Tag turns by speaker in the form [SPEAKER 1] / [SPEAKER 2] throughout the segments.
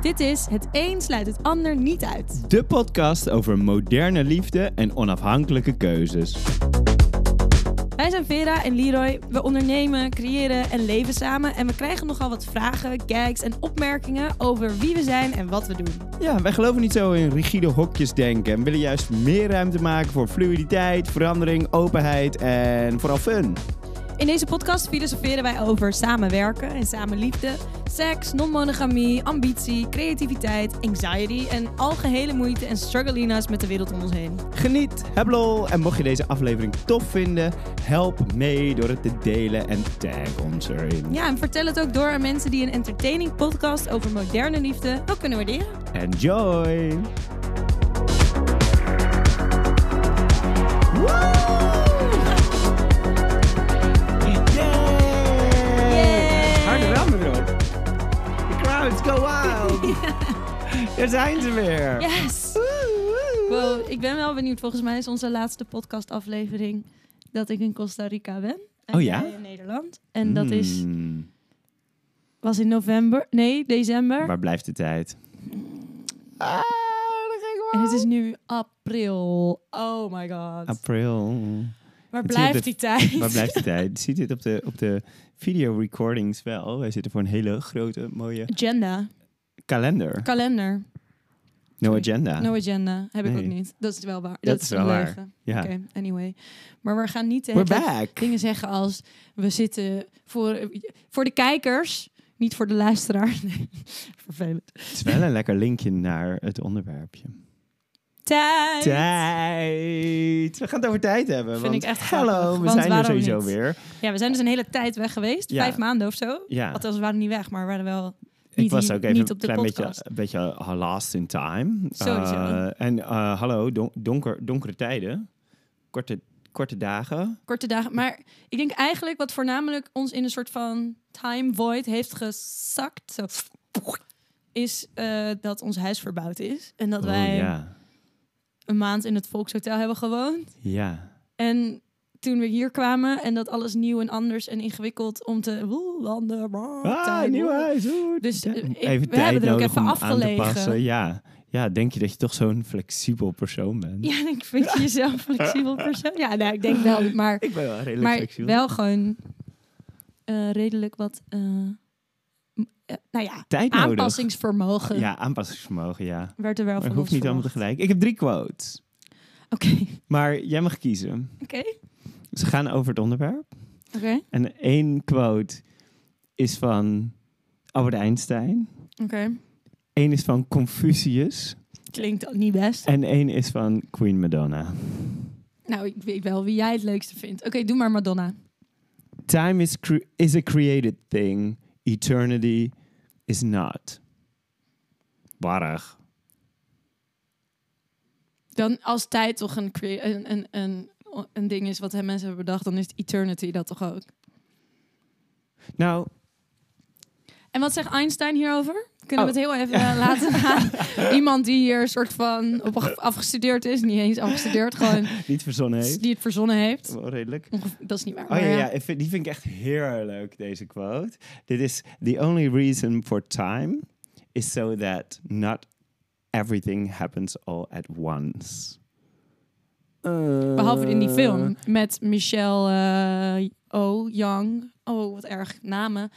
[SPEAKER 1] Dit is Het een sluit het ander niet uit.
[SPEAKER 2] De podcast over moderne liefde en onafhankelijke keuzes.
[SPEAKER 1] Wij zijn Vera en Leroy. We ondernemen, creëren en leven samen. En we krijgen nogal wat vragen, gags en opmerkingen over wie we zijn en wat we doen.
[SPEAKER 2] Ja, wij geloven niet zo in rigide hokjes denken en willen juist meer ruimte maken voor fluiditeit, verandering, openheid en vooral fun.
[SPEAKER 1] In deze podcast filosoferen wij over samenwerken en samenliefde, seks, non-monogamie, ambitie, creativiteit, anxiety en algehele moeite en struggleina's met de wereld om ons heen.
[SPEAKER 2] Geniet, heb lol en mocht je deze aflevering tof vinden, help mee door het te delen en tag ons erin.
[SPEAKER 1] Ja, en vertel het ook door aan mensen die een entertaining podcast over moderne liefde ook kunnen waarderen.
[SPEAKER 2] Enjoy! Woe! Yay!
[SPEAKER 1] Yay!
[SPEAKER 2] Harde rammen erop. The crowds go wild. Daar zijn ze weer.
[SPEAKER 1] Yes!
[SPEAKER 2] Woe, woe, woe.
[SPEAKER 1] Wow, ik ben wel benieuwd. Volgens mij is onze laatste podcastaflevering dat ik in Costa Rica ben. En
[SPEAKER 2] Oh ja?
[SPEAKER 1] jij in Nederland. En dat is,
[SPEAKER 2] Hmm,
[SPEAKER 1] was in november, nee, december.
[SPEAKER 2] Waar blijft de tijd? Ah, dat ging wel.
[SPEAKER 1] En het is nu april. Oh my god.
[SPEAKER 2] April.
[SPEAKER 1] Waar
[SPEAKER 2] het is
[SPEAKER 1] blijft
[SPEAKER 2] de-
[SPEAKER 1] die tijd?
[SPEAKER 2] Waar blijft de tijd? Je ziet dit op de, op de video recordings wel. Wij zitten voor een hele grote, mooie
[SPEAKER 1] Agenda.
[SPEAKER 2] kalender.
[SPEAKER 1] Kalender.
[SPEAKER 2] No agenda.
[SPEAKER 1] No agenda. Heb ik
[SPEAKER 2] Nee.
[SPEAKER 1] ook niet. Dat is wel waar. Dat,
[SPEAKER 2] is
[SPEAKER 1] een
[SPEAKER 2] wel waar.
[SPEAKER 1] leugen.
[SPEAKER 2] ja.
[SPEAKER 1] Oké, anyway. Maar we gaan niet de
[SPEAKER 2] We're
[SPEAKER 1] hele tijd
[SPEAKER 2] back.
[SPEAKER 1] dingen zeggen als... We zitten voor, voor de kijkers, niet voor de luisteraar. Nee, vervelend.
[SPEAKER 2] Het is wel een lekker linkje naar het onderwerpje.
[SPEAKER 1] Tijd.
[SPEAKER 2] Tijd. We gaan het over tijd hebben.
[SPEAKER 1] Vind
[SPEAKER 2] want,
[SPEAKER 1] ik echt grappig,
[SPEAKER 2] Hallo, we
[SPEAKER 1] want
[SPEAKER 2] zijn er
[SPEAKER 1] waarom
[SPEAKER 2] sowieso
[SPEAKER 1] niet?
[SPEAKER 2] weer.
[SPEAKER 1] Ja, we zijn dus een hele tijd weg geweest.
[SPEAKER 2] Ja.
[SPEAKER 1] Vijf maanden of zo.
[SPEAKER 2] Ja.
[SPEAKER 1] Althans, we waren niet weg, maar we waren wel...
[SPEAKER 2] Ik
[SPEAKER 1] Niet
[SPEAKER 2] was
[SPEAKER 1] hier-
[SPEAKER 2] ook even
[SPEAKER 1] niet op de
[SPEAKER 2] een klein beetje,
[SPEAKER 1] podcast.
[SPEAKER 2] een beetje uh, last in time.
[SPEAKER 1] Sowieso.
[SPEAKER 2] Eh, en eh, hallo, don- donker, donkere tijden. Korte, korte dagen.
[SPEAKER 1] korte dagen. Maar ik denk eigenlijk wat voornamelijk ons in een soort van time void heeft gezakt, zo, is eh, dat ons huis verbouwd is. En dat
[SPEAKER 2] Oh,
[SPEAKER 1] wij
[SPEAKER 2] ja.
[SPEAKER 1] een maand in het Volkshotel hebben gewoond.
[SPEAKER 2] ja.
[SPEAKER 1] En toen we hier kwamen en dat alles nieuw en anders en ingewikkeld om te woe, landen. brrr,
[SPEAKER 2] Ah,
[SPEAKER 1] tuin,
[SPEAKER 2] nieuw
[SPEAKER 1] woe.
[SPEAKER 2] huis. oeh,
[SPEAKER 1] Dus,
[SPEAKER 2] tij-
[SPEAKER 1] eh, ik-
[SPEAKER 2] even
[SPEAKER 1] we
[SPEAKER 2] tijd
[SPEAKER 1] hebben er ook
[SPEAKER 2] nodig
[SPEAKER 1] even
[SPEAKER 2] om
[SPEAKER 1] afgelegen.
[SPEAKER 2] aan te passen. Ja. ja, denk je dat je toch zo'n flexibel persoon bent?
[SPEAKER 1] Ja, en ik vind je jezelf een flexibel persoon. Ja, nou, ik denk wel, maar,
[SPEAKER 2] Ik ben wel redelijk
[SPEAKER 1] maar
[SPEAKER 2] flexibel.
[SPEAKER 1] wel gewoon eh, redelijk wat, eh, m- eh, nou ja,
[SPEAKER 2] tijd nodig.
[SPEAKER 1] aanpassingsvermogen.
[SPEAKER 2] Ja, aanpassingsvermogen, ja.
[SPEAKER 1] werd er wel
[SPEAKER 2] Maar
[SPEAKER 1] van
[SPEAKER 2] het hoeft
[SPEAKER 1] ons
[SPEAKER 2] niet allemaal
[SPEAKER 1] verwacht.
[SPEAKER 2] tegelijk. Ik heb drie quotes.
[SPEAKER 1] Oké,
[SPEAKER 2] Maar jij mag kiezen.
[SPEAKER 1] oké,
[SPEAKER 2] Ze gaan over het onderwerp.
[SPEAKER 1] oké,
[SPEAKER 2] En één quote is van Albert Einstein.
[SPEAKER 1] oké.
[SPEAKER 2] Eén is van Confucius.
[SPEAKER 1] Klinkt niet best.
[SPEAKER 2] En één is van Queen Madonna.
[SPEAKER 1] Nou, ik weet wel wie jij het leukste vindt. Oké, doe maar Madonna.
[SPEAKER 2] Time is, cre- is a created thing. Eternity is not. Warrig.
[SPEAKER 1] Dan als tijd toch een, crea- een, een, een, een ding is wat hè, mensen hebben bedacht, dan is het eternity dat toch ook.
[SPEAKER 2] Nou,
[SPEAKER 1] En wat zegt Einstein hierover? Kunnen we
[SPEAKER 2] Oh.
[SPEAKER 1] het heel even eh, laten gaan? Iemand die hier een soort van op afgestudeerd is, niet eens afgestudeerd, gewoon
[SPEAKER 2] niet verzonnen heeft.
[SPEAKER 1] die het verzonnen heeft.
[SPEAKER 2] Wel redelijk.
[SPEAKER 1] Ongev- dat is niet waar.
[SPEAKER 2] Oh ja,
[SPEAKER 1] maar, eh,
[SPEAKER 2] ja ik vind- die vind ik echt heerlijk, deze quote. Dit is, the only reason for time is so that not everything happens all at once. Eh,
[SPEAKER 1] Behalve in die film met Michelle eh O. Young. Oh, wat erg. Namen.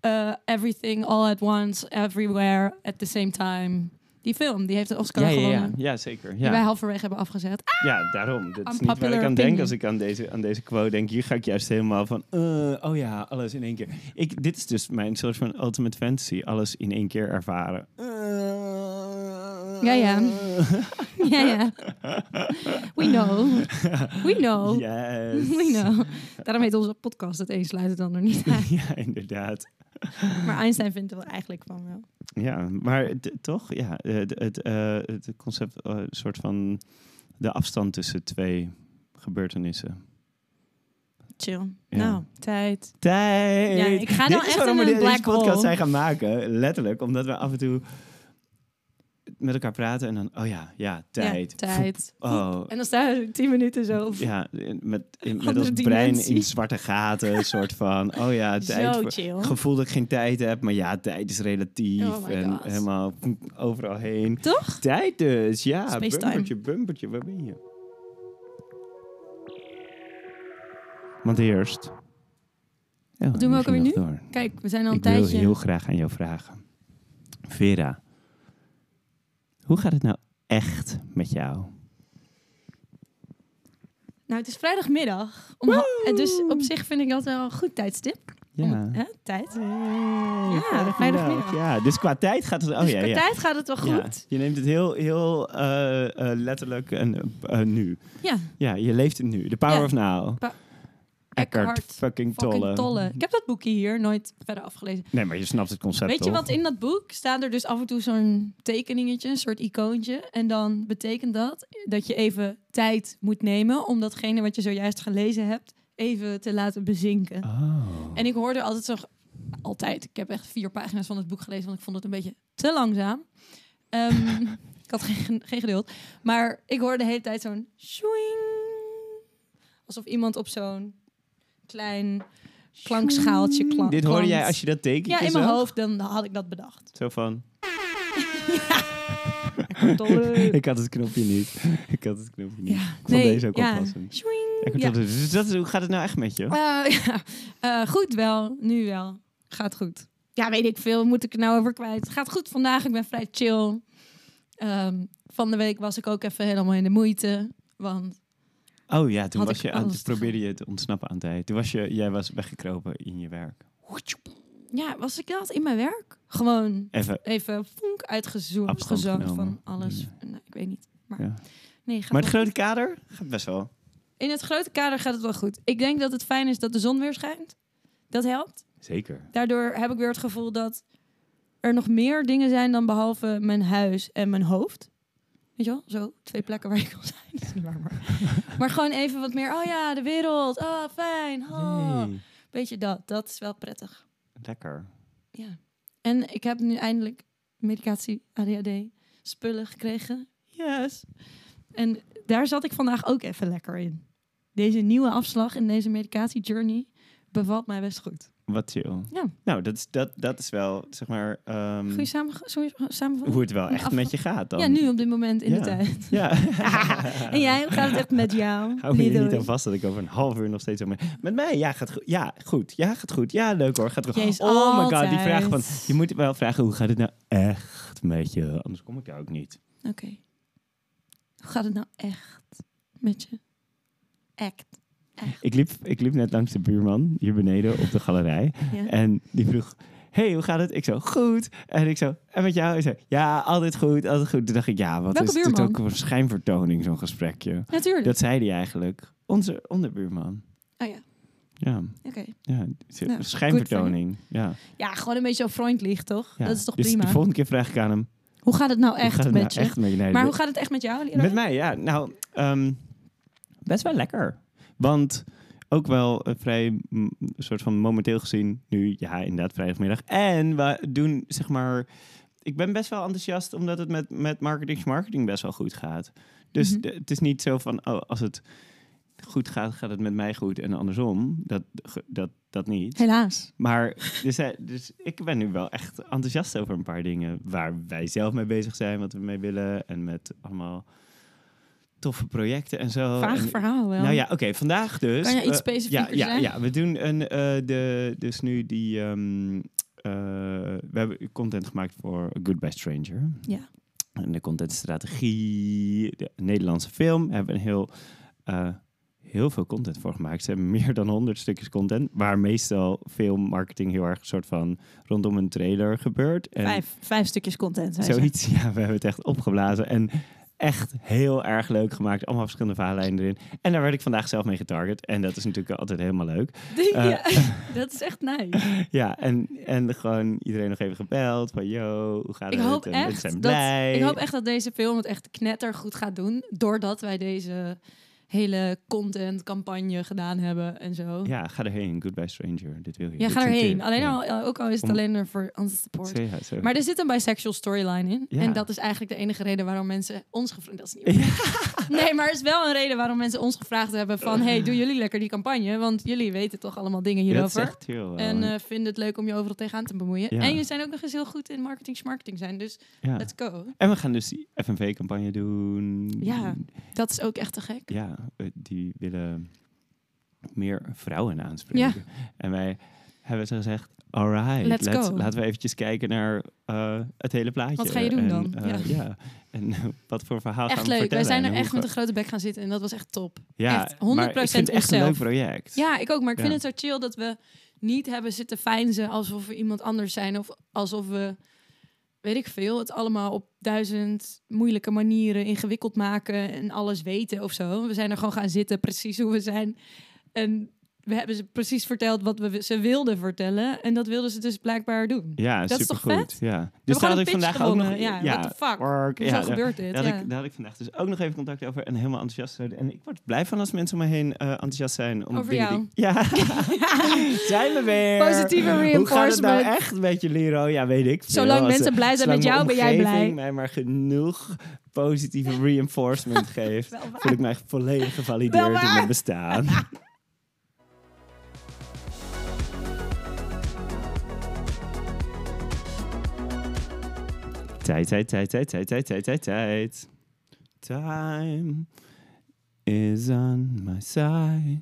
[SPEAKER 1] Eh, everything all at once, everywhere, at the same time. Die film, die heeft de Oscar
[SPEAKER 2] Ja, ja,
[SPEAKER 1] gewonnen.
[SPEAKER 2] ja, ja, zeker.
[SPEAKER 1] Die wij
[SPEAKER 2] Ja,
[SPEAKER 1] halverwege hebben afgezet. Ah,
[SPEAKER 2] ja daarom. Dat is niet waar
[SPEAKER 1] Unpopular
[SPEAKER 2] ik aan
[SPEAKER 1] opinion.
[SPEAKER 2] denk als ik aan deze, aan deze quote denk. Hier ga ik juist helemaal van, eh, oh ja, alles in één keer. Ik, dit is dus mijn soort van ultimate fantasy. Alles in één keer ervaren. Eh,
[SPEAKER 1] Ja, ja. Ah, ja, ja. We know. We know.
[SPEAKER 2] Yes.
[SPEAKER 1] We know. Daarom heet onze podcast het een sluit het ander niet uit.
[SPEAKER 2] ja, inderdaad.
[SPEAKER 1] Maar Einstein vindt er wel eigenlijk van wel.
[SPEAKER 2] Ja, maar t- toch, ja, het, het, eh, het concept, eh, soort van de afstand tussen twee gebeurtenissen.
[SPEAKER 1] Chill.
[SPEAKER 2] Ja.
[SPEAKER 1] Nou, tijd.
[SPEAKER 2] Tijd!
[SPEAKER 1] Ja, ik ga
[SPEAKER 2] Dit
[SPEAKER 1] nou
[SPEAKER 2] is
[SPEAKER 1] echt
[SPEAKER 2] waarom
[SPEAKER 1] in
[SPEAKER 2] we
[SPEAKER 1] een
[SPEAKER 2] deze
[SPEAKER 1] black
[SPEAKER 2] podcast
[SPEAKER 1] hole.
[SPEAKER 2] zijn gaan maken, letterlijk, omdat we af en toe met elkaar praten en dan, oh ja, ja, tijd.
[SPEAKER 1] Ja, tijd.
[SPEAKER 2] Oh,
[SPEAKER 1] En dan staan we tien minuten zo.
[SPEAKER 2] ja, in- met, in- met
[SPEAKER 1] Andere
[SPEAKER 2] ons brein
[SPEAKER 1] dimensie.
[SPEAKER 2] in zwarte gaten, een soort van, oh ja, tijd.
[SPEAKER 1] zo
[SPEAKER 2] voor-
[SPEAKER 1] chill.
[SPEAKER 2] Gevoel dat ik geen tijd heb, maar ja, tijd is relatief
[SPEAKER 1] Oh my
[SPEAKER 2] en
[SPEAKER 1] God.
[SPEAKER 2] helemaal mm, overal heen.
[SPEAKER 1] Toch?
[SPEAKER 2] Tijd dus, ja,
[SPEAKER 1] Space time.
[SPEAKER 2] bumpertje, bumpertje, waar ben je? Want eerst... Ja,
[SPEAKER 1] doen we ook
[SPEAKER 2] ging
[SPEAKER 1] alweer
[SPEAKER 2] nog door.
[SPEAKER 1] Kijk, we zijn al een
[SPEAKER 2] Ik wil
[SPEAKER 1] tijdje.
[SPEAKER 2] heel graag aan jou vragen. Vera, hoe gaat het nou echt met jou?
[SPEAKER 1] Nou, het is vrijdagmiddag. Om ha- eh, dus op zich vind ik dat wel een goed tijdstip. Om-
[SPEAKER 2] Ja.
[SPEAKER 1] hè, tijd.
[SPEAKER 2] Hey,
[SPEAKER 1] Oh, Ja, vrijdagmiddag.
[SPEAKER 2] Ja, dus qua tijd gaat het... Oh
[SPEAKER 1] dus
[SPEAKER 2] ja,
[SPEAKER 1] qua
[SPEAKER 2] ja.
[SPEAKER 1] tijd gaat het wel
[SPEAKER 2] Ja,
[SPEAKER 1] goed.
[SPEAKER 2] je neemt het heel, heel eh, eh, letterlijk en, eh, eh, nu.
[SPEAKER 1] Ja.
[SPEAKER 2] Ja, je leeft het nu. The Power
[SPEAKER 1] Ja.
[SPEAKER 2] of Now.
[SPEAKER 1] Pa-
[SPEAKER 2] Eckhart
[SPEAKER 1] Eckhart
[SPEAKER 2] fucking
[SPEAKER 1] Fucking
[SPEAKER 2] Tolle.
[SPEAKER 1] tolle. Ik heb dat boekje hier nooit verder afgelezen.
[SPEAKER 2] Nee, maar je snapt het concept
[SPEAKER 1] Weet je
[SPEAKER 2] toch?
[SPEAKER 1] wat in dat boek staat er dus af en toe zo'n tekeningetje, een soort icoontje. En dan betekent dat dat je even tijd moet nemen om datgene wat je zojuist gelezen hebt even te laten bezinken.
[SPEAKER 2] Oh.
[SPEAKER 1] En ik hoorde altijd zo, altijd, ik heb echt vier pagina's van het boek gelezen, want ik vond het een beetje te langzaam. Ehm, ik had geen, geen geduld. Maar ik hoorde de hele tijd zo'n swing. Alsof iemand op zo'n klein klankschaaltje klank.
[SPEAKER 2] Dit hoorde jij als je dat tekentje
[SPEAKER 1] Ja, in mijn
[SPEAKER 2] zag?
[SPEAKER 1] hoofd, dan had ik dat bedacht.
[SPEAKER 2] Zo van...
[SPEAKER 1] Tolle.
[SPEAKER 2] Ik had het knopje niet. Ik had het knopje niet.
[SPEAKER 1] Ja,
[SPEAKER 2] vond deze ook wel passend.
[SPEAKER 1] Swing.
[SPEAKER 2] Eckhart
[SPEAKER 1] Ja.
[SPEAKER 2] Tolle. Dus dat is, hoe gaat het nou echt met je?
[SPEAKER 1] Eh, ja. Eh, goed wel, nu wel. Gaat goed. Ja, weet ik veel. Moet ik er nou over kwijt? Gaat goed vandaag. Ik ben vrij chill. Ehm, van de week was ik ook even helemaal in de moeite. Want
[SPEAKER 2] Oh ja, toen
[SPEAKER 1] Had
[SPEAKER 2] was
[SPEAKER 1] ik
[SPEAKER 2] je aan,
[SPEAKER 1] alles
[SPEAKER 2] toen
[SPEAKER 1] te gaan.
[SPEAKER 2] probeerde je te ontsnappen aan tijd. Toen was je, jij was weggekropen in je werk.
[SPEAKER 1] ja, was ik dat in mijn werk? Gewoon
[SPEAKER 2] Even.
[SPEAKER 1] even vonk uitgezoomd.
[SPEAKER 2] Afstand
[SPEAKER 1] Gezond van
[SPEAKER 2] genomen.
[SPEAKER 1] alles.
[SPEAKER 2] Ja.
[SPEAKER 1] Nou, ik weet niet. Maar,
[SPEAKER 2] Ja.
[SPEAKER 1] nee, gaat
[SPEAKER 2] Maar het
[SPEAKER 1] wel-
[SPEAKER 2] grote kader gaat best wel.
[SPEAKER 1] in het grote kader gaat het wel goed. Ik denk dat het fijn is dat de zon weer schijnt. Dat helpt.
[SPEAKER 2] Zeker.
[SPEAKER 1] daardoor heb ik weer het gevoel dat er nog meer dingen zijn dan behalve mijn huis en mijn hoofd. Weet je wel? Zo, twee plekken waar ik kan zijn. Dat is niet waar, maar... maar gewoon even wat meer, oh ja, de wereld, oh fijn, oh.
[SPEAKER 2] Hey,
[SPEAKER 1] Beetje dat, dat is wel prettig.
[SPEAKER 2] Lekker.
[SPEAKER 1] Ja. En ik heb nu eindelijk medicatie ADHD spullen gekregen. Yes. En daar zat ik vandaag ook even lekker in. Deze nieuwe afslag in deze medicatie journey bevalt mij best goed.
[SPEAKER 2] Wat chill.
[SPEAKER 1] Ja.
[SPEAKER 2] Nou, dat is, dat, dat is wel, zeg maar, ehm,
[SPEAKER 1] Goeie samen, samenvatting?
[SPEAKER 2] hoe het wel echt
[SPEAKER 1] Af-
[SPEAKER 2] met je gaat dan.
[SPEAKER 1] Ja, nu op dit moment in
[SPEAKER 2] Ja.
[SPEAKER 1] de tijd.
[SPEAKER 2] Ja.
[SPEAKER 1] En jij, hoe gaat het echt met jou?
[SPEAKER 2] Hou me hier niet
[SPEAKER 1] Lidoe?
[SPEAKER 2] aan vast dat ik over een half uur nog steeds... zo Met, met mij, ja, gaat goed. Ja, goed. Ja, gaat goed. Ja, leuk hoor. Gaat goed.
[SPEAKER 1] Jezus,
[SPEAKER 2] oh my god, die
[SPEAKER 1] altijd.
[SPEAKER 2] vraag van... Je moet wel vragen, hoe gaat het nou echt met je? Anders kom ik daar ook niet.
[SPEAKER 1] Oké. Hoe gaat het nou echt met je? Act. Echt.
[SPEAKER 2] Ik liep, ik liep net langs de buurman, hier beneden op de galerij.
[SPEAKER 1] Ja.
[SPEAKER 2] En die vroeg, hey, hoe gaat het? Ik zo, goed. En ik zo, en met jou? Ik zei, ja, altijd goed, altijd goed. Toen dacht ik, ja, wat
[SPEAKER 1] Welke
[SPEAKER 2] is dit
[SPEAKER 1] buurman?
[SPEAKER 2] ook een schijnvertoning, zo'n gesprekje.
[SPEAKER 1] Natuurlijk.
[SPEAKER 2] Dat zei hij eigenlijk. Onze onderbuurman.
[SPEAKER 1] Oh ja,
[SPEAKER 2] Ja,
[SPEAKER 1] oké.
[SPEAKER 2] ja. z-
[SPEAKER 1] Nou,
[SPEAKER 2] schijnvertoning. Ja.
[SPEAKER 1] Ja, gewoon een beetje zo vriendelijk, toch?
[SPEAKER 2] ja.
[SPEAKER 1] Dat is toch
[SPEAKER 2] dus
[SPEAKER 1] prima?
[SPEAKER 2] de volgende keer vraag ik aan hem.
[SPEAKER 1] Hoe gaat het nou
[SPEAKER 2] hoe
[SPEAKER 1] echt
[SPEAKER 2] gaat het
[SPEAKER 1] met
[SPEAKER 2] nou
[SPEAKER 1] je?
[SPEAKER 2] echt met je? Nee,
[SPEAKER 1] Maar
[SPEAKER 2] de-
[SPEAKER 1] hoe gaat het echt met jou, Lidoe?
[SPEAKER 2] Met mij, ja. Nou, ehm, best wel lekker. Want ook wel eh, vrij, mm, soort van momenteel gezien, nu ja, inderdaad vrijdagmiddag. En we doen, zeg maar, ik ben best wel enthousiast omdat het met, met marketing marketing best wel goed gaat. Dus
[SPEAKER 1] Mhm.
[SPEAKER 2] de- het is niet zo van, oh, als het goed gaat, gaat het met mij goed en andersom. Dat, ge- dat, dat niet.
[SPEAKER 1] Helaas.
[SPEAKER 2] Maar dus, hij- dus ik ben nu wel echt enthousiast over een paar dingen waar wij zelf mee bezig zijn, wat we mee willen en met allemaal toffe projecten en zo.
[SPEAKER 1] Vaag
[SPEAKER 2] En-
[SPEAKER 1] verhaal wel.
[SPEAKER 2] nou ja, oké, vandaag dus.
[SPEAKER 1] Kan je iets
[SPEAKER 2] eh,
[SPEAKER 1] specifieker
[SPEAKER 2] ja, ja,
[SPEAKER 1] zijn?
[SPEAKER 2] Ja, we doen een, eh, de, dus nu die... ehm, eh, we hebben content gemaakt voor Goodbye Stranger.
[SPEAKER 1] Ja.
[SPEAKER 2] En de contentstrategie, de Nederlandse film. hebben we een heel, eh, heel veel content voor gemaakt. Ze hebben meer dan 100 stukjes content. Waar meestal filmmarketing heel erg een soort van rondom een trailer gebeurt. En
[SPEAKER 1] Vijf, vijf stukjes content. zei ze.
[SPEAKER 2] Zoiets, ja, we hebben het echt opgeblazen. En echt heel erg leuk gemaakt. Allemaal verschillende verhaallijnen erin. En daar werd ik vandaag zelf mee getarget. En dat is natuurlijk altijd helemaal leuk.
[SPEAKER 1] ja,
[SPEAKER 2] Eh.
[SPEAKER 1] dat is echt nice.
[SPEAKER 2] Ja, en, en gewoon iedereen nog even gebeld. Van, yo, hoe gaat
[SPEAKER 1] Ik
[SPEAKER 2] het?
[SPEAKER 1] hoop,
[SPEAKER 2] En
[SPEAKER 1] echt
[SPEAKER 2] mensen zijn
[SPEAKER 1] dat,
[SPEAKER 2] blij.
[SPEAKER 1] ik hoop echt dat deze film het echt knetter goed gaat doen. Doordat wij deze hele contentcampagne gedaan hebben en zo. Ja,
[SPEAKER 2] Ja, ga erheen. Goodbye Stranger. Dit wil je. Dit
[SPEAKER 1] ga
[SPEAKER 2] is een
[SPEAKER 1] erheen.
[SPEAKER 2] tip.
[SPEAKER 1] Alleen
[SPEAKER 2] Ja.
[SPEAKER 1] al, eh, ook al is het
[SPEAKER 2] Om-
[SPEAKER 1] alleen er voor onze support.
[SPEAKER 2] Zo, ja, zo.
[SPEAKER 1] Maar er zit een bisexual storyline in.
[SPEAKER 2] Ja.
[SPEAKER 1] En dat is eigenlijk de enige reden waarom mensen ons gevraagd... Dat is niet waar. Nee, maar er is wel een reden waarom mensen ons gevraagd hebben van... hey, doen jullie lekker die campagne? Want jullie weten toch allemaal dingen
[SPEAKER 2] Ja, dat
[SPEAKER 1] hierover.
[SPEAKER 2] zegt heel wel.
[SPEAKER 1] en eh, vinden het leuk om je overal tegenaan te bemoeien.
[SPEAKER 2] Ja.
[SPEAKER 1] En jullie zijn ook nog eens heel goed in marketing, marketing zijn. Dus
[SPEAKER 2] ja.
[SPEAKER 1] let's go.
[SPEAKER 2] En we gaan dus die FNV-campagne doen.
[SPEAKER 1] Ja. Dat is ook echt te gek.
[SPEAKER 2] Ja, eh, die willen meer vrouwen aanspreken. En wij hebben ze gezegd, alright,
[SPEAKER 1] Let's go.
[SPEAKER 2] laten we eventjes kijken naar eh, het hele plaatje.
[SPEAKER 1] Wat ga je doen
[SPEAKER 2] en,
[SPEAKER 1] dan?
[SPEAKER 2] eh,
[SPEAKER 1] Ja.
[SPEAKER 2] ja. en eh, wat voor verhaal gaan
[SPEAKER 1] Echt
[SPEAKER 2] we
[SPEAKER 1] leuk. Wij
[SPEAKER 2] vertellen
[SPEAKER 1] zijn
[SPEAKER 2] en
[SPEAKER 1] er
[SPEAKER 2] hoe
[SPEAKER 1] echt met een
[SPEAKER 2] we-
[SPEAKER 1] grote bek gaan zitten. En dat was echt top.
[SPEAKER 2] Ja,
[SPEAKER 1] echt 100%
[SPEAKER 2] maar ik vind het echt een leuk
[SPEAKER 1] onszelf.
[SPEAKER 2] project.
[SPEAKER 1] Ja, ik ook. Maar ik vind
[SPEAKER 2] Ja.
[SPEAKER 1] het zo chill dat we niet hebben zitten feinzen alsof we iemand anders zijn. Of alsof we, weet ik veel, het allemaal op duizend moeilijke manieren ingewikkeld maken. En alles weten of zo. We zijn er gewoon gaan zitten, precies hoe we zijn. En we hebben ze precies verteld wat we ze wilden vertellen. En dat wilden ze dus blijkbaar doen.
[SPEAKER 2] Ja,
[SPEAKER 1] Dat is toch
[SPEAKER 2] supergoed. ja. Dus daar had
[SPEAKER 1] gewoon
[SPEAKER 2] ik
[SPEAKER 1] een pitch
[SPEAKER 2] vandaag ook nog...
[SPEAKER 1] gewonnen. Ja, what the fuck?
[SPEAKER 2] work.
[SPEAKER 1] Zo
[SPEAKER 2] Ja, daar-
[SPEAKER 1] gebeurt dit.
[SPEAKER 2] Daar
[SPEAKER 1] Ja.
[SPEAKER 2] had, ik, daar had ik vandaag dus ook nog even contact over en helemaal enthousiast. zouden- En ik word blij van als mensen om me heen eh, enthousiast zijn. Om
[SPEAKER 1] Over
[SPEAKER 2] dingen
[SPEAKER 1] jou.
[SPEAKER 2] die- ja, zijn we weer.
[SPEAKER 1] Positieve
[SPEAKER 2] Hoe gaat het nou
[SPEAKER 1] reinforcement.
[SPEAKER 2] echt met je, Lero? Ja, weet ik veel.
[SPEAKER 1] Zolang
[SPEAKER 2] Als, eh,
[SPEAKER 1] mensen blij zijn
[SPEAKER 2] zolang
[SPEAKER 1] met
[SPEAKER 2] mijn
[SPEAKER 1] jou, ben jij
[SPEAKER 2] omgeving
[SPEAKER 1] blij.
[SPEAKER 2] mij maar genoeg positieve reinforcement geeft,
[SPEAKER 1] Wel waar.
[SPEAKER 2] voel ik mij volledig gevalideerd in
[SPEAKER 1] waar.
[SPEAKER 2] mijn bestaan. Tijd, tijd, tijd, tijd, tijd, tijd, tijd, tijd, tijd. Time is on my side.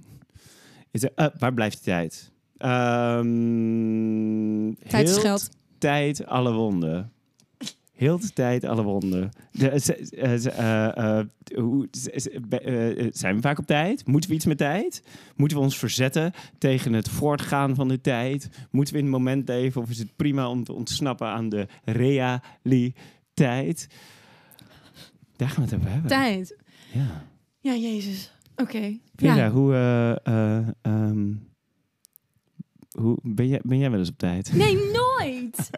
[SPEAKER 2] Is er, eh, waar blijft die tijd? Ehm,
[SPEAKER 1] Tijd is
[SPEAKER 2] heelt
[SPEAKER 1] geld.
[SPEAKER 2] tijd alle wonden. Heel de tijd alle wonden. De- ze- eh, ze- eh, eh, hoe- ze- ze- be- eh, eh, Zijn we vaak op tijd? Moeten we iets met tijd? Moeten we ons verzetten tegen het voortgaan van de tijd? Moeten we in het moment leven of is het prima om te ontsnappen aan de realiteit? Daar gaan we het over hebben.
[SPEAKER 1] Tijd.
[SPEAKER 2] Ja.
[SPEAKER 1] Ja, Jezus. Oké.
[SPEAKER 2] Vera,
[SPEAKER 1] Ja.
[SPEAKER 2] hoe, eh, eh, ehm, hoe ben, jij, ben jij wel eens op tijd?
[SPEAKER 1] Nee, nooit.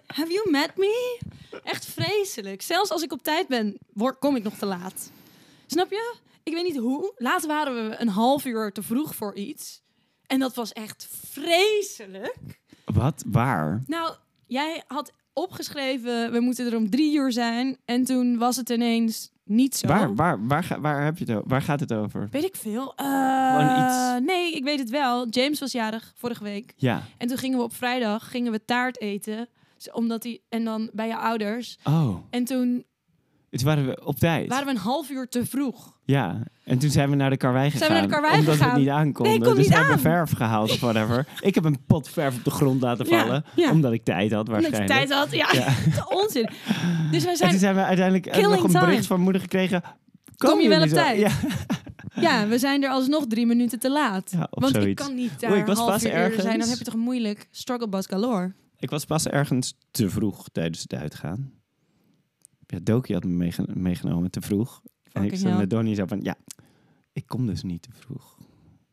[SPEAKER 1] Have you met me? Echt vreselijk. Zelfs als ik op tijd ben, word, kom ik nog te laat. Snap je? Ik weet niet hoe. Laatst waren we een half uur te vroeg voor iets. En dat was echt vreselijk.
[SPEAKER 2] Wat? Waar?
[SPEAKER 1] Nou, jij had opgeschreven, we moeten er om drie uur zijn. En toen was het ineens niet zo.
[SPEAKER 2] Waar, waar, waar, ga- waar, heb je het, o- waar gaat het over?
[SPEAKER 1] Weet ik veel. Eh,
[SPEAKER 2] Gewoon iets.
[SPEAKER 1] Nee, ik weet het wel. James was jarig vorige week.
[SPEAKER 2] Ja.
[SPEAKER 1] En toen gingen we op vrijdag gingen we taart eten. Z- Omdat die, en dan bij je ouders.
[SPEAKER 2] Oh,
[SPEAKER 1] En toen
[SPEAKER 2] het waren we op tijd.
[SPEAKER 1] waren we een half uur te vroeg.
[SPEAKER 2] Ja. En toen zijn we naar de karwei gegaan.
[SPEAKER 1] Zijn we naar de karwei
[SPEAKER 2] omdat
[SPEAKER 1] gegaan.
[SPEAKER 2] we het niet aankonden.
[SPEAKER 1] Nee, ik kon
[SPEAKER 2] dus
[SPEAKER 1] niet
[SPEAKER 2] we hebben
[SPEAKER 1] aan.
[SPEAKER 2] verf gehaald of whatever. ik heb een pot verf op de grond laten
[SPEAKER 1] Ja,
[SPEAKER 2] vallen.
[SPEAKER 1] ja.
[SPEAKER 2] Omdat ik tijd had
[SPEAKER 1] Omdat je
[SPEAKER 2] waarschijnlijk.
[SPEAKER 1] tijd had. Ja,
[SPEAKER 2] Ja.
[SPEAKER 1] onzin. Dus wij
[SPEAKER 2] En toen
[SPEAKER 1] zijn,
[SPEAKER 2] zijn we uiteindelijk eh, nog
[SPEAKER 1] Killing
[SPEAKER 2] een
[SPEAKER 1] time.
[SPEAKER 2] bericht van moeder gekregen.
[SPEAKER 1] Kom je wel
[SPEAKER 2] jullie
[SPEAKER 1] op
[SPEAKER 2] zo?
[SPEAKER 1] tijd?
[SPEAKER 2] Ja.
[SPEAKER 1] ja, we zijn er alsnog drie minuten te laat.
[SPEAKER 2] Ja, of
[SPEAKER 1] Want ik
[SPEAKER 2] zoiets.
[SPEAKER 1] kan niet
[SPEAKER 2] Oei,
[SPEAKER 1] daar
[SPEAKER 2] ik was
[SPEAKER 1] half
[SPEAKER 2] pas
[SPEAKER 1] uur eerder zijn. Dan
[SPEAKER 2] ergens.
[SPEAKER 1] heb je toch moeilijk. Struggle bus galore.
[SPEAKER 2] Ik was pas ergens te vroeg tijdens het uitgaan. Ja, Doki had me meege- meegenomen te vroeg. en ik
[SPEAKER 1] Fucking
[SPEAKER 2] stond
[SPEAKER 1] hell.
[SPEAKER 2] met Donnie zo van, ja, ik kom dus niet te vroeg.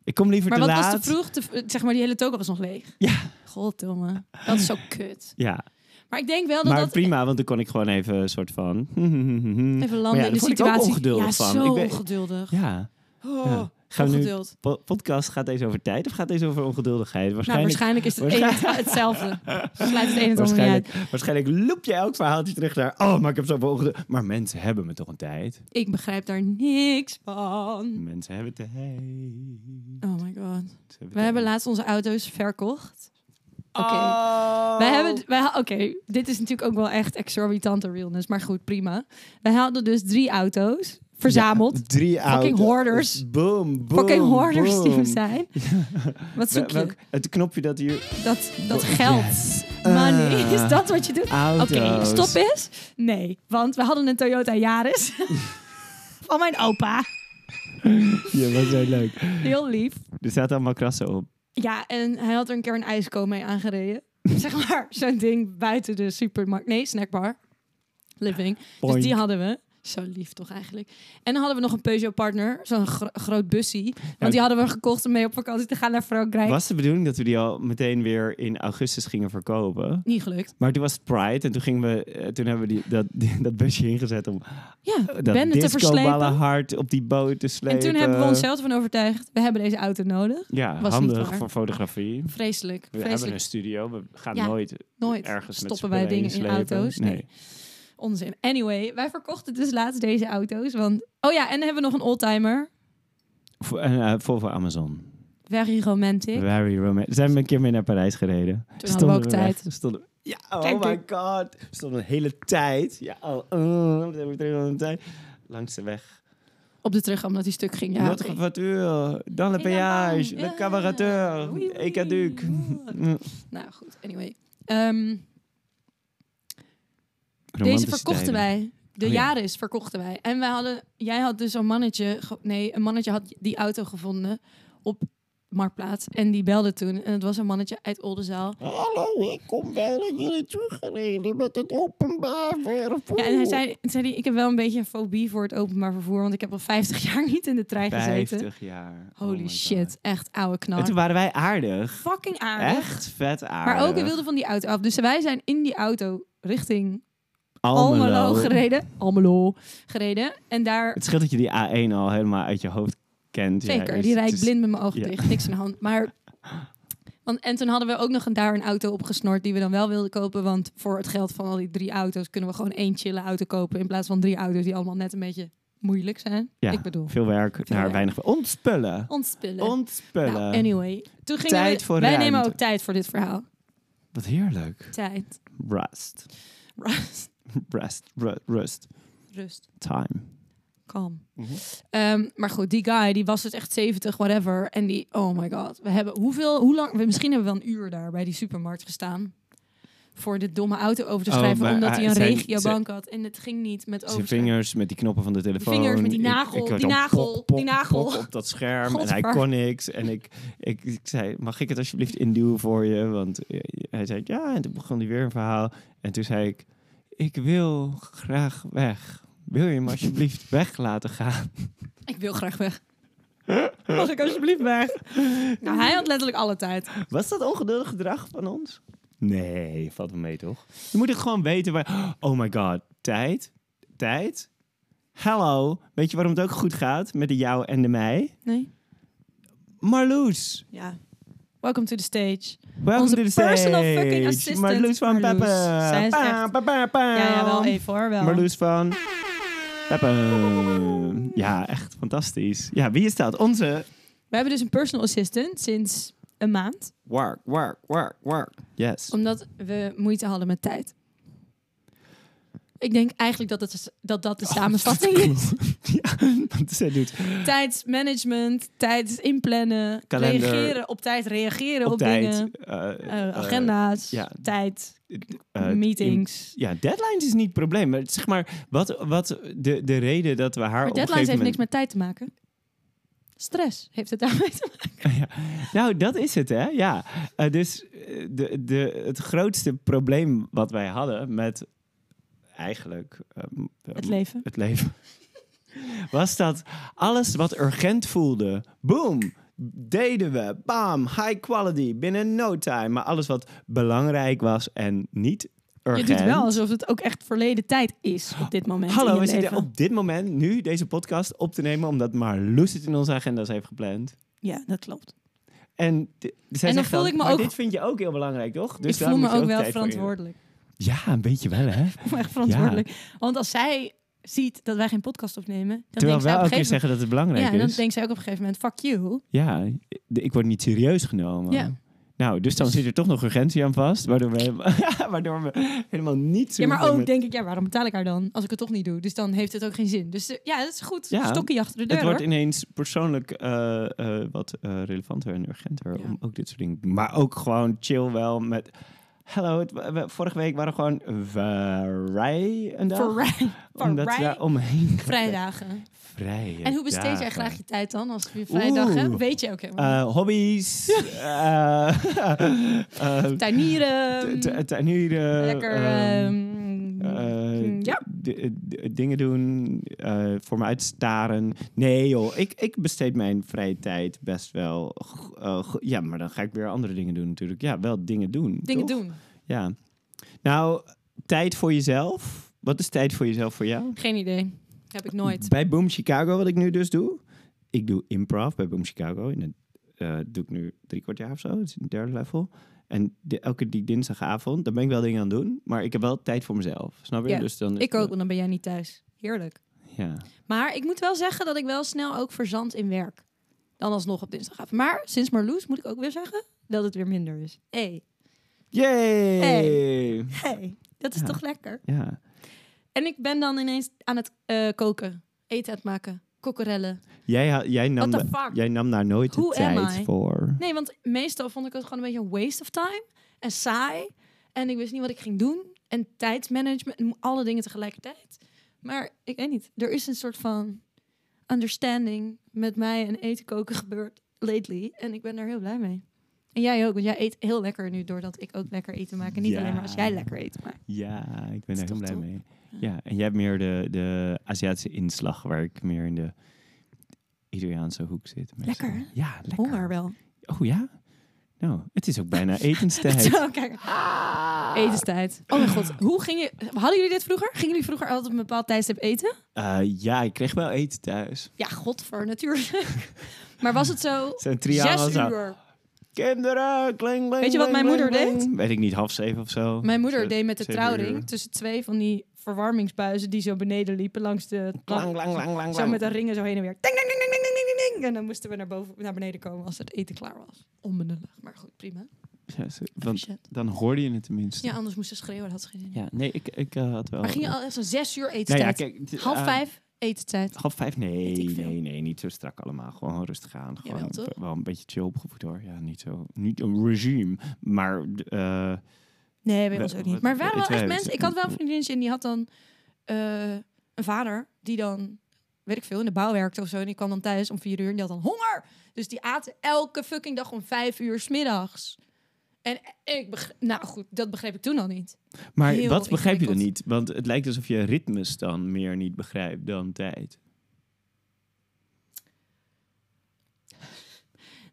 [SPEAKER 2] Ik kom liever
[SPEAKER 1] Maar
[SPEAKER 2] te
[SPEAKER 1] wat
[SPEAKER 2] laat.
[SPEAKER 1] was te vroeg? Te v- eh, zeg maar, die hele token was nog leeg.
[SPEAKER 2] Ja.
[SPEAKER 1] Goddomme. Dat is zo kut.
[SPEAKER 2] Ja,
[SPEAKER 1] Maar ik denk wel Oh, dat
[SPEAKER 2] maar
[SPEAKER 1] dat...
[SPEAKER 2] prima, want dan kon ik gewoon even een soort van...
[SPEAKER 1] Even
[SPEAKER 2] Maar
[SPEAKER 1] landen
[SPEAKER 2] ja,
[SPEAKER 1] in
[SPEAKER 2] daar
[SPEAKER 1] de
[SPEAKER 2] word ik ook
[SPEAKER 1] situatie.
[SPEAKER 2] ongeduldig
[SPEAKER 1] ja,
[SPEAKER 2] van.
[SPEAKER 1] zo
[SPEAKER 2] Ik ben-
[SPEAKER 1] ongeduldig.
[SPEAKER 2] Ja,
[SPEAKER 1] Oh,
[SPEAKER 2] ja. Gaan we nu-
[SPEAKER 1] ongeduld.
[SPEAKER 2] po- podcast, gaat deze over tijd of gaat deze over ongeduldigheid?
[SPEAKER 1] Nou,
[SPEAKER 2] Waarschijnlijk,
[SPEAKER 1] waarschijnlijk is het
[SPEAKER 2] waarschijnlijk-
[SPEAKER 1] een- hetzelfde. Sluit het een het ander niet uit.
[SPEAKER 2] waarschijnlijk, waarschijnlijk loop je elk verhaaltje terug naar... Oh, maar ik heb zoveel ongeduld. Maar mensen hebben me toch een tijd?
[SPEAKER 1] Ik begrijp daar niks van.
[SPEAKER 2] Mensen hebben tijd.
[SPEAKER 1] Oh my god.
[SPEAKER 2] Ze hebben
[SPEAKER 1] We hebben
[SPEAKER 2] tijd.
[SPEAKER 1] laatst onze auto's verkocht. Oké.
[SPEAKER 2] Oh.
[SPEAKER 1] Wij hebben, wij, ha- oké, dit is natuurlijk ook wel echt exorbitante realness, maar goed, prima. Wij hadden dus drie auto's verzameld.
[SPEAKER 2] Ja, drie auto's.
[SPEAKER 1] hoarders.
[SPEAKER 2] Boom, boom,
[SPEAKER 1] Fucking hoarders die
[SPEAKER 2] boom.
[SPEAKER 1] we zijn. Wat
[SPEAKER 2] Wel-
[SPEAKER 1] zoek je?
[SPEAKER 2] welk- het knopje dat hier...
[SPEAKER 1] Dat, dat
[SPEAKER 2] Bo-
[SPEAKER 1] geld.
[SPEAKER 2] Yes.
[SPEAKER 1] Money.
[SPEAKER 2] Ah.
[SPEAKER 1] Is dat wat je doet? Oké,
[SPEAKER 2] Auto's.
[SPEAKER 1] stop eens. Nee, want we hadden een Toyota Yaris. Van mijn opa.
[SPEAKER 2] Ja, wat zo leuk.
[SPEAKER 1] Heel lief.
[SPEAKER 2] Er zaten allemaal krassen op.
[SPEAKER 1] Ja, en hij had er een keer een ijsko mee aangereden. zeg maar, zo'n ding buiten de supermarkt. Nee, snackbar. Living.
[SPEAKER 2] Boink.
[SPEAKER 1] Dus die hadden we. Zo lief toch eigenlijk. En dan hadden we nog een Peugeot partner, zo'n gro- groot bussie. Want die hadden we gekocht om mee op vakantie te gaan naar Frankrijk.
[SPEAKER 2] Was de bedoeling dat we die al meteen weer in augustus gingen verkopen?
[SPEAKER 1] Niet gelukt.
[SPEAKER 2] Maar toen was het Pride en toen, gingen we, eh, toen hebben we die, dat, die- dat busje ingezet om
[SPEAKER 1] Ja,
[SPEAKER 2] Eh, dat
[SPEAKER 1] benden te
[SPEAKER 2] discoballen
[SPEAKER 1] verslepen.
[SPEAKER 2] hard op die boot te slepen.
[SPEAKER 1] En toen hebben we onszelf van overtuigd, we hebben deze auto nodig.
[SPEAKER 2] Ja,
[SPEAKER 1] Was niet
[SPEAKER 2] handig
[SPEAKER 1] waar.
[SPEAKER 2] voor fotografie. We
[SPEAKER 1] Vreselijk,
[SPEAKER 2] hebben
[SPEAKER 1] vreselijk.
[SPEAKER 2] een studio, we gaan
[SPEAKER 1] Ja,
[SPEAKER 2] nooit
[SPEAKER 1] Nooit
[SPEAKER 2] ergens met
[SPEAKER 1] stoppen wij
[SPEAKER 2] spullen
[SPEAKER 1] dingen in
[SPEAKER 2] inslepen.
[SPEAKER 1] auto's. Nee. onzin. Anyway, wij verkochten dus laatst deze auto's. Want, oh ja, en dan hebben we nog een oldtimer.
[SPEAKER 2] Voor, en, eh, voor, voor Amazon.
[SPEAKER 1] Very romantic.
[SPEAKER 2] Very romantic. Zijn we een keer mee naar Parijs gereden.
[SPEAKER 1] Toen hadden we ook
[SPEAKER 2] weg.
[SPEAKER 1] tijd.
[SPEAKER 2] Stonden, ja,
[SPEAKER 1] Denk
[SPEAKER 2] oh my god. We stonden een hele tijd. Ja, oh, oh, wat hebben we terug aan de tijd. Langs de weg.
[SPEAKER 1] Op de teruggang omdat hij stuk ging. Ja,
[SPEAKER 2] Notre
[SPEAKER 1] oké.
[SPEAKER 2] voiture, dans le
[SPEAKER 1] Et la
[SPEAKER 2] péage,
[SPEAKER 1] langue,
[SPEAKER 2] le Mm.
[SPEAKER 1] ja.
[SPEAKER 2] cabaretteur,
[SPEAKER 1] Oui, oui,
[SPEAKER 2] écaduc.
[SPEAKER 1] oui. Nou goed, anyway. Ehm, deze
[SPEAKER 2] Romantische
[SPEAKER 1] verkochten
[SPEAKER 2] tijden.
[SPEAKER 1] wij. De
[SPEAKER 2] Oh ja.
[SPEAKER 1] Jaris verkochten wij. En wij hadden, jij had dus een mannetje... ge- Nee, een mannetje had die auto gevonden op Marktplaats. En die belde toen. En het was een mannetje uit Oldenzaal.
[SPEAKER 3] Hallo, ik kom bijna jullie teruggereden met het openbaar vervoer.
[SPEAKER 1] Ja, en hij zei, zei hij, ik heb wel een beetje een fobie voor het openbaar vervoer. Want ik heb al 50 jaar niet in de trein gezeten.
[SPEAKER 2] 50 jaar. Oh
[SPEAKER 1] Holy
[SPEAKER 2] my
[SPEAKER 1] shit,
[SPEAKER 2] God.
[SPEAKER 1] echt oude knar.
[SPEAKER 2] En toen waren wij aardig.
[SPEAKER 1] Fucking aardig.
[SPEAKER 2] Echt vet aardig.
[SPEAKER 1] Maar ook, hij wilde van die auto af. Dus wij zijn in die auto richting
[SPEAKER 2] Almelo.
[SPEAKER 1] Almelo, gereden. Almelo gereden. En daar,
[SPEAKER 2] Het scheelt dat je die A1 al helemaal uit je hoofd kent. Ja,
[SPEAKER 1] zeker,
[SPEAKER 2] dus
[SPEAKER 1] die
[SPEAKER 2] het
[SPEAKER 1] rijd ik
[SPEAKER 2] is-
[SPEAKER 1] blind met mijn ogen
[SPEAKER 2] ja.
[SPEAKER 1] dicht. Niks aan de hand. Maar, want, en toen hadden we ook nog een, daar een auto opgesnord die we dan wel wilden kopen. Want voor het geld van al die drie auto's kunnen we gewoon één chille auto kopen. In plaats van drie auto's die allemaal net een beetje moeilijk zijn.
[SPEAKER 2] Ja,
[SPEAKER 1] Ik bedoel,
[SPEAKER 2] Veel werk naar
[SPEAKER 1] werk.
[SPEAKER 2] weinig. Ontspullen.
[SPEAKER 1] ontspullen.
[SPEAKER 2] Ontspullen.
[SPEAKER 1] Nou, anyway. Toen gingen
[SPEAKER 2] Tijd
[SPEAKER 1] we,
[SPEAKER 2] voor
[SPEAKER 1] wij
[SPEAKER 2] ruimte.
[SPEAKER 1] nemen ook tijd voor dit verhaal.
[SPEAKER 2] Wat heerlijk.
[SPEAKER 1] Tijd.
[SPEAKER 2] Rust.
[SPEAKER 1] Rust.
[SPEAKER 2] Rust. Ru- Rust.
[SPEAKER 1] Rust.
[SPEAKER 2] Time.
[SPEAKER 1] Kalm.
[SPEAKER 2] Mhm.
[SPEAKER 1] Ehm, maar goed, die guy, die was dus echt 70, whatever. En die, oh my god. We hebben hoeveel, hoe lang, we- misschien hebben we wel een uur daar bij die supermarkt gestaan. Voor dit domme auto over te
[SPEAKER 2] Oh,
[SPEAKER 1] schrijven,
[SPEAKER 2] maar
[SPEAKER 1] omdat hij
[SPEAKER 2] hij-
[SPEAKER 1] een
[SPEAKER 2] zijn-
[SPEAKER 1] regiobank had. En het ging niet met
[SPEAKER 2] Zijn
[SPEAKER 1] overschrijven.
[SPEAKER 2] vingers met die knoppen van de telefoon.
[SPEAKER 1] vingers met die
[SPEAKER 2] Ik-
[SPEAKER 1] nagel,
[SPEAKER 2] ik hoorde
[SPEAKER 1] die
[SPEAKER 2] dan
[SPEAKER 1] nagel, die nagel.
[SPEAKER 2] pop op dat scherm en hij
[SPEAKER 1] Godver.
[SPEAKER 2] kon niks. En ik, ik, ik zei, mag ik het alsjeblieft induwen voor je? Want eh, hij zei, ja. En toen begon hij weer een verhaal. En toen zei ik, ik wil graag weg. Wil je me alsjeblieft weg laten gaan?
[SPEAKER 1] Ik wil graag weg. Mag ik alsjeblieft weg? Nou, hij had letterlijk alle tijd.
[SPEAKER 2] Was dat ongeduldig gedrag van ons? Nee, valt wel mee toch? Je moet het gewoon weten. Waar... Oh my god, tijd, tijd. Hallo, weet je waarom het ook goed gaat met de jou en de mij?
[SPEAKER 1] Nee?
[SPEAKER 2] Marloes.
[SPEAKER 1] Ja. Welcome to the stage.
[SPEAKER 2] Welkom
[SPEAKER 1] Onze
[SPEAKER 2] to the
[SPEAKER 1] personal
[SPEAKER 2] stage.
[SPEAKER 1] fucking assistant,
[SPEAKER 2] Marloes van
[SPEAKER 1] Marloes.
[SPEAKER 2] Peppe.
[SPEAKER 1] Zij is
[SPEAKER 2] Pa,
[SPEAKER 1] echt-
[SPEAKER 2] pa, pa, pa.
[SPEAKER 1] Ja, ja, wel even hoor, wel.
[SPEAKER 2] Marloes van Peppe. Ja, echt fantastisch. Ja, wie is dat? Onze...
[SPEAKER 1] We hebben dus een personal assistant sinds een maand.
[SPEAKER 2] Work, work, work, work. Yes.
[SPEAKER 1] Omdat we moeite hadden met tijd. Ik denk eigenlijk dat het is- dat, dat
[SPEAKER 2] Oh,
[SPEAKER 1] de samenvatting is.
[SPEAKER 2] ja, want zij doet
[SPEAKER 1] Tijdsmanagement, tijd inplannen,
[SPEAKER 2] Kalender.
[SPEAKER 1] reageren op tijd, reageren op,
[SPEAKER 2] op, tijd...
[SPEAKER 1] dingen,
[SPEAKER 2] eh,
[SPEAKER 1] eh,
[SPEAKER 2] eh,
[SPEAKER 1] agenda's,
[SPEAKER 2] ja.
[SPEAKER 1] tijd,
[SPEAKER 2] eh, in-
[SPEAKER 1] meetings.
[SPEAKER 2] ja, deadlines is niet het probleem. Maar zeg maar, wat, wat de, de reden dat we haar
[SPEAKER 1] maar
[SPEAKER 2] op een
[SPEAKER 1] deadlines heeft niks
[SPEAKER 2] gegeven moment...
[SPEAKER 1] met tijd te maken. Stress heeft het daarmee te maken.
[SPEAKER 2] Nou, dat is het, hè? Ja. Eh, dus eh, de, de, het grootste probleem wat wij hadden met eigenlijk ehm, ehm,
[SPEAKER 1] Het leven.
[SPEAKER 2] het leven, was dat alles wat urgent voelde, boom, deden we, bam, high quality, binnen no time. Maar alles wat belangrijk was en niet urgent.
[SPEAKER 1] Je doet wel alsof het ook echt verleden tijd is op dit moment. in
[SPEAKER 2] Hallo,
[SPEAKER 1] je
[SPEAKER 2] we zitten
[SPEAKER 1] leven.
[SPEAKER 2] op dit moment nu deze podcast op te nemen omdat Marloes het in onze agenda's heeft gepland.
[SPEAKER 1] Ja, dat klopt.
[SPEAKER 2] En, d- zij
[SPEAKER 1] dan
[SPEAKER 2] zegt
[SPEAKER 1] voel
[SPEAKER 2] dan,
[SPEAKER 1] ik me
[SPEAKER 2] "Maar
[SPEAKER 1] ook-
[SPEAKER 2] dit vind je ook heel belangrijk, toch? Dus
[SPEAKER 1] ik
[SPEAKER 2] daar
[SPEAKER 1] voel me
[SPEAKER 2] moet je
[SPEAKER 1] ook wel
[SPEAKER 2] tijd voor in-
[SPEAKER 1] verantwoordelijk.
[SPEAKER 2] Ja, een beetje wel, hè?
[SPEAKER 1] Ik voel me echt verantwoordelijk. Want als zij ziet dat wij geen podcast opnemen, dan
[SPEAKER 2] Terwijl
[SPEAKER 1] denkt zij
[SPEAKER 2] wij
[SPEAKER 1] op een
[SPEAKER 2] elke keer
[SPEAKER 1] gegeven
[SPEAKER 2] zeggen dat het
[SPEAKER 1] moment,
[SPEAKER 2] belangrijk
[SPEAKER 1] ja, dan
[SPEAKER 2] is.
[SPEAKER 1] denkt zij ook op een gegeven moment, fuck you.
[SPEAKER 2] Ja, d- ik word niet serieus genomen.
[SPEAKER 1] Ja.
[SPEAKER 2] Nou, dus dan zit er toch nog urgentie aan vast, waardoor we, helemaal- waardoor we helemaal niet zo...
[SPEAKER 1] Ja, maar
[SPEAKER 2] meteen
[SPEAKER 1] ook
[SPEAKER 2] met-
[SPEAKER 1] denk ik, ja, waarom betaal ik haar dan als ik het toch niet doe? Dus dan heeft het ook geen zin. Dus eh, ja, dat is goed.
[SPEAKER 2] Ja,
[SPEAKER 1] Stokkie achter de deur.
[SPEAKER 2] Het wordt
[SPEAKER 1] hoor.
[SPEAKER 2] ineens persoonlijk eh, eh, wat eh, relevanter en urgenter
[SPEAKER 1] Ja.
[SPEAKER 2] om ook dit soort dingen... Maar ook gewoon chill wel met... Hallo, het, we- we- vorige week waren we gewoon vrij een dag.
[SPEAKER 1] Vrij-
[SPEAKER 2] Omdat we
[SPEAKER 1] vrij-
[SPEAKER 2] daar omheen...
[SPEAKER 1] Vrijdagen.
[SPEAKER 2] Vrij.
[SPEAKER 1] En hoe besteed jij
[SPEAKER 2] dagen.
[SPEAKER 1] graag je tijd dan als je vrijdag
[SPEAKER 2] Oeh.
[SPEAKER 1] hebt? Weet je ook helemaal. niet.
[SPEAKER 2] Eh, hobby's. eh, eh,
[SPEAKER 1] Tuinieren. mm,
[SPEAKER 2] tu- tu- Tuinieren.
[SPEAKER 1] lekker.
[SPEAKER 2] eh, ehm,
[SPEAKER 1] ehm,
[SPEAKER 2] eh,
[SPEAKER 1] ja.
[SPEAKER 2] d- d- dingen doen, eh, voor me uitstaren. Nee joh, ik, ik besteed mijn vrije tijd best wel. go- eh, go- ja, maar dan ga ik weer andere dingen doen natuurlijk. Ja, wel dingen doen.
[SPEAKER 1] Dingen
[SPEAKER 2] toch?
[SPEAKER 1] doen.
[SPEAKER 2] Ja. Nou, tijd voor jezelf. Wat is tijd voor jezelf voor jou?
[SPEAKER 1] Geen idee. Heb ik nooit.
[SPEAKER 2] Bij Boom Chicago, wat ik nu dus doe. Ik doe improv bij Boom Chicago. En dat eh, doe ik nu drie kwart jaar of zo. Het is een derde level. En de- elke die dinsdagavond, daar ben ik wel dingen aan het doen. Maar ik heb wel tijd voor mezelf. Snap je?
[SPEAKER 1] Ja,
[SPEAKER 2] dus dan is
[SPEAKER 1] Ik
[SPEAKER 2] het-
[SPEAKER 1] ook, want dan ben jij niet thuis. Heerlijk.
[SPEAKER 2] Ja.
[SPEAKER 1] Maar ik moet wel zeggen dat ik wel snel ook verzand in werk. Dan alsnog op dinsdagavond. Maar sinds Marloes moet ik ook weer zeggen dat het weer minder is. hey,
[SPEAKER 2] Yay!
[SPEAKER 1] Hey. hey, dat is
[SPEAKER 2] Ja.
[SPEAKER 1] toch lekker?
[SPEAKER 2] Ja.
[SPEAKER 1] En ik ben dan ineens aan het eh, koken, eten aan het maken, kokkerellen.
[SPEAKER 2] Jij, ha- jij, nam
[SPEAKER 1] What the
[SPEAKER 2] da-
[SPEAKER 1] fuck?
[SPEAKER 2] jij nam daar nooit
[SPEAKER 1] Who
[SPEAKER 2] de
[SPEAKER 1] am
[SPEAKER 2] tijd
[SPEAKER 1] I?
[SPEAKER 2] voor.
[SPEAKER 1] Nee, want meestal vond ik het gewoon een beetje een waste of time en saai. En ik wist niet wat ik ging doen. En tijdsmanagement, en alle dingen tegelijkertijd. Maar ik weet niet, er is een soort van understanding met mij en eten koken gebeurd lately. En ik ben daar heel blij mee. En jij ook, want jij eet heel lekker nu doordat ik ook lekker eten maak. En niet
[SPEAKER 2] Ja.
[SPEAKER 1] alleen maar als jij lekker eten maakt.
[SPEAKER 2] Ja, ik ben
[SPEAKER 1] is
[SPEAKER 2] daar heel
[SPEAKER 1] toch
[SPEAKER 2] blij
[SPEAKER 1] top?
[SPEAKER 2] mee. Ja, en jij hebt meer de, de Aziatische inslag, waar ik meer in de Italiaanse hoek zit. meestal.
[SPEAKER 1] Lekker, hè?
[SPEAKER 2] Ja, lekker.
[SPEAKER 1] Honger wel.
[SPEAKER 2] Oh ja? Nou, het is ook bijna etenstijd.
[SPEAKER 1] Zo, kijk. Etenstijd. Oh mijn god, hoe ging je... Hadden jullie dit vroeger? Gingen jullie vroeger altijd op een bepaald tijdstip eten?
[SPEAKER 2] Eh, ja, ik kreeg wel eten thuis.
[SPEAKER 1] Ja, godver, natuurlijk. maar was het zo...
[SPEAKER 2] Zo'n triangel
[SPEAKER 1] Zes
[SPEAKER 2] zo.
[SPEAKER 1] uur.
[SPEAKER 2] Kinderen, kling, kling,
[SPEAKER 1] Weet je wat
[SPEAKER 2] kling,
[SPEAKER 1] mijn
[SPEAKER 2] kling,
[SPEAKER 1] moeder
[SPEAKER 2] kling. Weet ik niet, half zeven of zo.
[SPEAKER 1] Mijn moeder
[SPEAKER 2] Zo,
[SPEAKER 1] deed met de
[SPEAKER 2] zeven uur.
[SPEAKER 1] trouwring tussen twee van die verwarmingsbuizen die zo beneden liepen langs de...
[SPEAKER 2] Klang, klang, klang, klang,
[SPEAKER 1] Zo
[SPEAKER 2] klang.
[SPEAKER 1] met de ringen zo heen en weer. Ding, ding, ding, ding, ding, ding, ding, ding. En dan moesten we naar, boven, naar beneden komen als het eten klaar was. Onbenullig, maar goed, prima.
[SPEAKER 2] Ja, zo- want
[SPEAKER 1] Efficiënt.
[SPEAKER 2] dan hoorde je het tenminste.
[SPEAKER 1] Ja, anders moesten ze schreeuwen, dat had ze geen zin. in.
[SPEAKER 2] Ja, nee, ik, ik eh, had wel...
[SPEAKER 1] Maar ging je al echt zo'n zes uur
[SPEAKER 2] Nou ja,
[SPEAKER 1] etenstijd?
[SPEAKER 2] kijk, het-
[SPEAKER 1] Half
[SPEAKER 2] eh,
[SPEAKER 1] vijf etenstijd.
[SPEAKER 2] Half vijf? Nee,
[SPEAKER 1] Weet ik veel.
[SPEAKER 2] nee, nee, niet zo strak allemaal. Gewoon rustig aan. Gewoon
[SPEAKER 1] Jawel, toch?
[SPEAKER 2] b- wel een beetje chill opgevoed hoor. Ja, niet zo. Niet een regime, maar eh,
[SPEAKER 1] Nee, bij
[SPEAKER 2] We-
[SPEAKER 1] ons ook
[SPEAKER 2] we-
[SPEAKER 1] niet. Maar er waren
[SPEAKER 2] we-
[SPEAKER 1] wel echt
[SPEAKER 2] we-
[SPEAKER 1] mensen. Ik had wel een vriendinnetje en die had dan eh, een vader die dan, weet ik veel, in de bouw werkte of zo. En die kwam dan thuis om vier uur en die had dan honger. Dus die aten elke fucking dag om vijf uur smiddags. En ik begreep, nou goed, dat begreep ik toen al niet.
[SPEAKER 2] maar
[SPEAKER 1] Heel
[SPEAKER 2] wat begrijp je dan niet?
[SPEAKER 1] ingewikkeld.
[SPEAKER 2] Want het lijkt alsof je ritmes dan meer niet begrijpt dan tijd.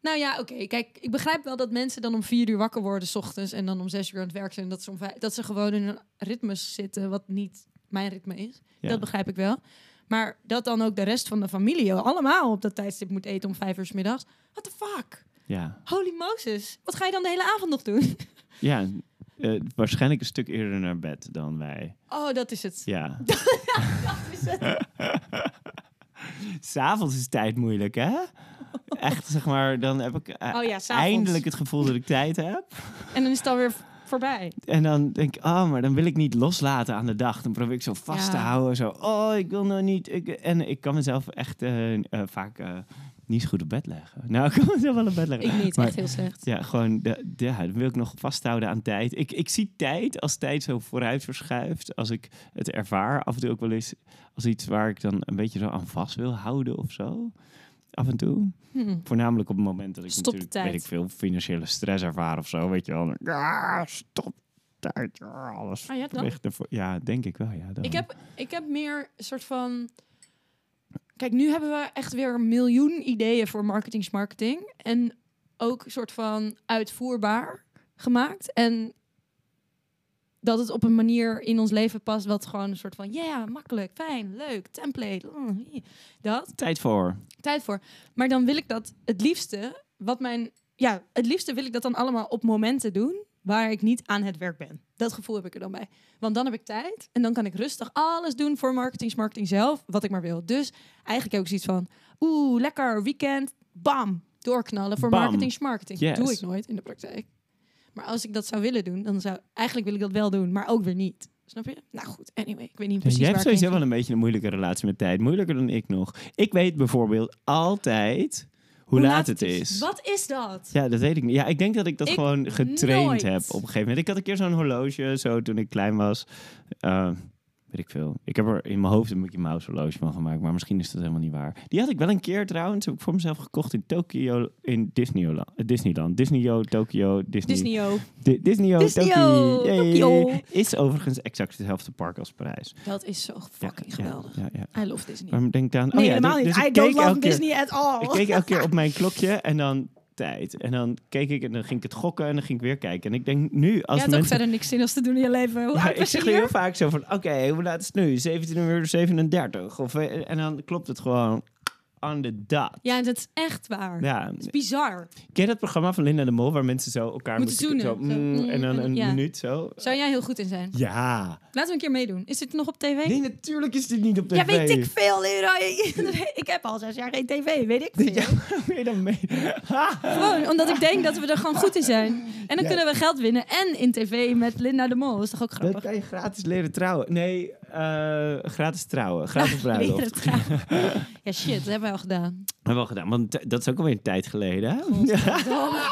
[SPEAKER 1] Nou ja, oké. Kijk, ik begrijp wel dat mensen dan om vier uur wakker worden 's ochtends en dan om zes uur aan het werk zijn. en Dat ze, om vijf- dat ze gewoon in een ritme zitten wat niet mijn ritme is.
[SPEAKER 2] Ja.
[SPEAKER 1] Dat begrijp ik wel. Maar dat dan ook de rest van de familie allemaal op dat tijdstip moet eten om vijf uur 's middags. What the fuck?
[SPEAKER 2] Ja,
[SPEAKER 1] Holy Moses. Wat ga je dan de hele avond nog doen?
[SPEAKER 2] ja eh, waarschijnlijk een stuk eerder naar bed dan wij.
[SPEAKER 1] Oh, dat is het.
[SPEAKER 2] Ja.
[SPEAKER 1] Dat is het.
[SPEAKER 2] S'avonds is tijd moeilijk, hè? Echt, zeg maar, dan heb ik eh,
[SPEAKER 1] Oh ja, 's avonds.
[SPEAKER 2] eindelijk het gevoel dat ik tijd heb.
[SPEAKER 1] En dan is het alweer v- voorbij.
[SPEAKER 2] En dan denk ik, oh, maar dan wil ik niet loslaten aan de dag. Dan probeer ik zo vast te
[SPEAKER 1] Ja.
[SPEAKER 2] houden. Zo, oh, ik wil nou niet. Ik, en ik kan mezelf echt eh, eh, vaak eh, niet zo goed op bed leggen. Nou, ik kan mezelf wel op bed leggen.
[SPEAKER 1] Ik niet.
[SPEAKER 2] Maar-
[SPEAKER 1] echt heel slecht.
[SPEAKER 2] Ja, gewoon, de, de- ja, dan wil ik nog vasthouden aan tijd. Ik, ik zie tijd als tijd zo vooruit verschuift. Als ik het ervaar, af en toe ook wel eens als iets waar ik dan een beetje zo aan vast wil houden of zo. Af en toe.
[SPEAKER 1] Hm.
[SPEAKER 2] Voornamelijk op het moment dat ik
[SPEAKER 1] Stop de
[SPEAKER 2] natuurlijk,
[SPEAKER 1] tijd.
[SPEAKER 2] weet ik veel, financiële stress ervaar of zo, weet je wel. Ja, stop tijd, ja, alles.
[SPEAKER 1] Ah, ja, dan?
[SPEAKER 2] ligt ervoor. Ja, denk ik wel, ja. Dan.
[SPEAKER 1] Ik heb, ik heb meer een soort van. Kijk, nu hebben we echt weer een miljoen ideeën voor marketing, marketing. En ook een soort van uitvoerbaar gemaakt. En dat het op een manier in ons leven past, wat gewoon een soort van, ja, makkelijk, fijn, leuk, template. mm, yeah. Dat
[SPEAKER 2] tijd voor.
[SPEAKER 1] tijd voor. Maar dan wil ik dat het liefste, wat mijn, ja, het liefste wil ik dat dan allemaal op momenten doen waar ik niet aan het werk ben. Dat gevoel heb ik er dan bij. Want dan heb ik tijd en dan kan ik rustig alles doen voor marketing, marketing zelf, wat ik maar wil. Dus eigenlijk heb ik zoiets van, oeh, lekker weekend, bam, doorknallen voor
[SPEAKER 2] Bam.
[SPEAKER 1] marketing, marketing.
[SPEAKER 2] Yes.
[SPEAKER 1] Doe ik nooit in de praktijk. Maar als ik dat zou willen doen, dan zou eigenlijk wil ik dat wel doen, maar ook weer niet. Snap je? Nou goed, anyway, ik weet niet precies
[SPEAKER 2] Jij
[SPEAKER 1] waar
[SPEAKER 2] hebt sowieso
[SPEAKER 1] ik
[SPEAKER 2] wel een beetje een moeilijke relatie met tijd. Moeilijker dan ik nog. Ik weet bijvoorbeeld altijd hoe, laat, het is.
[SPEAKER 1] Wat is dat?
[SPEAKER 2] Ja, dat weet ik niet. Ja, ik denk dat ik dat
[SPEAKER 1] Ik
[SPEAKER 2] gewoon getraind
[SPEAKER 1] nooit.
[SPEAKER 2] heb op een gegeven moment. Ik had een keer zo'n horloge, zo toen ik klein was. Eh, Weet ik veel. Ik heb er in mijn hoofd een Mickey Mouse horloge van gemaakt, maar misschien is dat helemaal niet waar. Die had ik wel een keer trouwens, heb ik voor mezelf gekocht in Tokio, in Disneyland. eh, Disneyland. Disneyo, Tokio, Disney.
[SPEAKER 1] Disney-o.
[SPEAKER 2] Di- Disneyo,
[SPEAKER 1] Disneyo,
[SPEAKER 2] Tokio. Yay.
[SPEAKER 1] Tokio.
[SPEAKER 2] Is overigens exact hetzelfde park als Parijs.
[SPEAKER 1] Dat is zo
[SPEAKER 2] Ja,
[SPEAKER 1] fucking
[SPEAKER 2] ja,
[SPEAKER 1] geweldig.
[SPEAKER 2] Ja, ja.
[SPEAKER 1] I love Disney.
[SPEAKER 2] Waarom denk ik aan?
[SPEAKER 1] nee,
[SPEAKER 2] oh ja,
[SPEAKER 1] helemaal
[SPEAKER 2] dus-
[SPEAKER 1] niet.
[SPEAKER 2] dus
[SPEAKER 1] I
[SPEAKER 2] ik
[SPEAKER 1] don't
[SPEAKER 2] keek elke
[SPEAKER 1] love
[SPEAKER 2] keer-
[SPEAKER 1] Disney at all.
[SPEAKER 2] ik keek elke keer op mijn klokje en dan tijd. En dan keek ik en dan ging ik het gokken en dan ging ik weer kijken. En ik denk nu
[SPEAKER 1] Je
[SPEAKER 2] als
[SPEAKER 1] hebt ook
[SPEAKER 2] mensen...
[SPEAKER 1] verder niks zin als te doen in je leven. Hoe
[SPEAKER 2] Ja,
[SPEAKER 1] oud
[SPEAKER 2] ik
[SPEAKER 1] was je
[SPEAKER 2] zeg
[SPEAKER 1] hier?
[SPEAKER 2] heel vaak zo van, oké, hoe laat is het nu? 17 uur 37. Of, eh, en dan klopt het gewoon on the dot.
[SPEAKER 1] Ja, dat is echt waar.
[SPEAKER 2] Ja.
[SPEAKER 1] Het is bizar.
[SPEAKER 2] Ken je dat programma van Linda de Mol waar mensen zo elkaar
[SPEAKER 1] Moeten
[SPEAKER 2] Zo,
[SPEAKER 1] zoenen.
[SPEAKER 2] mm,
[SPEAKER 1] Zo, mm,
[SPEAKER 2] en dan
[SPEAKER 1] en-
[SPEAKER 2] een
[SPEAKER 1] ja.
[SPEAKER 2] minuut zo.
[SPEAKER 1] Zou jij heel goed in zijn?
[SPEAKER 2] Ja.
[SPEAKER 1] Laten we een keer meedoen. Is dit nog op tv?
[SPEAKER 2] Nee, natuurlijk is dit niet op tv.
[SPEAKER 1] ja, weet ik veel, Leroy. ik heb al zes jaar geen tv, weet ik veel.
[SPEAKER 2] Ja, hoe je dan mee?
[SPEAKER 1] Gewoon omdat ik denk dat we er gewoon goed in zijn. En dan
[SPEAKER 2] Ja.
[SPEAKER 1] kunnen we geld winnen. En in tv met Linda de Mol. Dat is toch ook
[SPEAKER 2] Dat
[SPEAKER 1] grappig?
[SPEAKER 2] kan je gratis leren trouwen. Nee, eh, gratis trouwen. Gratis bruiloft.
[SPEAKER 1] Leren trouwen. ja, shit. Dat hebben wij al gedaan.
[SPEAKER 2] Hebben we al gedaan, want t- dat is ook alweer een tijd geleden. hè?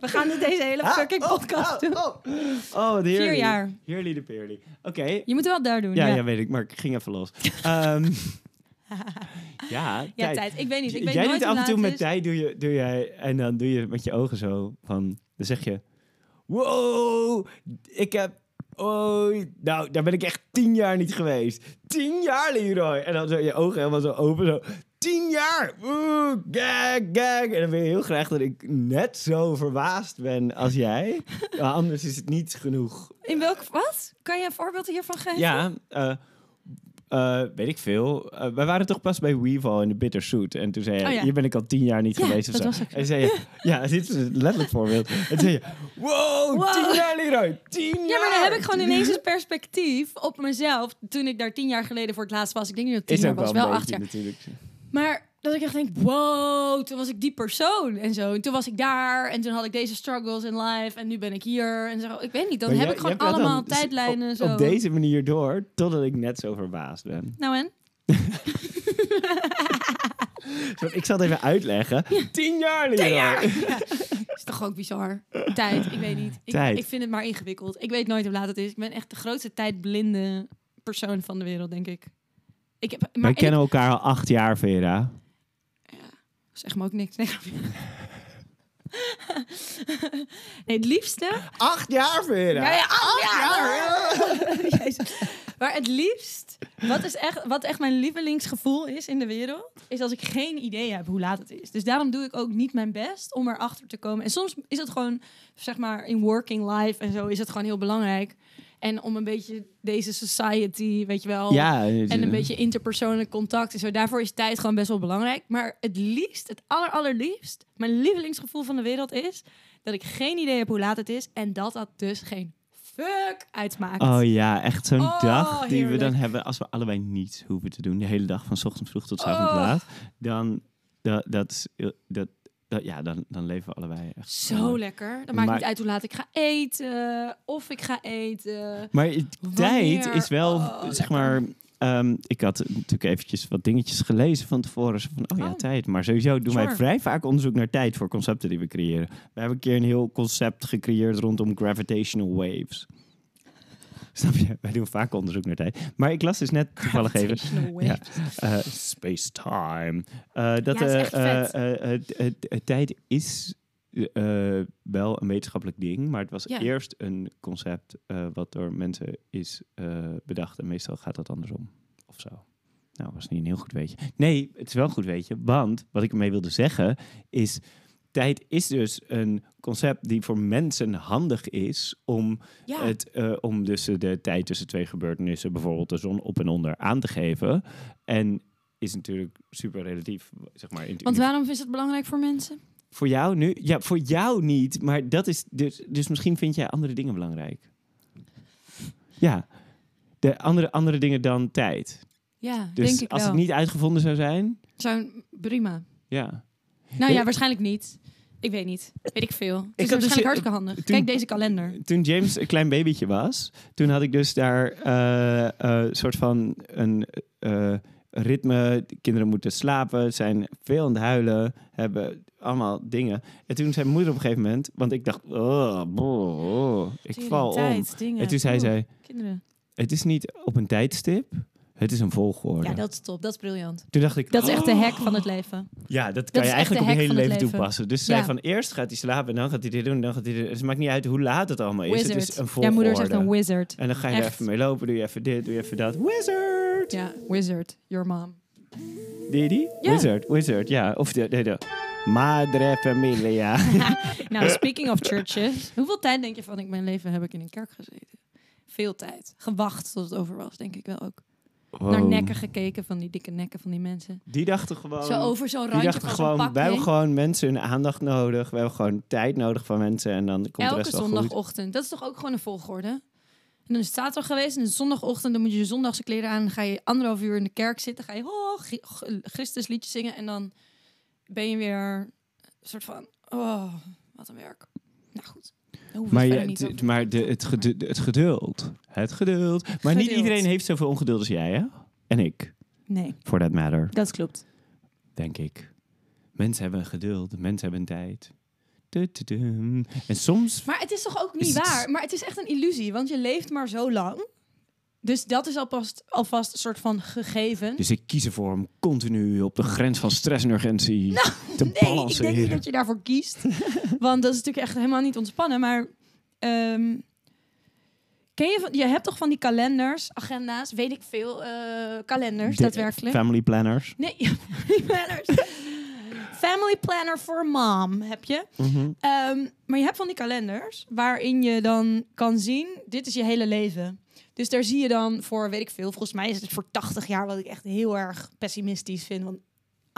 [SPEAKER 1] We gaan dit deze hele fucking podcast doen.
[SPEAKER 2] Ah, Oh, oh de
[SPEAKER 1] Vier jaar.
[SPEAKER 2] Heerly de Peerly. Oké.
[SPEAKER 1] Je moet het wel daar doen.
[SPEAKER 2] Ja,
[SPEAKER 1] ja.
[SPEAKER 2] ja, weet ik, maar ik ging even los. Ehm, ja, tijd.
[SPEAKER 1] Ja, tijd. Ik weet niet. Ik weet
[SPEAKER 2] jij
[SPEAKER 1] nooit
[SPEAKER 2] doet
[SPEAKER 1] hoe
[SPEAKER 2] af en toe
[SPEAKER 1] laat het
[SPEAKER 2] met
[SPEAKER 1] is.
[SPEAKER 2] tijd, doe je, doe jij, en dan doe je met je ogen zo van, dan zeg je, wow, ik heb, oh, nou, daar ben ik echt tien jaar niet geweest. Tien jaar, Leroy. En dan zo je ogen helemaal zo open, zo, tien jaar, oeh, gag, gag. En dan wil je heel graag dat ik net zo verbaasd ben als jij. Maar anders is het niet genoeg
[SPEAKER 1] In welk... Wat? Kan je een voorbeeld hiervan geven?
[SPEAKER 2] ja, eh, eh, weet ik veel. Eh, wij waren toch pas bij Weevil in de Bittersuit. En toen zei je,
[SPEAKER 1] Oh ja.
[SPEAKER 2] hier ben ik al tien jaar niet
[SPEAKER 1] Ja,
[SPEAKER 2] geweest. Of
[SPEAKER 1] dat
[SPEAKER 2] zo.
[SPEAKER 1] was ook zo.
[SPEAKER 2] en toen zei je, ja, dit is een letterlijk voorbeeld. En toen zei je, wow,
[SPEAKER 1] Wow.
[SPEAKER 2] tien jaar Leroy, tien jaar.
[SPEAKER 1] Ja, maar dan heb ik gewoon ineens een perspectief op mezelf. Toen ik daar tien jaar geleden voor het laatst was. Ik denk niet dat het
[SPEAKER 2] Is
[SPEAKER 1] tien
[SPEAKER 2] ook
[SPEAKER 1] jaar was,
[SPEAKER 2] wel
[SPEAKER 1] wel
[SPEAKER 2] een
[SPEAKER 1] acht
[SPEAKER 2] beetje
[SPEAKER 1] jaar.
[SPEAKER 2] natuurlijk.
[SPEAKER 1] Maar dat ik echt denk, wow, toen was ik die persoon en zo. En toen was ik daar en toen had ik deze struggles in life en nu ben ik hier. En zo, ik weet niet, dan
[SPEAKER 2] Maar
[SPEAKER 1] heb
[SPEAKER 2] jij-
[SPEAKER 1] ik gewoon
[SPEAKER 2] jij praat
[SPEAKER 1] allemaal
[SPEAKER 2] dan s-
[SPEAKER 1] tijdlijnen
[SPEAKER 2] dus op,
[SPEAKER 1] zo.
[SPEAKER 2] Op deze manier door, totdat ik net zo verbaasd ben.
[SPEAKER 1] Nou en?
[SPEAKER 2] Zo, ik zal het even uitleggen. Tien jaar Leroy.
[SPEAKER 1] Is toch ook bizar? Tijd, ik weet niet. Ik,
[SPEAKER 2] Tijd.
[SPEAKER 1] ik vind het maar ingewikkeld. Ik weet nooit hoe laat het is. Ik ben echt de grootste tijdblinde persoon van de wereld, denk ik. Ik heb, maar
[SPEAKER 2] Wij
[SPEAKER 1] en ik-
[SPEAKER 2] kennen elkaar al acht jaar, Vera.
[SPEAKER 1] Zeg me ook niks. Nee, grapje. nee het liefste
[SPEAKER 2] Acht jaar, Vera?
[SPEAKER 1] Ja, ja, eh, oh, ja. Jezus. Maar het liefst, wat, is echt, wat echt mijn lievelingsgevoel is in de wereld, is als ik geen idee heb hoe laat het is. Dus daarom doe ik ook niet mijn best om erachter te komen. En soms is het gewoon, zeg maar, in working life en zo, is het gewoon heel belangrijk. En om een beetje deze society, weet je wel,
[SPEAKER 2] Ja,
[SPEAKER 1] Oh.
[SPEAKER 2] dus-
[SPEAKER 1] en een beetje interpersoonlijk contact en zo. Daarvoor is tijd gewoon best wel belangrijk. Maar het liefst, het aller allerliefst, mijn lievelingsgevoel van de wereld is dat ik geen idee heb hoe laat het is en dat dat dus geen fuck uitmaakt.
[SPEAKER 2] Oh ja, echt zo'n
[SPEAKER 1] Oh,
[SPEAKER 2] dag die we dan
[SPEAKER 1] heerlijk.
[SPEAKER 2] hebben als we allebei niets hoeven te doen. De hele dag van 's ochtends vroeg tot 's avonds
[SPEAKER 1] Oh.
[SPEAKER 2] laat. Dan, dat, dat, is heel- dat, dat, ja, dan, dan leven we allebei echt.
[SPEAKER 1] Zo
[SPEAKER 2] leuk.
[SPEAKER 1] lekker. Dan maakt
[SPEAKER 2] Maar-
[SPEAKER 1] niet uit hoe laat ik ga eten of ik ga eten.
[SPEAKER 2] Maar het- tijd is wel,
[SPEAKER 1] Oh,
[SPEAKER 2] zeg
[SPEAKER 1] lekker.
[SPEAKER 2] maar. ehm, ik had natuurlijk eventjes wat dingetjes gelezen van tevoren. Zo van, oh ja,
[SPEAKER 1] Oh.
[SPEAKER 2] tijd. Maar sowieso doen wij
[SPEAKER 1] Sure.
[SPEAKER 2] vrij vaak onderzoek naar tijd voor concepten die we creëren. We hebben een keer een heel concept gecreëerd rondom gravitational waves. Snap je? Wij doen vaak onderzoek naar tijd. Maar ik las dus net toevallig even
[SPEAKER 1] Gravitational wave.
[SPEAKER 2] Ja. eh, Space-time. Eh, dat
[SPEAKER 1] Ja, is
[SPEAKER 2] eh,
[SPEAKER 1] echt
[SPEAKER 2] eh,
[SPEAKER 1] vet.
[SPEAKER 2] eh, eh, eh, eh, tijd is eh, eh, wel een wetenschappelijk ding, maar het was
[SPEAKER 1] Ja.
[SPEAKER 2] eerst een concept eh, wat door mensen is eh, bedacht. En meestal gaat dat andersom of zo. Nou, was niet een heel goed weetje. Nee, het is wel een goed weetje, want wat ik ermee wilde zeggen is. Tijd is dus een concept die voor mensen handig is om
[SPEAKER 1] Ja.
[SPEAKER 2] het, eh, om dus de tijd tussen twee gebeurtenissen, bijvoorbeeld de zon op en onder, aan te geven. En is natuurlijk super relatief, zeg maar. in-
[SPEAKER 1] Want
[SPEAKER 2] in-
[SPEAKER 1] waarom is het belangrijk voor mensen?
[SPEAKER 2] voor jou nu? Ja, voor jou niet, maar dat is dus, dus misschien vind jij andere dingen belangrijk. Ja, de andere, andere dingen dan tijd.
[SPEAKER 1] Ja,
[SPEAKER 2] Dus
[SPEAKER 1] denk ik
[SPEAKER 2] als
[SPEAKER 1] wel.
[SPEAKER 2] het niet uitgevonden zou zijn,
[SPEAKER 1] Zou- prima.
[SPEAKER 2] ja.
[SPEAKER 1] Nou
[SPEAKER 2] Ja.
[SPEAKER 1] ja, waarschijnlijk niet. Ik weet niet. Weet ik veel. Het is
[SPEAKER 2] had dus,
[SPEAKER 1] waarschijnlijk
[SPEAKER 2] eh,
[SPEAKER 1] hartstikke handig.
[SPEAKER 2] toen-
[SPEAKER 1] Kijk deze kalender.
[SPEAKER 2] Toen James een klein babytje was, toen had ik dus daar eh eh, soort van een eh, ritme. De kinderen moeten slapen, zijn veel aan het huilen, hebben allemaal dingen. En toen zei mijn moeder op een gegeven moment, want ik dacht, oh, boh, oh, ik val om.
[SPEAKER 1] Tijd, dingen.
[SPEAKER 2] En toen zei
[SPEAKER 1] Oeh,
[SPEAKER 2] zij,
[SPEAKER 1] Kinderen.
[SPEAKER 2] Het is niet op een tijdstip, het is een volgorde.
[SPEAKER 1] Ja, dat is top. Dat is briljant.
[SPEAKER 2] Toen dacht ik,
[SPEAKER 1] Dat is echt de
[SPEAKER 2] oh,
[SPEAKER 1] hack van het leven.
[SPEAKER 2] Ja, dat kan
[SPEAKER 1] is echt
[SPEAKER 2] je eigenlijk
[SPEAKER 1] de
[SPEAKER 2] op je
[SPEAKER 1] hack
[SPEAKER 2] hele
[SPEAKER 1] van het
[SPEAKER 2] leven,
[SPEAKER 1] leven.
[SPEAKER 2] toepassen. Dus zij
[SPEAKER 1] Ja.
[SPEAKER 2] van eerst gaat hij slapen en dan gaat hij dit doen en dan gaat hij dit doen. Dus het maakt niet uit hoe laat het allemaal is. Het is een
[SPEAKER 1] Wizard.
[SPEAKER 2] volgorde.
[SPEAKER 1] Jouw moeder is echt een wizard.
[SPEAKER 2] En dan ga je er
[SPEAKER 1] Echt.
[SPEAKER 2] even mee lopen, doe je even dit, doe je even dat. Wizard!
[SPEAKER 1] Ja, wizard. Your mom.
[SPEAKER 2] Deed je die?
[SPEAKER 1] Ja.
[SPEAKER 2] Wizard, wizard, ja. Of de, de, de Madre Familia.
[SPEAKER 1] Nou, speaking of churches. Hoeveel tijd denk je van ik mijn leven heb ik in een kerk gezeten? Veel tijd. Gewacht tot het over was, denk ik wel ook. Naar
[SPEAKER 2] Wow.
[SPEAKER 1] nekken gekeken van die dikke nekken van die mensen.
[SPEAKER 2] Die dachten gewoon...
[SPEAKER 1] Zo over zo'n
[SPEAKER 2] die
[SPEAKER 1] randje
[SPEAKER 2] dachten
[SPEAKER 1] van
[SPEAKER 2] gewoon,
[SPEAKER 1] zo'n pak
[SPEAKER 2] wij hebben
[SPEAKER 1] heen.
[SPEAKER 2] gewoon mensen hun aandacht nodig. We hebben gewoon tijd nodig van mensen en dan komt de
[SPEAKER 1] Elke
[SPEAKER 2] rest wel goed.
[SPEAKER 1] zondagochtend. Dat is toch ook gewoon een volgorde? En dan is het zaterdag geweest en dan zondagochtend dan moet je je zondagse kleren aan. Dan ga je anderhalf uur in de kerk zitten. Ga je oh, Gri- G- Christus liedjes zingen. En dan ben je weer een soort van, oh, wat een werk. Nou goed. Daar hoeven we
[SPEAKER 2] Maar,
[SPEAKER 1] het
[SPEAKER 2] je,
[SPEAKER 1] verder niet
[SPEAKER 2] het-
[SPEAKER 1] over te
[SPEAKER 2] maar
[SPEAKER 1] praten.
[SPEAKER 2] de, het, gedu- het geduld. Het geduld. Maar niet
[SPEAKER 1] Geduld.
[SPEAKER 2] iedereen heeft zoveel ongeduld als jij, hè? En ik,
[SPEAKER 1] Nee,
[SPEAKER 2] for that matter,
[SPEAKER 1] dat klopt.
[SPEAKER 2] denk ik. Mensen hebben geduld, mensen hebben tijd. Du- du- dum. En soms...
[SPEAKER 1] Maar het is toch ook
[SPEAKER 2] Is
[SPEAKER 1] niet
[SPEAKER 2] het-
[SPEAKER 1] waar? Maar het is echt een illusie, want je leeft maar zo lang. Dus dat is alvast, alvast een soort van gegeven.
[SPEAKER 2] Dus ik kies ervoor om continu op de grens van stress en urgentie
[SPEAKER 1] Nou,
[SPEAKER 2] te
[SPEAKER 1] Nee, ik denk niet
[SPEAKER 2] balanceren.
[SPEAKER 1] dat je daarvoor kiest. Want dat is natuurlijk echt helemaal niet ontspannen. Maar ehm, ken je, van- je hebt toch van die kalenders, agenda's, weet ik veel, eh, kalenders
[SPEAKER 2] De-
[SPEAKER 1] daadwerkelijk?
[SPEAKER 2] Family planners.
[SPEAKER 1] Nee, family planners. Family planner voor mom heb je.
[SPEAKER 2] Mhm.
[SPEAKER 1] Ehm, maar je hebt van die kalenders waarin je dan kan zien, dit is je hele leven. Dus daar zie je dan voor, weet ik veel, volgens mij is het voor 80 jaar, wat ik echt heel erg pessimistisch vind. Want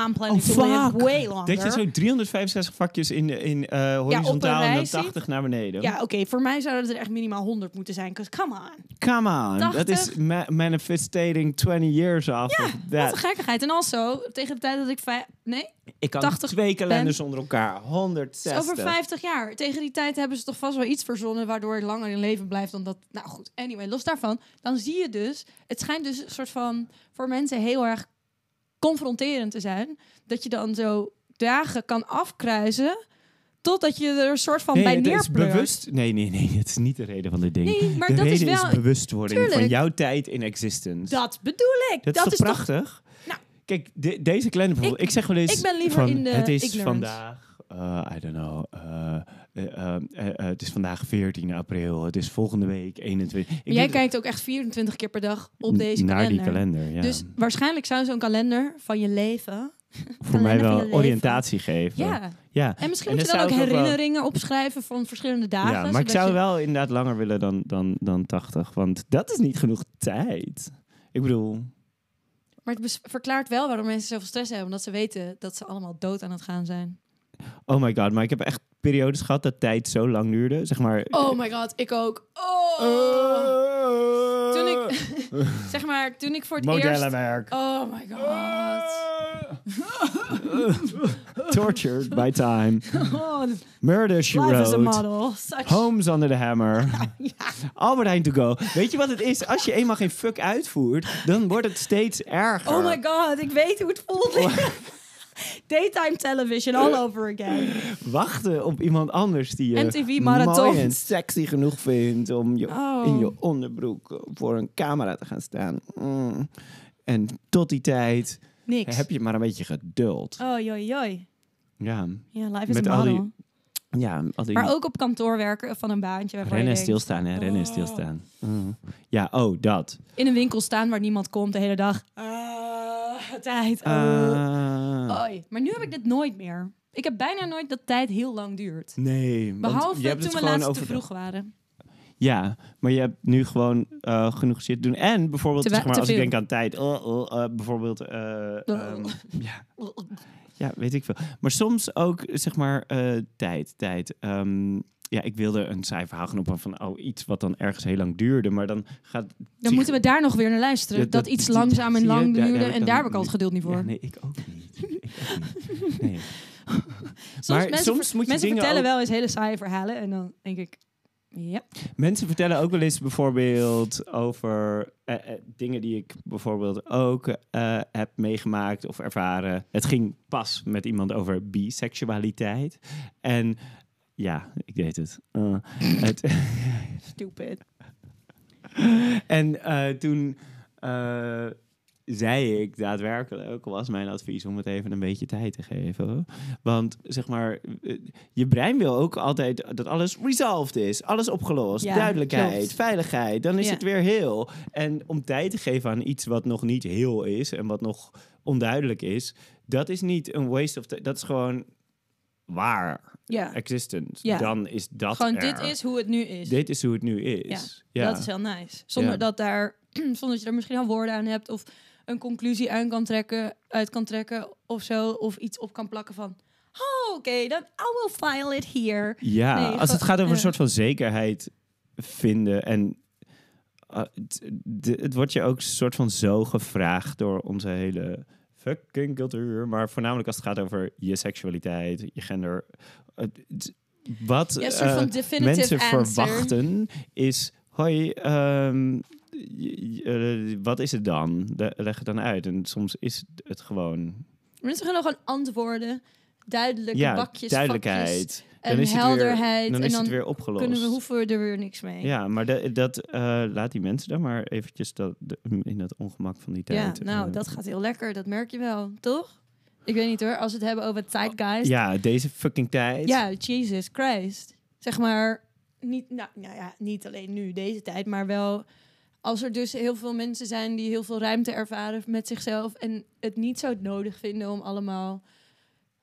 [SPEAKER 1] I'm planning
[SPEAKER 2] Oh,
[SPEAKER 1] to live
[SPEAKER 2] fuck.
[SPEAKER 1] way longer.
[SPEAKER 2] Dat je zo 365 vakjes in, in eh, horizontaal en
[SPEAKER 1] rij
[SPEAKER 2] dan
[SPEAKER 1] ziet.
[SPEAKER 2] 80 naar beneden.
[SPEAKER 1] Ja, oké, voor mij zouden er echt minimaal 100 moeten zijn. Cause come on.
[SPEAKER 2] Come on, dat is
[SPEAKER 1] 80.
[SPEAKER 2] ma- manifestating 20 years af.
[SPEAKER 1] Wat
[SPEAKER 2] of that.
[SPEAKER 1] een gekkigheid. En also, tegen de tijd dat ik... vij- Nee,
[SPEAKER 2] Ik kan
[SPEAKER 1] 80
[SPEAKER 2] twee kalenders
[SPEAKER 1] ben.
[SPEAKER 2] onder elkaar.
[SPEAKER 1] het
[SPEAKER 2] 160.
[SPEAKER 1] is over 50 jaar. Tegen die tijd hebben ze toch vast wel iets verzonnen... waardoor ik langer in leven blijf dan dat... Nou goed, anyway, los daarvan. Dan zie je dus... Het schijnt dus een soort van... voor mensen heel erg confronterend te zijn. Dat je dan zo dagen kan afkruisen... totdat je er een soort van
[SPEAKER 2] Nee,
[SPEAKER 1] bij
[SPEAKER 2] het is
[SPEAKER 1] neerpleurt.
[SPEAKER 2] bewust. Nee, nee, nee. Het is niet de reden van dit ding.
[SPEAKER 1] Nee, maar
[SPEAKER 2] de
[SPEAKER 1] dat is
[SPEAKER 2] reden
[SPEAKER 1] wel-
[SPEAKER 2] bewustwording van
[SPEAKER 1] Tuurlijk.
[SPEAKER 2] jouw tijd in existence.
[SPEAKER 1] Dat bedoel ik.
[SPEAKER 2] Dat is toch prachtig?
[SPEAKER 1] Nou.
[SPEAKER 2] Kijk, de- deze kleine bijvoorbeeld. Ik, zeg wel eens
[SPEAKER 1] ik ben liever
[SPEAKER 2] van,
[SPEAKER 1] in de
[SPEAKER 2] het is
[SPEAKER 1] ignorance.
[SPEAKER 2] vandaag, eh, I don't know, eh, eh, eh, eh, eh, het is vandaag 14 april, het is volgende week 21. Ik
[SPEAKER 1] Maar jij
[SPEAKER 2] doe-
[SPEAKER 1] kijkt ook echt 24 keer per dag op
[SPEAKER 2] n-
[SPEAKER 1] deze
[SPEAKER 2] Naar
[SPEAKER 1] kalender.
[SPEAKER 2] die kalender, ja.
[SPEAKER 1] Dus waarschijnlijk zou zo'n kalender van je leven.
[SPEAKER 2] Voor mij
[SPEAKER 1] kalender van
[SPEAKER 2] wel
[SPEAKER 1] je leven.
[SPEAKER 2] oriëntatie geven.
[SPEAKER 1] Ja.
[SPEAKER 2] ja.
[SPEAKER 1] En misschien
[SPEAKER 2] En
[SPEAKER 1] moet je
[SPEAKER 2] dan
[SPEAKER 1] dan ook
[SPEAKER 2] zou ik ook wel-
[SPEAKER 1] herinneringen opschrijven van verschillende dagen.
[SPEAKER 2] Ja, maar
[SPEAKER 1] zodat
[SPEAKER 2] ik zou
[SPEAKER 1] je-
[SPEAKER 2] wel inderdaad langer willen dan, dan, dan 80. Want dat is niet genoeg tijd. Ik bedoel,
[SPEAKER 1] maar het bes- verklaart wel waarom mensen zoveel stress hebben. Omdat ze weten dat ze allemaal dood aan het gaan zijn.
[SPEAKER 2] oh my god, maar ik heb echt periodes gehad dat tijd zo lang duurde. Zeg maar.
[SPEAKER 1] Oh my god, ik ook. Oh.
[SPEAKER 2] Eh.
[SPEAKER 1] Toen ik, zeg maar, toen ik voor het eerst.
[SPEAKER 2] Modellenwerk.
[SPEAKER 1] Oh my god.
[SPEAKER 2] Tortured by time.
[SPEAKER 1] Oh,
[SPEAKER 2] Murder, she
[SPEAKER 1] life is a
[SPEAKER 2] wrote.
[SPEAKER 1] model. Such-
[SPEAKER 2] Homes under the hammer.
[SPEAKER 1] Ja.
[SPEAKER 2] Albert Heijn to go. Weet je wat het is? Als je eenmaal geen fuck uitvoert, dan wordt het steeds erger.
[SPEAKER 1] Oh my god, ik weet hoe het voelt.
[SPEAKER 2] Oh.
[SPEAKER 1] Daytime television all over again.
[SPEAKER 2] wachten op iemand anders die je
[SPEAKER 1] MTV marathons.
[SPEAKER 2] mooi en sexy genoeg vindt om je
[SPEAKER 1] Oh.
[SPEAKER 2] in je onderbroek voor een camera te gaan staan. Mm. En tot die tijd
[SPEAKER 1] Niks.
[SPEAKER 2] heb je maar een beetje geduld.
[SPEAKER 1] Oh, joi, joi.
[SPEAKER 2] Ja,
[SPEAKER 1] Ja, life is
[SPEAKER 2] Met
[SPEAKER 1] een
[SPEAKER 2] al
[SPEAKER 1] model.
[SPEAKER 2] die- ja al die
[SPEAKER 1] Maar ook op kantoor werken van een baantje. waarvan
[SPEAKER 2] rennen en
[SPEAKER 1] je denkt, oh.
[SPEAKER 2] stilstaan, hè? Rennen en stilstaan. Mm. Ja, oh, dat.
[SPEAKER 1] In een winkel staan waar niemand komt de hele dag. Ah, tijd.
[SPEAKER 2] Ah.
[SPEAKER 1] Oh. Oei. Maar nu heb ik dit nooit meer. Ik heb bijna nooit dat tijd heel lang duurt.
[SPEAKER 2] Nee, want
[SPEAKER 1] Behalve
[SPEAKER 2] je hebt
[SPEAKER 1] toen
[SPEAKER 2] het
[SPEAKER 1] we
[SPEAKER 2] gewoon
[SPEAKER 1] laatst
[SPEAKER 2] over
[SPEAKER 1] te vroeg waren.
[SPEAKER 2] Ja, maar je hebt nu gewoon eh, genoeg shit te doen. En bijvoorbeeld,
[SPEAKER 1] Te we-
[SPEAKER 2] zeg maar,
[SPEAKER 1] te
[SPEAKER 2] als ik
[SPEAKER 1] veel. Oh.
[SPEAKER 2] denk aan tijd, oh, oh, eh, bijvoorbeeld, eh, ehm, ja, Ja, weet ik veel. Maar soms ook, zeg maar, eh, tijd, tijd. Ehm, ja, ik wilde een saai verhaal gaan ophangen van oh, iets wat dan ergens heel lang duurde. Maar dan gaat...
[SPEAKER 1] Dan moeten we daar nog weer naar luisteren.
[SPEAKER 2] Ja,
[SPEAKER 1] dat,
[SPEAKER 2] dat-
[SPEAKER 1] iets
[SPEAKER 2] die-
[SPEAKER 1] langzaam en
[SPEAKER 2] zie je,
[SPEAKER 1] lang
[SPEAKER 2] daar- daar
[SPEAKER 1] duurde.
[SPEAKER 2] heb ik
[SPEAKER 1] en
[SPEAKER 2] dan
[SPEAKER 1] daar heb ik al het
[SPEAKER 2] niet-
[SPEAKER 1] geduld niet voor.
[SPEAKER 2] Ja, nee, ik ook niet. Ik ook niet. Nee.
[SPEAKER 1] Soms,
[SPEAKER 2] Maar
[SPEAKER 1] mensen,
[SPEAKER 2] soms
[SPEAKER 1] ver-
[SPEAKER 2] moet je
[SPEAKER 1] mensen
[SPEAKER 2] dingen
[SPEAKER 1] vertellen
[SPEAKER 2] ook-
[SPEAKER 1] wel eens hele saaie verhalen. En dan denk ik, ja.
[SPEAKER 2] Mensen vertellen ook wel eens bijvoorbeeld over eh, eh, dingen die ik bijvoorbeeld ook eh, heb meegemaakt of ervaren. Het ging pas met iemand over biseksualiteit. En ja, ik deed het. Eh, het
[SPEAKER 1] Stupid.
[SPEAKER 2] En eh, toen eh, zei ik daadwerkelijk, was mijn advies om het even een beetje tijd te geven. hoor. Want zeg maar, eh, je brein wil ook altijd dat alles resolved is, alles opgelost,
[SPEAKER 1] Ja,
[SPEAKER 2] duidelijkheid,
[SPEAKER 1] klopt.
[SPEAKER 2] veiligheid, dan is
[SPEAKER 1] Ja.
[SPEAKER 2] het weer heel. En om tijd te geven aan iets wat nog niet heel is en wat nog onduidelijk is, dat is niet een waste of time, dat is gewoon waar,
[SPEAKER 1] Ja.
[SPEAKER 2] existent.
[SPEAKER 1] Ja.
[SPEAKER 2] Dan is dat
[SPEAKER 1] Gewoon,
[SPEAKER 2] er.
[SPEAKER 1] dit is hoe het nu is.
[SPEAKER 2] Dit is hoe het nu is. Ja,
[SPEAKER 1] Dat is heel nice. Zonder
[SPEAKER 2] Ja.
[SPEAKER 1] dat daar, zonder dat je er misschien al woorden aan hebt of een conclusie aan kan trekken, uit kan trekken of zo, of iets op kan plakken van. Oh, oké, dan I will file it here.
[SPEAKER 2] Ja,
[SPEAKER 1] Nee,
[SPEAKER 2] als het
[SPEAKER 1] gewoon-
[SPEAKER 2] gaat over een
[SPEAKER 1] ja.
[SPEAKER 2] soort van zekerheid vinden en eh, het- de- het wordt je ook soort van zo gevraagd door onze hele fucking cultuur, maar voornamelijk als het gaat over je seksualiteit, je gender. Het- het- wat
[SPEAKER 1] Ja, een soort
[SPEAKER 2] eh,
[SPEAKER 1] van definitive
[SPEAKER 2] mensen
[SPEAKER 1] answer.
[SPEAKER 2] verwachten is, hoi, ehm, je- je- eh, wat is het dan? Le- leg het dan uit. En soms is het gewoon
[SPEAKER 1] Mensen gaan gewoon antwoorden, duidelijke
[SPEAKER 2] ja,
[SPEAKER 1] bakjes, vakjes,
[SPEAKER 2] duidelijkheid.
[SPEAKER 1] en
[SPEAKER 2] is het weer-
[SPEAKER 1] helderheid.
[SPEAKER 2] dan
[SPEAKER 1] en
[SPEAKER 2] is
[SPEAKER 1] dan
[SPEAKER 2] het weer opgelost.
[SPEAKER 1] kunnen we, hoeven we er weer niks mee.
[SPEAKER 2] Ja, maar da- dat eh, laat die mensen dan maar eventjes dat, de- mm, in dat ongemak van die
[SPEAKER 1] Ja,
[SPEAKER 2] tijd.
[SPEAKER 1] nou,
[SPEAKER 2] eh.
[SPEAKER 1] dat gaat heel lekker, dat merk je wel, toch? Ik weet niet hoor, als we het hebben over tijdgeist.
[SPEAKER 2] Ja, deze fucking tijd.
[SPEAKER 1] Ja, Jesus Christ. Zeg maar, niet, nou, nou ja, niet alleen nu, deze tijd, maar wel als er dus heel veel mensen zijn die heel veel ruimte ervaren met zichzelf en het niet zo nodig vinden om allemaal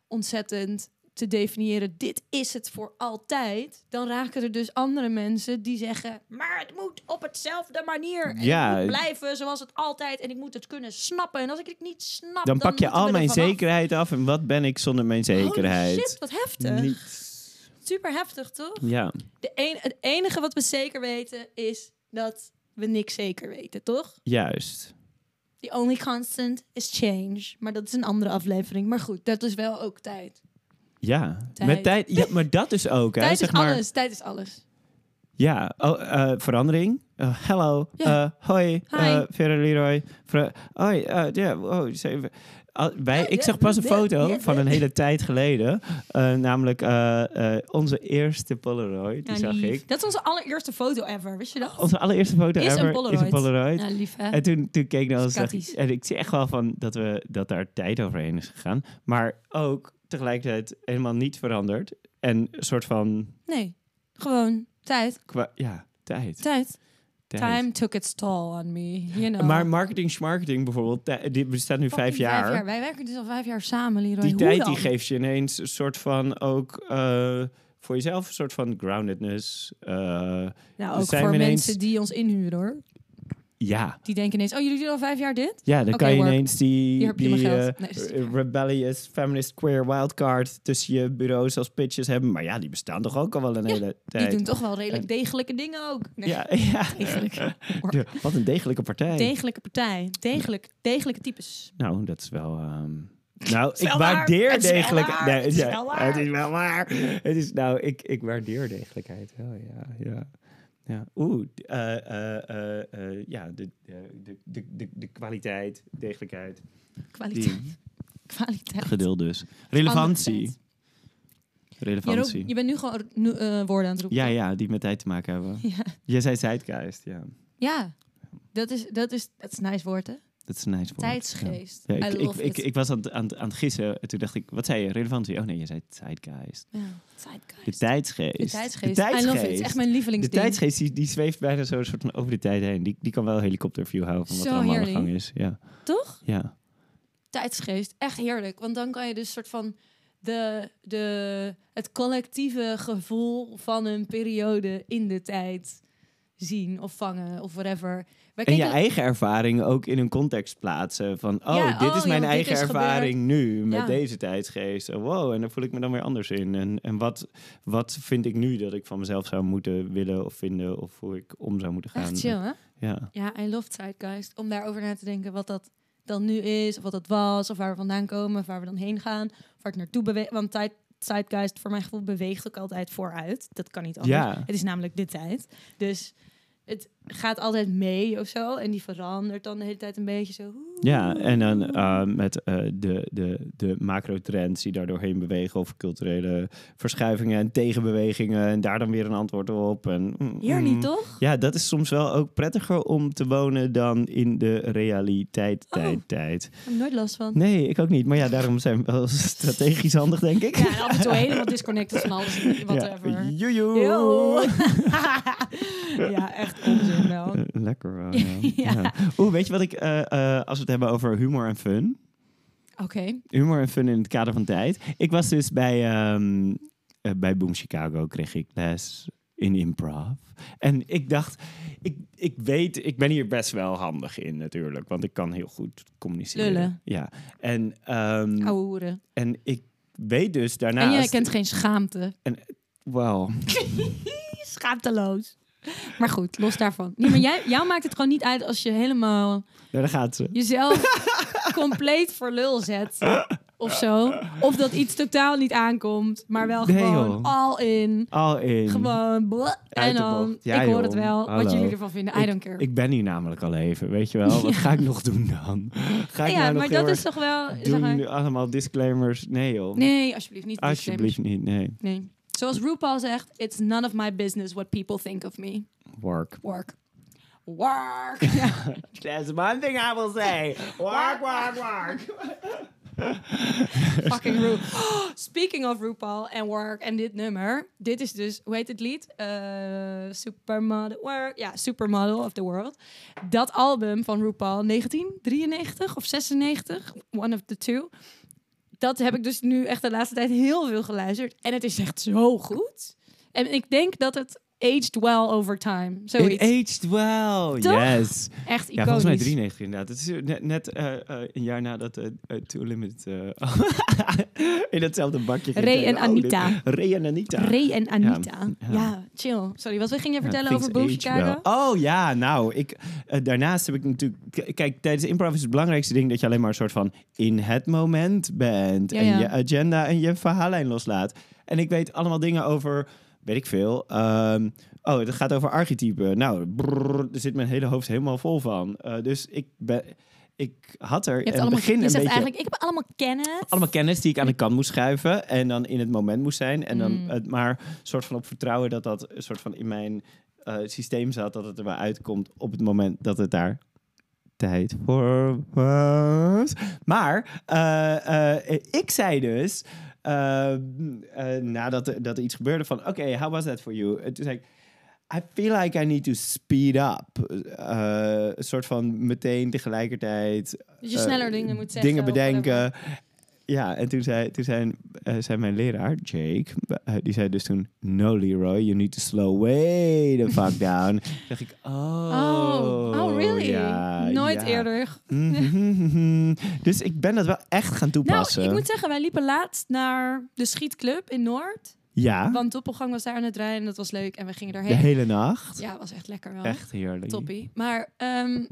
[SPEAKER 1] ontzettend te definiëren, dit is het voor altijd, dan raken er dus andere mensen die zeggen, maar het moet op hetzelfde manier en
[SPEAKER 2] Ja.
[SPEAKER 1] het moet blijven zoals het altijd en ik moet het kunnen snappen en als ik het niet snap,
[SPEAKER 2] dan pak je
[SPEAKER 1] moeten we
[SPEAKER 2] al
[SPEAKER 1] er
[SPEAKER 2] mijn
[SPEAKER 1] vanaf.
[SPEAKER 2] zekerheid af en wat ben ik zonder mijn zekerheid?
[SPEAKER 1] Holy shit, wat heftig.
[SPEAKER 2] Niets.
[SPEAKER 1] Super heftig, toch?
[SPEAKER 2] Ja,
[SPEAKER 1] De een, het enige wat we zeker weten is dat we niks zeker weten, toch?
[SPEAKER 2] juist.
[SPEAKER 1] The only constant is change. Maar dat is een andere aflevering. Maar goed, dat is wel ook tijd.
[SPEAKER 2] Ja,
[SPEAKER 1] Tijd.
[SPEAKER 2] met tijd. Ja, maar dat is ook. hè,
[SPEAKER 1] tijd
[SPEAKER 2] zeg
[SPEAKER 1] is
[SPEAKER 2] maar,
[SPEAKER 1] alles. Tijd is alles.
[SPEAKER 2] Ja, oh, eh, verandering. Eh, Hallo.
[SPEAKER 1] Ja.
[SPEAKER 2] Eh, hoi.
[SPEAKER 1] Hi.
[SPEAKER 2] eh, Vera Leroy. Fra- hoi. eh, ja, wow, eens even. Al- wij,
[SPEAKER 1] Ja,
[SPEAKER 2] ik
[SPEAKER 1] ja,
[SPEAKER 2] zag pas een
[SPEAKER 1] ja,
[SPEAKER 2] foto
[SPEAKER 1] ja,
[SPEAKER 2] van
[SPEAKER 1] ja.
[SPEAKER 2] een hele tijd geleden. Eh, namelijk eh, eh, onze eerste Polaroid. Die
[SPEAKER 1] Ja,
[SPEAKER 2] zag
[SPEAKER 1] lief.
[SPEAKER 2] ik. Oh,
[SPEAKER 1] Dat is onze allereerste foto ever. Wist je dat?
[SPEAKER 2] Onze allereerste foto
[SPEAKER 1] Is een
[SPEAKER 2] ever is een
[SPEAKER 1] Polaroid.
[SPEAKER 2] Polaroid.
[SPEAKER 1] Ja, lief hè?
[SPEAKER 2] En toen, toen keek ik naar ons
[SPEAKER 1] Schatties.
[SPEAKER 2] en ik zie echt wel van dat, we, dat daar tijd overheen is gegaan. Maar ook tegelijkertijd helemaal niet veranderd. En een soort van,
[SPEAKER 1] Nee, gewoon tijd.
[SPEAKER 2] qua, ja, tijd.
[SPEAKER 1] Tijd.
[SPEAKER 2] tijd.
[SPEAKER 1] Time took its toll on me. You know.
[SPEAKER 2] Maar marketing, smarketing bijvoorbeeld, tij- die bestaat nu
[SPEAKER 1] Fucking
[SPEAKER 2] vijf jaar.
[SPEAKER 1] Wij werken dus al vijf jaar samen, Leroy.
[SPEAKER 2] Die
[SPEAKER 1] Hoe
[SPEAKER 2] tijd
[SPEAKER 1] dan?
[SPEAKER 2] die geeft je ineens een soort van ook eh, voor jezelf een soort van groundedness. Eh,
[SPEAKER 1] Nou, ook
[SPEAKER 2] zijn
[SPEAKER 1] voor
[SPEAKER 2] we ineens-
[SPEAKER 1] mensen die ons inhuren, hoor.
[SPEAKER 2] ja.
[SPEAKER 1] Die denken ineens, oh, jullie doen al vijf jaar dit?
[SPEAKER 2] ja, dan
[SPEAKER 1] Oké,
[SPEAKER 2] kan je
[SPEAKER 1] work.
[SPEAKER 2] ineens die,
[SPEAKER 1] Hier heb je
[SPEAKER 2] die
[SPEAKER 1] mijn
[SPEAKER 2] eh,
[SPEAKER 1] geld. Nee, dat is niet
[SPEAKER 2] rebellious feminist queer wildcard tussen je bureaus als pitches hebben. Maar ja, die bestaan toch ook al wel een
[SPEAKER 1] Ja,
[SPEAKER 2] hele
[SPEAKER 1] Die
[SPEAKER 2] tijd.
[SPEAKER 1] doen toch wel redelijk degelijke dingen ook. Nee,
[SPEAKER 2] ja, ja.
[SPEAKER 1] degelijk.
[SPEAKER 2] Ja, Wat een degelijke partij.
[SPEAKER 1] Degelijke partij. Degelijk, degelijke types.
[SPEAKER 2] Nou, dat is wel. ehm, Nou, ik
[SPEAKER 1] wel waar.
[SPEAKER 2] waardeer
[SPEAKER 1] Het is wel
[SPEAKER 2] degelijk.
[SPEAKER 1] waar.
[SPEAKER 2] Nee,
[SPEAKER 1] Het is
[SPEAKER 2] ja,
[SPEAKER 1] wel waar.
[SPEAKER 2] Het is wel waar. Het is, nou, ik, ik waardeer degelijkheid wel, ja. ja. ja. Oeh, d- eh, eh, eh, eh, ja, de, de, de- de, de, de kwaliteit, degelijkheid.
[SPEAKER 1] Kwaliteit. Kwaliteit.
[SPEAKER 2] Geduld dus.
[SPEAKER 1] Andere
[SPEAKER 2] Relevantie.
[SPEAKER 1] tijd. Je, roept-
[SPEAKER 2] Relevantie.
[SPEAKER 1] je bent nu gewoon nu, eh, woorden aan het roepen.
[SPEAKER 2] Ja, ja, die met tijd te maken hebben.
[SPEAKER 1] Ja.
[SPEAKER 2] Jij zei zeitgeist, ja.
[SPEAKER 1] Ja. Dat is, dat is, dat is een nice woord, hè?
[SPEAKER 2] Dat is een nice woord. Ja.
[SPEAKER 1] Tijdsgeest.
[SPEAKER 2] Ja,
[SPEAKER 1] I
[SPEAKER 2] ik, ik,
[SPEAKER 1] love
[SPEAKER 2] ik,
[SPEAKER 1] it.
[SPEAKER 2] ik was aan het, aan, het- aan het gissen en toen dacht ik, wat zei je? Relevantie? Oh nee, je zei zeitgeist.
[SPEAKER 1] Ja,
[SPEAKER 2] De
[SPEAKER 1] tijdsgeest.
[SPEAKER 2] tijdsgeest.
[SPEAKER 1] De tijdsgeest. I love it. Het is echt mijn
[SPEAKER 2] de
[SPEAKER 1] lievelingsding.
[SPEAKER 2] tijdsgeest die, die zweeft bijna zo een soort van over de tijd heen. Die, die kan wel helikopterview houden van wat
[SPEAKER 1] Zo
[SPEAKER 2] er allemaal aan de
[SPEAKER 1] heerlijk.
[SPEAKER 2] gang is. Ja.
[SPEAKER 1] Toch?
[SPEAKER 2] ja.
[SPEAKER 1] Tijdsgeest. Echt heerlijk. Want dan kan je dus soort van de, de, het collectieve gevoel van een periode in de tijd zien of vangen of whatever. Wij
[SPEAKER 2] En je
[SPEAKER 1] keken-
[SPEAKER 2] eigen ervaring ook in een context plaatsen. Van, oh,
[SPEAKER 1] Ja,
[SPEAKER 2] dit
[SPEAKER 1] oh,
[SPEAKER 2] is
[SPEAKER 1] ja,
[SPEAKER 2] mijn
[SPEAKER 1] dit
[SPEAKER 2] eigen
[SPEAKER 1] is
[SPEAKER 2] ervaring nu met
[SPEAKER 1] Ja.
[SPEAKER 2] deze tijdsgeest. Oh, wow, en daar voel ik me dan weer anders in. En, en wat, wat vind ik nu dat ik van mezelf zou moeten willen of vinden... of hoe ik om zou moeten gaan.
[SPEAKER 1] Echt chill, hè?
[SPEAKER 2] Ja.
[SPEAKER 1] Ja, I love Zeitgeist. Om daarover na te denken wat dat dan nu is, of wat dat was, of waar we vandaan komen, of waar we dan heen gaan, of waar het naartoe beweegt. Want tijd, Zeitgeist, voor mijn gevoel, beweegt ook altijd vooruit. Dat kan niet anders.
[SPEAKER 2] Ja.
[SPEAKER 1] Het is namelijk de tijd. Dus het gaat altijd mee of zo. En die verandert dan de hele tijd een beetje zo. Oeh,
[SPEAKER 2] Ja, en dan eh, met eh, de, de, de macro-trends die daar doorheen bewegen... of culturele verschuivingen en tegenbewegingen... en daar dan weer een antwoord op. En, mm,
[SPEAKER 1] Hier
[SPEAKER 2] mm.
[SPEAKER 1] niet, toch?
[SPEAKER 2] Ja, dat is soms wel ook prettiger om te wonen dan in de realiteit,
[SPEAKER 1] Oh.
[SPEAKER 2] tijd, tijd.
[SPEAKER 1] Ik heb er nooit last van.
[SPEAKER 2] Nee, ik ook niet. Maar ja, daarom zijn we wel strategisch handig, denk ik.
[SPEAKER 1] Ja, en af en toe helemaal disconnected van alles. en Whatever. Ja.
[SPEAKER 2] Joejoe.
[SPEAKER 1] ja, echt onzin wel.
[SPEAKER 2] Eh, Lekker wel. ja. Ja. Oeh, weet je wat ik, eh, eh, als we het hebben over humor en fun.
[SPEAKER 1] Oké.
[SPEAKER 2] Humor en fun in het kader van tijd. Ik was dus bij, ehm, eh, bij Boom Chicago, kreeg ik les in improv. En ik dacht, ik, ik weet, ik ben hier best wel handig in natuurlijk. Want ik kan heel goed communiceren.
[SPEAKER 1] Lullen.
[SPEAKER 2] Ja. En, ehm,
[SPEAKER 1] Ouwe hoeren.
[SPEAKER 2] en ik weet dus daarnaast...
[SPEAKER 1] en jij kent geen schaamte.
[SPEAKER 2] Wauw.
[SPEAKER 1] Schaamteloos. Maar goed, los daarvan. Nee, maar jij, jou maakt het gewoon niet uit als je helemaal
[SPEAKER 2] Ja, daar gaat ze.
[SPEAKER 1] jezelf compleet voor lul zet. Of zo. Of dat iets totaal niet aankomt, maar wel
[SPEAKER 2] Nee,
[SPEAKER 1] gewoon
[SPEAKER 2] joh.
[SPEAKER 1] all in.
[SPEAKER 2] Al in.
[SPEAKER 1] Gewoon bleh, en
[SPEAKER 2] Uit de
[SPEAKER 1] dan,
[SPEAKER 2] bocht. Ja,
[SPEAKER 1] ik hoor
[SPEAKER 2] joh.
[SPEAKER 1] het wel,
[SPEAKER 2] Hallo.
[SPEAKER 1] wat jullie ervan vinden. I don't care.
[SPEAKER 2] Ik ben hier namelijk al even, weet je wel. Wat ga ik nog doen dan? Ga ik
[SPEAKER 1] ja,
[SPEAKER 2] nou nog
[SPEAKER 1] maar
[SPEAKER 2] heel
[SPEAKER 1] dat is
[SPEAKER 2] erg
[SPEAKER 1] toch wel... zeg
[SPEAKER 2] doen
[SPEAKER 1] maar-
[SPEAKER 2] allemaal disclaimers? Nee joh.
[SPEAKER 1] nee, alsjeblieft, niet
[SPEAKER 2] Alsjeblieft niet, nee.
[SPEAKER 1] Nee. Zoals RuPaul zegt, it's none of my business what people think of me.
[SPEAKER 2] Work.
[SPEAKER 1] Work. Work. Ja.
[SPEAKER 2] That's one thing I will say. Work, work, work.
[SPEAKER 1] Fucking Ru. Speaking of RuPaul en Work en dit nummer. Dit is dus, hoe heet het lied? Eh, Supermodel Work. Ja, Supermodel of the World. Dat album van RuPaul, 1993 of 96. One of the two. Dat heb ik dus nu echt de laatste tijd heel veel geluisterd. En het is echt zo goed. En ik denk dat het aged well over time.
[SPEAKER 2] It
[SPEAKER 1] Zoiets.
[SPEAKER 2] aged well.
[SPEAKER 1] Toch?
[SPEAKER 2] Yes.
[SPEAKER 1] Echt
[SPEAKER 2] Ja,
[SPEAKER 1] iconisch.
[SPEAKER 2] volgens mij 93 inderdaad. Het is net, net eh, eh, een jaar nadat eh eh, Two Limit eh, in hetzelfde bakje ging.
[SPEAKER 1] Ray en
[SPEAKER 2] Oh, dit-
[SPEAKER 1] Anita.
[SPEAKER 2] Ray en Anita.
[SPEAKER 1] Ray en Anita.
[SPEAKER 2] Ja,
[SPEAKER 1] Ja,
[SPEAKER 2] ja.
[SPEAKER 1] chill. Sorry, wat ging je vertellen
[SPEAKER 2] Ja,
[SPEAKER 1] over Boom
[SPEAKER 2] things age
[SPEAKER 1] Chicago?
[SPEAKER 2] wel. Oh ja, nou, ik, eh, daarnaast heb ik natuurlijk... k- Kijk, tijdens improv is het belangrijkste ding dat je alleen maar een soort van in het moment bent.
[SPEAKER 1] Ja,
[SPEAKER 2] en
[SPEAKER 1] ja.
[SPEAKER 2] je agenda en je verhaallijn loslaat. En ik weet allemaal dingen over, weet ik veel... ehm, oh, het gaat over archetypen. Nou, brrr, daar zit mijn hele hoofd helemaal vol van. Eh, dus ik ben... Ik had
[SPEAKER 1] Je,
[SPEAKER 2] er
[SPEAKER 1] hebt
[SPEAKER 2] in het
[SPEAKER 1] allemaal,
[SPEAKER 2] begin
[SPEAKER 1] je
[SPEAKER 2] een
[SPEAKER 1] zegt
[SPEAKER 2] beetje
[SPEAKER 1] eigenlijk, ik heb allemaal kennis.
[SPEAKER 2] allemaal kennis die ik aan de kant moest schuiven en dan in het moment moest zijn. En dan het maar soort van op vertrouwen dat dat een soort van in mijn eh, systeem zat, dat het er wel uitkomt op het moment dat het daar tijd voor was. Maar eh, eh, ik zei dus, eh, eh, nadat er, dat er iets gebeurde van, oké, how was that for you? En toen zei ik, I feel like I need to speed up. Eh, een soort van meteen tegelijkertijd.
[SPEAKER 1] Dat je
[SPEAKER 2] eh,
[SPEAKER 1] sneller dingen moet zeggen
[SPEAKER 2] Dingen
[SPEAKER 1] of
[SPEAKER 2] bedenken. Ja, en toen zei, toen zei, eh, zei mijn leraar, Jake, eh, die zei dus toen... No, Leroy, you need to slow way the fuck down. dacht ik, oh.
[SPEAKER 1] Oh, oh really?
[SPEAKER 2] ja,
[SPEAKER 1] Nooit
[SPEAKER 2] ja.
[SPEAKER 1] eerder.
[SPEAKER 2] Mhm. dus ik ben dat wel echt gaan toepassen.
[SPEAKER 1] Nou, ik moet zeggen, wij liepen laatst naar de schietclub in Noord.
[SPEAKER 2] ja,
[SPEAKER 1] Want Doppelgang was daar aan het rijden en dat was leuk. En we gingen
[SPEAKER 2] Ah. de
[SPEAKER 1] daarheen.
[SPEAKER 2] hele nacht.
[SPEAKER 1] Ja, was echt lekker wel.
[SPEAKER 2] Echt heerlijk.
[SPEAKER 1] Toppie. Maar ehm,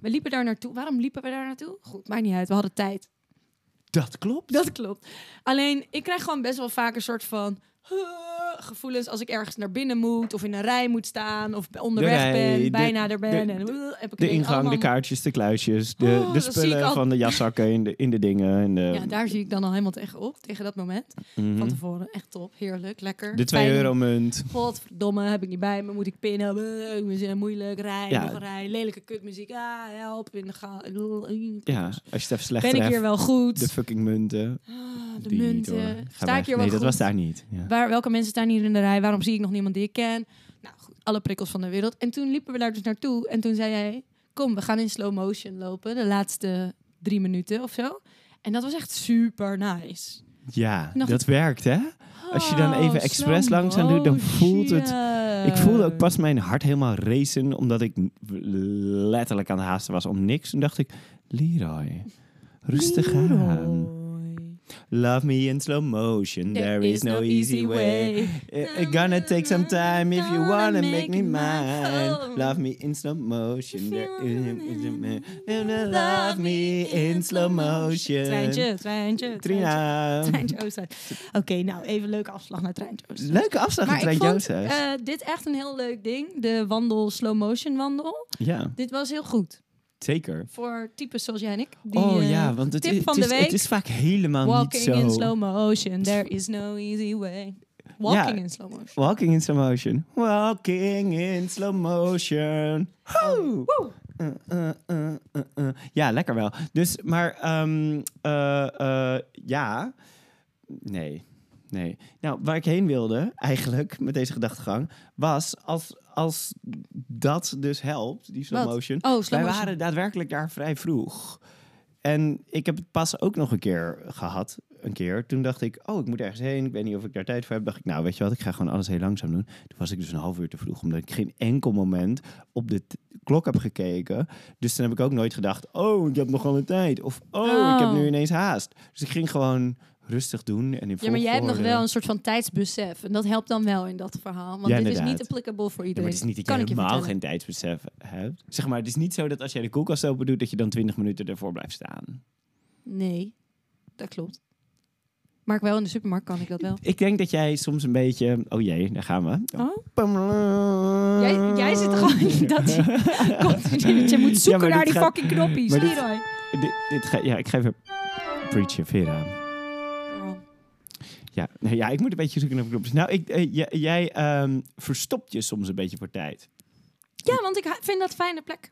[SPEAKER 1] we liepen daar naartoe. Waarom liepen we daar naartoe? Goed, maakt niet uit. We hadden tijd.
[SPEAKER 2] Dat klopt.
[SPEAKER 1] Dat klopt. Alleen, ik krijg gewoon best wel vaak een soort van... huh, gevoelens als ik ergens naar binnen moet... of in een rij moet staan, of onderweg
[SPEAKER 2] rij,
[SPEAKER 1] ben,
[SPEAKER 2] de-
[SPEAKER 1] bijna er ben.
[SPEAKER 2] de-
[SPEAKER 1] en, uh, heb ik
[SPEAKER 2] De
[SPEAKER 1] ineens
[SPEAKER 2] ingang,
[SPEAKER 1] allemaal-
[SPEAKER 2] de kaartjes, de kluisjes, de,
[SPEAKER 1] Oh,
[SPEAKER 2] de
[SPEAKER 1] dat zie ik
[SPEAKER 2] spullen
[SPEAKER 1] al.
[SPEAKER 2] van de jaszakken in de, in de dingen. En de,
[SPEAKER 1] Ja, daar zie ik dan al helemaal tegenop, tegen dat moment.
[SPEAKER 2] Mhm.
[SPEAKER 1] Van tevoren, echt top, heerlijk, lekker.
[SPEAKER 2] de 2
[SPEAKER 1] Fijn.
[SPEAKER 2] euro munt.
[SPEAKER 1] Godverdomme, heb ik niet bij me, moet ik pinnen, Bleh, we zijn moeilijk, rij,
[SPEAKER 2] Ja.
[SPEAKER 1] nog een rij, lelijke kutmuziek, ah, help, in de ga...
[SPEAKER 2] Ja, als je het even slecht
[SPEAKER 1] Ben ik
[SPEAKER 2] treft.
[SPEAKER 1] hier wel goed?
[SPEAKER 2] De fucking munten.
[SPEAKER 1] Ah, de
[SPEAKER 2] Die niet, hoor.
[SPEAKER 1] munten,
[SPEAKER 2] Ga
[SPEAKER 1] sta
[SPEAKER 2] weg.
[SPEAKER 1] ik hier wel goed?
[SPEAKER 2] Nee, dat was daar niet. Ja.
[SPEAKER 1] Waar, welke mensen staan hier in de rij? Waarom zie ik nog niemand die ik ken? Nou, goed, alle prikkels van de wereld. En toen liepen we daar dus naartoe. En toen zei hij, kom, we gaan in slow motion lopen. De laatste drie minuten of zo. En dat was echt super nice.
[SPEAKER 2] Ja,
[SPEAKER 1] Nog-
[SPEAKER 2] dat werkt hè? Als je dan even
[SPEAKER 1] Oh,
[SPEAKER 2] expres
[SPEAKER 1] slow
[SPEAKER 2] langzaam doet, dan voelt het-
[SPEAKER 1] motion.
[SPEAKER 2] Ik voelde ook pas mijn hart helemaal racen, omdat ik n- letterlijk aan het haasten was om niks. Toen dacht ik, Leroy, rustig aan.
[SPEAKER 1] Leroy.
[SPEAKER 2] Love me in slow motion, there, is, no easy way. I- It's gonna take some time if you wanna make me mine. Love me in slow motion, there is Love me in slow motion.
[SPEAKER 1] Treintje, treintje. treintje.
[SPEAKER 2] Trina.
[SPEAKER 1] Treintje Oosterhuis. Oké, nou, even leuke afslag naar Treintje Oosterhuis.
[SPEAKER 2] Leuke afslag in
[SPEAKER 1] Maar ik
[SPEAKER 2] Treintje
[SPEAKER 1] vond
[SPEAKER 2] Oosterhuis.
[SPEAKER 1] eh, dit echt een heel leuk ding. De wandel, slow motion wandel.
[SPEAKER 2] Ja.
[SPEAKER 1] Dit was heel goed.
[SPEAKER 2] Zeker.
[SPEAKER 1] Voor types zoals jij en ik. Die,
[SPEAKER 2] oh
[SPEAKER 1] eh,
[SPEAKER 2] ja, want het,
[SPEAKER 1] tip
[SPEAKER 2] is,
[SPEAKER 1] van
[SPEAKER 2] het,
[SPEAKER 1] de
[SPEAKER 2] is,
[SPEAKER 1] week.
[SPEAKER 2] het is vaak helemaal
[SPEAKER 1] Walking
[SPEAKER 2] niet zo...
[SPEAKER 1] in slow motion, there is no easy way. Walking
[SPEAKER 2] Ja.
[SPEAKER 1] in slow motion.
[SPEAKER 2] Walking in slow motion. Walking in slow motion.
[SPEAKER 1] Oh,
[SPEAKER 2] Ho! Uh, uh, uh, uh, uh. Ja, lekker wel. Dus, maar ehm, eh, eh, ja, nee, nee. Nou, waar ik heen wilde eigenlijk met deze gedachtegang was als, als dat dus helpt, die slow
[SPEAKER 1] Wat?
[SPEAKER 2] motion.
[SPEAKER 1] Oh, slow
[SPEAKER 2] wij
[SPEAKER 1] motion.
[SPEAKER 2] waren daadwerkelijk daar vrij vroeg. En ik heb het pas ook nog een keer gehad. Een keer. Toen dacht ik, oh, ik moet ergens heen. Ik weet niet of ik daar tijd voor heb. Dacht ik, nou, weet je wat, ik ga gewoon alles heel langzaam doen. Toen was ik dus een half uur te vroeg, omdat ik geen enkel moment op de t- klok heb gekeken. Dus toen heb ik ook nooit gedacht, oh, ik heb nog wel een tijd. Of, oh, ik heb
[SPEAKER 1] Oh.
[SPEAKER 2] nu ineens haast. Dus ik ging gewoon rustig doen. En in
[SPEAKER 1] Ja, maar jij hebt nog
[SPEAKER 2] volgorde.
[SPEAKER 1] wel een soort van tijdsbesef. En dat helpt dan wel in dat verhaal. Want
[SPEAKER 2] Ja,
[SPEAKER 1] dit is
[SPEAKER 2] inderdaad.
[SPEAKER 1] niet applicable voor
[SPEAKER 2] Ja,
[SPEAKER 1] iedereen.
[SPEAKER 2] maar het is niet dat je
[SPEAKER 1] kan ik je
[SPEAKER 2] helemaal
[SPEAKER 1] vertellen.
[SPEAKER 2] geen tijdsbesef hebt. Zeg maar, het is niet zo dat als jij de koelkast open doet, dat je dan 20 minuten ervoor blijft staan.
[SPEAKER 1] Nee, dat klopt. Maar wel in de supermarkt kan ik dat wel.
[SPEAKER 2] Ik denk dat jij soms een beetje... Oh jee, daar gaan we.
[SPEAKER 1] Oh?
[SPEAKER 2] Pamela.
[SPEAKER 1] Jij, jij zit gewoon in dat continu. dat Je moet
[SPEAKER 2] Ja,
[SPEAKER 1] zoeken
[SPEAKER 2] maar
[SPEAKER 1] naar
[SPEAKER 2] dit
[SPEAKER 1] die
[SPEAKER 2] gaat-
[SPEAKER 1] fucking knoppies.
[SPEAKER 2] maar dit-
[SPEAKER 1] Leroy.
[SPEAKER 2] Dit, dit ga, ja, ik ga even preachen, Vera. Ja, nee, ja, ik moet een beetje zoeken naar knopjes. Nou, ik, eh, j- jij ehm, verstopt je soms een beetje voor tijd.
[SPEAKER 1] Ja, want ik ha- vind dat fijne plek.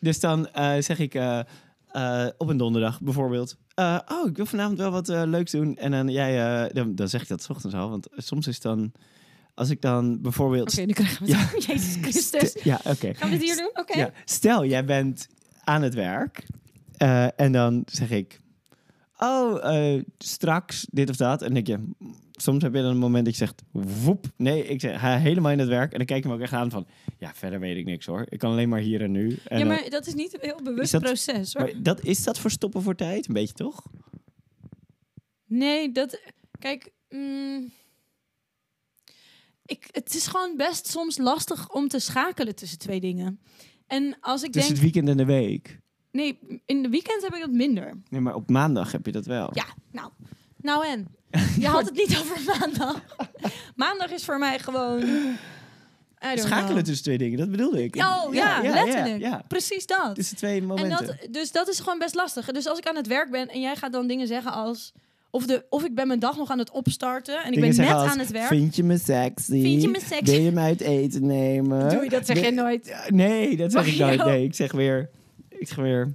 [SPEAKER 2] Dus dan eh, zeg ik eh, eh, op een donderdag bijvoorbeeld... eh, oh, ik wil vanavond wel wat eh, leuks doen. En dan, jij, eh, dan, dan zeg ik dat 's ochtends al. Want soms is dan... Als ik dan bijvoorbeeld...
[SPEAKER 1] Oké, nu krijgen we het. Jezus Christus.
[SPEAKER 2] St- Ja, oké.
[SPEAKER 1] Gaan we dit hier doen? Oké.
[SPEAKER 2] Ja. Stel, jij bent aan het werk eh, en dan zeg ik, oh, eh, straks dit of dat. En dan denk je, soms heb je dan een moment dat je zegt, woep. Nee, ik zeg, ga helemaal in het werk. En dan kijk je me ook echt aan van, ja, verder weet ik niks hoor. Ik kan alleen maar hier en nu. En
[SPEAKER 1] Ja,
[SPEAKER 2] dan-
[SPEAKER 1] maar dat is niet een heel bewust
[SPEAKER 2] dat-
[SPEAKER 1] proces hoor.
[SPEAKER 2] maar dat, is dat verstoppen voor tijd? Een beetje toch?
[SPEAKER 1] Nee, dat. Kijk, mm, ik, het is gewoon best soms lastig om te schakelen tussen twee dingen. En als ik
[SPEAKER 2] Tussen
[SPEAKER 1] denk.
[SPEAKER 2] Dus het weekend en de week.
[SPEAKER 1] Nee, in de weekend heb ik dat minder.
[SPEAKER 2] Nee, maar op maandag heb je dat wel.
[SPEAKER 1] Ja, nou. Nou en? Je had het niet over maandag. maandag is voor mij gewoon. I don't
[SPEAKER 2] Schakelen
[SPEAKER 1] know.
[SPEAKER 2] tussen twee dingen, dat bedoelde ik.
[SPEAKER 1] Oh ja, letterlijk.
[SPEAKER 2] Ja, ja.
[SPEAKER 1] Precies dat.
[SPEAKER 2] Tussen twee
[SPEAKER 1] En
[SPEAKER 2] momenten.
[SPEAKER 1] dat, dus dat is gewoon best lastig. Dus als ik aan het werk ben en jij gaat dan dingen zeggen als. Of, de, of ik ben mijn dag nog aan het opstarten en ik
[SPEAKER 2] Dingen
[SPEAKER 1] ben net
[SPEAKER 2] zeggen als,
[SPEAKER 1] aan het werk.
[SPEAKER 2] Vind je me sexy?
[SPEAKER 1] Vind je me sexy?
[SPEAKER 2] Wil je me uit eten nemen?
[SPEAKER 1] Doe je dat zeg
[SPEAKER 2] Wil-
[SPEAKER 1] je nooit.
[SPEAKER 2] Ja, Nee, dat zeg ik
[SPEAKER 1] Mario.
[SPEAKER 2] nooit. Nee, ik zeg weer... Ik zeg weer...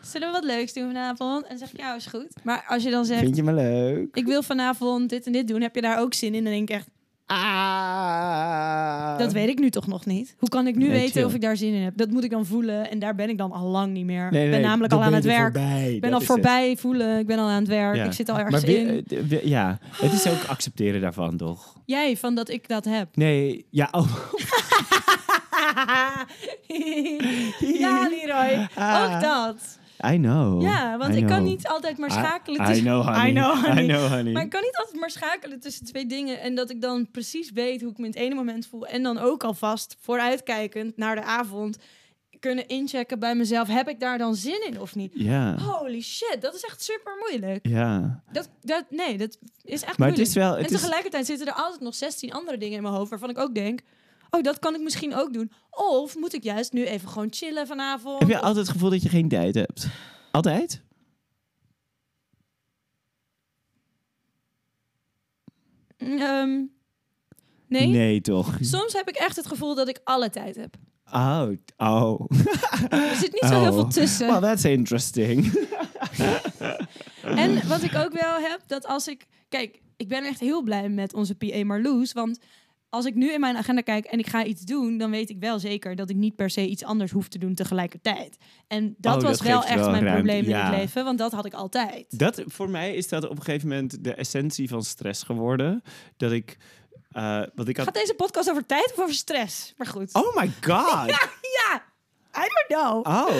[SPEAKER 1] Zullen we wat leuks doen vanavond? En dan zeg ik, ja, is goed. Maar als je dan zegt,
[SPEAKER 2] Vind je me leuk?
[SPEAKER 1] ik wil vanavond dit en dit doen, heb je daar ook zin in? Dan denk ik echt,
[SPEAKER 2] Ah.
[SPEAKER 1] dat weet ik nu toch nog niet. Hoe kan ik nu
[SPEAKER 2] Nee,
[SPEAKER 1] weten
[SPEAKER 2] chill.
[SPEAKER 1] of ik daar zin in heb? Dat moet ik dan voelen en daar ben ik dan al lang niet meer.
[SPEAKER 2] Nee,
[SPEAKER 1] ik
[SPEAKER 2] nee,
[SPEAKER 1] ben namelijk
[SPEAKER 2] dan
[SPEAKER 1] al aan
[SPEAKER 2] ben
[SPEAKER 1] het
[SPEAKER 2] je er
[SPEAKER 1] werk.
[SPEAKER 2] voorbij.
[SPEAKER 1] Ik ben
[SPEAKER 2] Dat
[SPEAKER 1] al
[SPEAKER 2] is
[SPEAKER 1] voorbij voelen, ik ben al aan het werk,
[SPEAKER 2] het. Ja.
[SPEAKER 1] ik zit al
[SPEAKER 2] Maar
[SPEAKER 1] ergens
[SPEAKER 2] wi-
[SPEAKER 1] in.
[SPEAKER 2] eh, d- wi- ja, het is ook accepteren daarvan, toch?
[SPEAKER 1] Jij, van dat ik dat heb.
[SPEAKER 2] Nee, ja, oh.
[SPEAKER 1] ja, Leroy,
[SPEAKER 2] Ah.
[SPEAKER 1] ook dat.
[SPEAKER 2] I know.
[SPEAKER 1] Ja, want
[SPEAKER 2] I
[SPEAKER 1] ik kan
[SPEAKER 2] know.
[SPEAKER 1] niet altijd maar
[SPEAKER 2] I-
[SPEAKER 1] schakelen.
[SPEAKER 2] I,
[SPEAKER 1] tussen-
[SPEAKER 2] know, honey.
[SPEAKER 1] I know, honey.
[SPEAKER 2] I know, honey.
[SPEAKER 1] Maar ik kan niet altijd maar schakelen tussen twee dingen. En dat ik dan precies weet hoe ik me in het ene moment voel. En dan ook alvast vooruitkijkend naar de avond kunnen inchecken bij mezelf. Heb ik daar dan zin in of niet?
[SPEAKER 2] Ja,
[SPEAKER 1] Holy shit, dat is echt super moeilijk.
[SPEAKER 2] ja.
[SPEAKER 1] Dat, dat, nee, dat is echt
[SPEAKER 2] Maar het
[SPEAKER 1] moeilijk.
[SPEAKER 2] is wel...
[SPEAKER 1] en
[SPEAKER 2] Het is,
[SPEAKER 1] tegelijkertijd zitten er altijd nog 16 andere dingen in mijn hoofd waarvan ik ook denk... Oh, dat kan ik misschien ook doen. Of moet ik juist nu even gewoon chillen vanavond?
[SPEAKER 2] heb je
[SPEAKER 1] Of-
[SPEAKER 2] altijd het gevoel dat je geen tijd hebt? Altijd?
[SPEAKER 1] Ehm, nee?
[SPEAKER 2] toch?
[SPEAKER 1] Soms heb ik echt het gevoel dat ik alle tijd heb.
[SPEAKER 2] Oh, oh.
[SPEAKER 1] Er zit niet zo heel
[SPEAKER 2] Oh.
[SPEAKER 1] veel tussen.
[SPEAKER 2] Well, that's interesting.
[SPEAKER 1] En wat ik ook wel heb, dat als ik... Kijk, ik ben echt heel blij met onze PA Marloes. Want als ik nu in mijn agenda kijk en ik ga iets doen... dan weet ik wel zeker dat ik niet per se iets anders hoef te doen tegelijkertijd. En dat
[SPEAKER 2] Oh,
[SPEAKER 1] was
[SPEAKER 2] dat
[SPEAKER 1] wel
[SPEAKER 2] geeft
[SPEAKER 1] echt
[SPEAKER 2] wel
[SPEAKER 1] mijn
[SPEAKER 2] ruimte,
[SPEAKER 1] probleem
[SPEAKER 2] ja.
[SPEAKER 1] in het leven. Want dat had ik altijd.
[SPEAKER 2] Dat, voor mij is dat op een gegeven moment de essentie van stress geworden. Dat ik, eh wat ik had...
[SPEAKER 1] Gaat deze podcast over tijd of over stress? Maar goed.
[SPEAKER 2] Oh my god!
[SPEAKER 1] Ja, I don't know.
[SPEAKER 2] Oh, want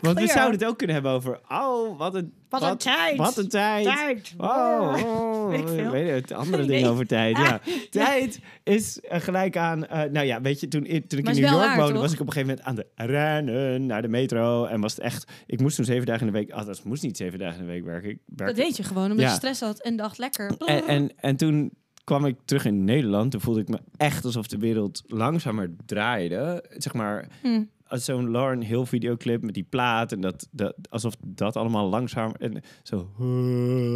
[SPEAKER 2] we
[SPEAKER 1] Unclear.
[SPEAKER 2] zouden het ook kunnen hebben over... Oh, wat een...
[SPEAKER 1] Wat een tijd.
[SPEAKER 2] Wat een tijd!
[SPEAKER 1] Tijd.
[SPEAKER 2] Oh, oh,
[SPEAKER 1] Weet ik veel.
[SPEAKER 2] weet het, andere
[SPEAKER 1] Nee.
[SPEAKER 2] dingen over tijd. Ja. Tijd is eh, gelijk aan. eh, nou ja, weet je, toen, ik- toen ik
[SPEAKER 1] Maar
[SPEAKER 2] in
[SPEAKER 1] is
[SPEAKER 2] New
[SPEAKER 1] wel
[SPEAKER 2] York
[SPEAKER 1] waar,
[SPEAKER 2] woonde,
[SPEAKER 1] toch?
[SPEAKER 2] was ik op een gegeven moment aan de rennen naar de metro. En was het echt. Ik moest toen zeven dagen in de week. Ah, dat moest niet zeven dagen in de week werken. Ik
[SPEAKER 1] Dat
[SPEAKER 2] werkte
[SPEAKER 1] deed je gewoon omdat
[SPEAKER 2] Ja.
[SPEAKER 1] je stress had en dacht lekker.
[SPEAKER 2] en, en, en toen kwam ik terug in Nederland. Toen voelde ik me echt alsof de wereld langzamer draaide. Zeg maar,
[SPEAKER 1] Hm.
[SPEAKER 2] als zo'n Lauren Hill videoclip met die plaat en dat, dat alsof dat allemaal langzaam en zo.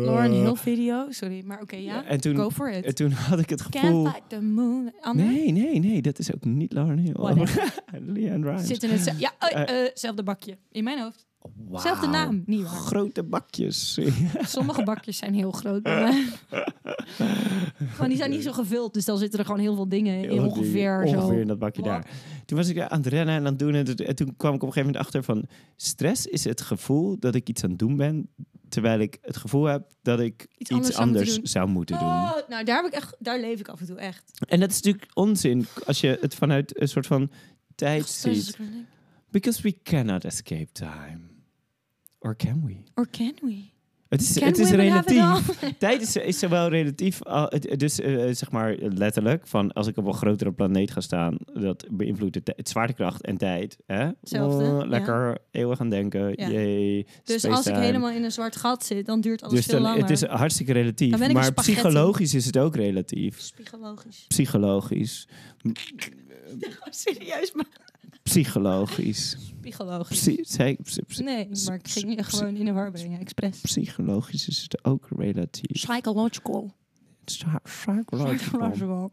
[SPEAKER 1] Lauren Hill video, sorry, maar oké, ja.
[SPEAKER 2] Ja, Eh. en toen-
[SPEAKER 1] Go for it.
[SPEAKER 2] En toen had ik het
[SPEAKER 1] Can't
[SPEAKER 2] gevoel.
[SPEAKER 1] fight the moon. Ander?
[SPEAKER 2] Nee, nee, nee, dat is ook niet Lauren Hill.
[SPEAKER 1] Whatever.
[SPEAKER 2] Leanne Rimes.
[SPEAKER 1] Zit in hetzelfde... Ja, oh,
[SPEAKER 2] Eh.
[SPEAKER 1] eh, hetzelfde bakje. In mijn hoofd.
[SPEAKER 2] Wauw.
[SPEAKER 1] Zelfde naam, niet waar.
[SPEAKER 2] Grote bakjes.
[SPEAKER 1] Sommige bakjes zijn heel groot bij mij. Gewoon, die zijn niet zo gevuld, dus dan zitten er gewoon heel veel dingen in.
[SPEAKER 2] Heel die-
[SPEAKER 1] Ongeveer,
[SPEAKER 2] ongeveer in
[SPEAKER 1] zo.
[SPEAKER 2] dat bakje daar. Toen was ik daar aan het rennen en aan het doen. En, toen- en toen kwam ik op een gegeven moment achter van... Stress is het gevoel dat ik iets aan het doen ben... terwijl ik het gevoel heb dat ik iets,
[SPEAKER 1] anders
[SPEAKER 2] anders,
[SPEAKER 1] zou moeten doen.
[SPEAKER 2] zou moeten doen.
[SPEAKER 1] Oh, nou, daar, heb ik echt, daar leef ik af en toe echt.
[SPEAKER 2] En dat is natuurlijk onzin als je het vanuit een soort van tijd
[SPEAKER 1] dus-
[SPEAKER 2] ziet. Because we cannot escape time. Or can we?
[SPEAKER 1] Or can we?
[SPEAKER 2] Het is,
[SPEAKER 1] Can
[SPEAKER 2] het is
[SPEAKER 1] women have it
[SPEAKER 2] relatief.
[SPEAKER 1] all?
[SPEAKER 2] Tijd is, is zowel relatief, al- het- het- dus eh, zeg maar letterlijk, van als ik op een grotere planeet ga staan, dat beïnvloedt de tij- het zwaartekracht en tijd. Hè?
[SPEAKER 1] Hetzelfde,
[SPEAKER 2] Oh,
[SPEAKER 1] ja.
[SPEAKER 2] lekker eeuwig aan denken.
[SPEAKER 1] Ja.
[SPEAKER 2] Yay,
[SPEAKER 1] Dus
[SPEAKER 2] space
[SPEAKER 1] als ik
[SPEAKER 2] time.
[SPEAKER 1] helemaal in een zwart gat zit, dan duurt alles
[SPEAKER 2] Dus
[SPEAKER 1] veel
[SPEAKER 2] dan,
[SPEAKER 1] langer.
[SPEAKER 2] het is hartstikke relatief.
[SPEAKER 1] Dan ben ik een
[SPEAKER 2] Maar
[SPEAKER 1] spaghetti.
[SPEAKER 2] psychologisch is het ook relatief.
[SPEAKER 1] Psychologisch.
[SPEAKER 2] Psychologisch.
[SPEAKER 1] Serieus, maar
[SPEAKER 2] Psychologisch.
[SPEAKER 1] psychologisch.
[SPEAKER 2] Psy- zei ik psy- psy-
[SPEAKER 1] Nee, maar ik ging je gewoon in de war brengen, expres.
[SPEAKER 2] psychologisch is het ook relatief.
[SPEAKER 1] Psychological.
[SPEAKER 2] Psy- Psychological.
[SPEAKER 1] Psychological.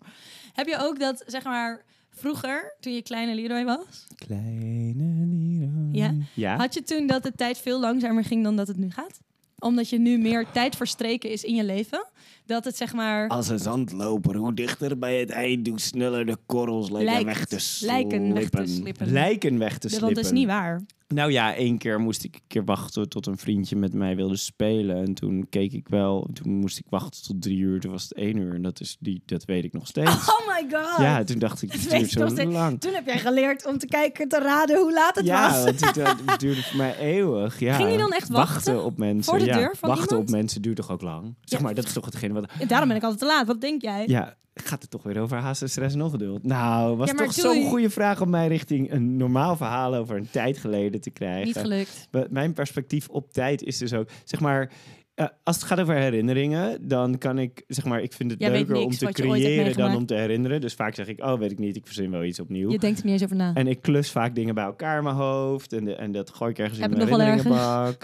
[SPEAKER 1] Heb je ook dat, zeg maar, vroeger, toen je kleine Leroy was,
[SPEAKER 2] Kleine Leroy.
[SPEAKER 1] Ja?
[SPEAKER 2] Ja?
[SPEAKER 1] had je toen dat de tijd veel langzamer ging dan dat het nu gaat? Omdat je nu meer tijd verstreken is in je leven? Dat het, zeg maar...
[SPEAKER 3] Als een zandloper, hoe dichter bij het eind, hoe sneller de korrels lijken
[SPEAKER 1] Lijkt-
[SPEAKER 3] weg te slippen.
[SPEAKER 1] lijken weg te slippen.
[SPEAKER 2] Lijken weg te
[SPEAKER 1] Ja,
[SPEAKER 2] slippen.
[SPEAKER 1] Want dat is niet waar.
[SPEAKER 2] Nou ja, één keer moest ik een keer wachten tot een vriendje met mij wilde spelen. En toen keek ik wel. Toen moest ik wachten tot drie uur. Toen was het één uur. En dat, is die, dat weet ik nog steeds.
[SPEAKER 1] Oh my god!
[SPEAKER 2] ja, toen dacht ik,
[SPEAKER 1] Dat
[SPEAKER 2] het
[SPEAKER 1] weet
[SPEAKER 2] duurt
[SPEAKER 1] ik nog
[SPEAKER 2] zo
[SPEAKER 1] steeds.
[SPEAKER 2] lang.
[SPEAKER 1] Toen heb jij geleerd om te kijken, te raden hoe laat het
[SPEAKER 2] ja,
[SPEAKER 1] was.
[SPEAKER 2] want het, duurde- het duurde voor mij eeuwig. Ja.
[SPEAKER 1] Ging je dan echt wachten?
[SPEAKER 2] op mensen.
[SPEAKER 1] Voor de
[SPEAKER 2] ja.
[SPEAKER 1] deur van
[SPEAKER 2] wachten
[SPEAKER 1] iemand?
[SPEAKER 2] op mensen duurt toch ook lang? Zeg
[SPEAKER 1] Ja.
[SPEAKER 2] maar, dat is toch hetgeen wat...
[SPEAKER 1] En daarom ben ik altijd te laat. Wat denk jij?
[SPEAKER 2] Ja, gaat het toch weer over haast en stress en ongeduld? Nou, was
[SPEAKER 1] Ja, maar
[SPEAKER 2] toch
[SPEAKER 1] doei.
[SPEAKER 2] zo'n goede vraag om mij richting een normaal verhaal over een tijd geleden te krijgen.
[SPEAKER 1] Niet gelukt.
[SPEAKER 2] Wa- Mijn perspectief op tijd is dus ook, zeg maar, eh, als het gaat over herinneringen, dan kan ik, zeg maar, ik vind het
[SPEAKER 1] Jij weet
[SPEAKER 2] leuker om
[SPEAKER 1] niks
[SPEAKER 2] te
[SPEAKER 1] wat je ooit hebt
[SPEAKER 2] creëren dan
[SPEAKER 1] meegemaakt.
[SPEAKER 2] om te herinneren. Dus vaak zeg ik, oh, weet ik niet, ik verzin wel iets opnieuw.
[SPEAKER 1] Je denkt er niet eens over na.
[SPEAKER 2] En ik klus vaak dingen bij elkaar in mijn hoofd. En, de- en dat gooi ik ergens
[SPEAKER 1] Heb
[SPEAKER 2] in
[SPEAKER 1] ik
[SPEAKER 2] mijn
[SPEAKER 1] nog wel
[SPEAKER 2] herinneringenbak.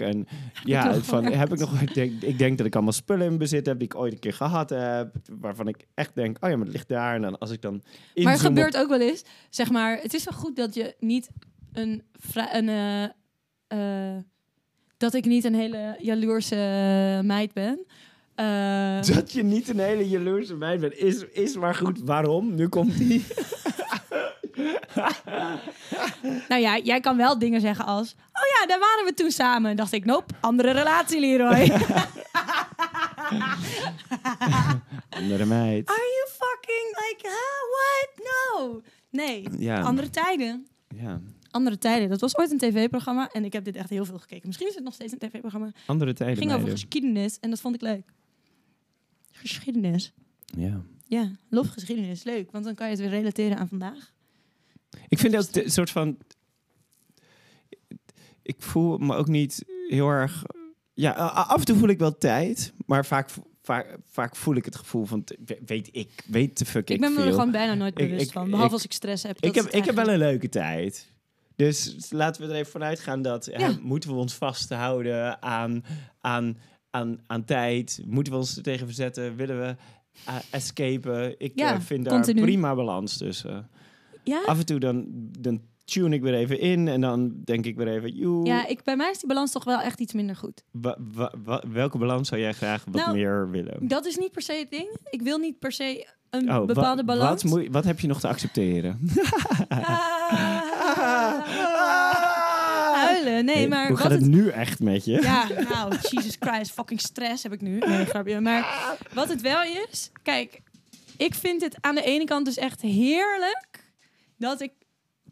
[SPEAKER 2] En ja,
[SPEAKER 1] nog wel
[SPEAKER 2] van,
[SPEAKER 1] ergens?
[SPEAKER 2] heb ik nog... Ik denk, ik denk dat ik allemaal spullen in bezit heb die ik ooit een keer gehad heb. Waarvan ik echt denk, oh ja, maar het ligt daar. En dan als ik dan
[SPEAKER 1] Maar het
[SPEAKER 2] inzoom op-
[SPEAKER 1] gebeurt ook wel eens, zeg maar, het is wel goed dat je niet een, vra- een eh, eh, dat ik niet een hele jaloerse meid ben. Eh,
[SPEAKER 2] Dat je niet een hele jaloerse meid bent, is, is maar goed. Waarom? Nu komt die.
[SPEAKER 1] nou ja, jij kan wel dingen zeggen als, oh ja, daar waren we toen samen. Dacht ik, nope, andere relatie, Leroy.
[SPEAKER 2] Andere meid.
[SPEAKER 1] Are you fucking like, huh, what? No. Nee,
[SPEAKER 2] Ja.
[SPEAKER 1] andere tijden.
[SPEAKER 2] Ja.
[SPEAKER 1] Andere tijden, dat was ooit een tv-programma en ik heb dit echt heel veel gekeken. Misschien is het nog steeds een tv-programma.
[SPEAKER 2] Andere
[SPEAKER 1] Het
[SPEAKER 2] tijden.
[SPEAKER 1] ging over
[SPEAKER 2] meiden.
[SPEAKER 1] geschiedenis en dat vond ik leuk. Geschiedenis.
[SPEAKER 2] Ja.
[SPEAKER 1] Ja, lofgeschiedenis is leuk, want dan kan je het weer relateren aan vandaag.
[SPEAKER 2] Ik vind ook een soort van. Ik voel me ook niet heel erg. Ja, a- a- af en toe voel ik wel tijd, maar vaak, vaak, vaak voel ik het gevoel van. t- we- Weet ik, weet de fuck
[SPEAKER 1] Ik, ben me
[SPEAKER 2] veel.
[SPEAKER 1] er gewoon bijna nooit
[SPEAKER 2] Ik-
[SPEAKER 1] bewust
[SPEAKER 2] ik-
[SPEAKER 1] van, behalve
[SPEAKER 2] ik-
[SPEAKER 1] als ik stress heb.
[SPEAKER 2] ik
[SPEAKER 1] dat
[SPEAKER 2] heb,
[SPEAKER 1] is
[SPEAKER 2] ik heb wel
[SPEAKER 1] eigenlijk-
[SPEAKER 2] een leuke tijd. Dus laten we er even vanuit gaan dat hè,
[SPEAKER 1] Ja.
[SPEAKER 2] moeten we ons vasthouden aan, aan, aan, aan tijd. Moeten we ons er tegen verzetten? Willen we eh, escapen? Ik
[SPEAKER 1] Ja,
[SPEAKER 2] eh, vind daar
[SPEAKER 1] continu.
[SPEAKER 2] prima balans tussen.
[SPEAKER 1] Ja?
[SPEAKER 2] Af en toe dan, dan tune ik weer even in en dan denk ik weer even, joe,
[SPEAKER 1] Ja, ik, bij mij is die balans toch wel echt iets minder goed.
[SPEAKER 2] wa- wa- wa- welke balans zou jij graag wat
[SPEAKER 1] Nou,
[SPEAKER 2] meer willen?
[SPEAKER 1] Dat is niet per se het ding. Ik wil niet per se een
[SPEAKER 2] Oh, wa-
[SPEAKER 1] bepaalde balans.
[SPEAKER 2] Wat, moet je- wat heb je nog te accepteren?
[SPEAKER 1] Ah. Huilen, nee, maar
[SPEAKER 2] Hoe
[SPEAKER 1] wat
[SPEAKER 2] gaat het nu echt met je?
[SPEAKER 1] Ja, nou, Jesus Christ, fucking stress heb ik nu. Nee, grapje. Maar wat het wel is, kijk, ik vind het aan de ene kant dus echt heerlijk dat ik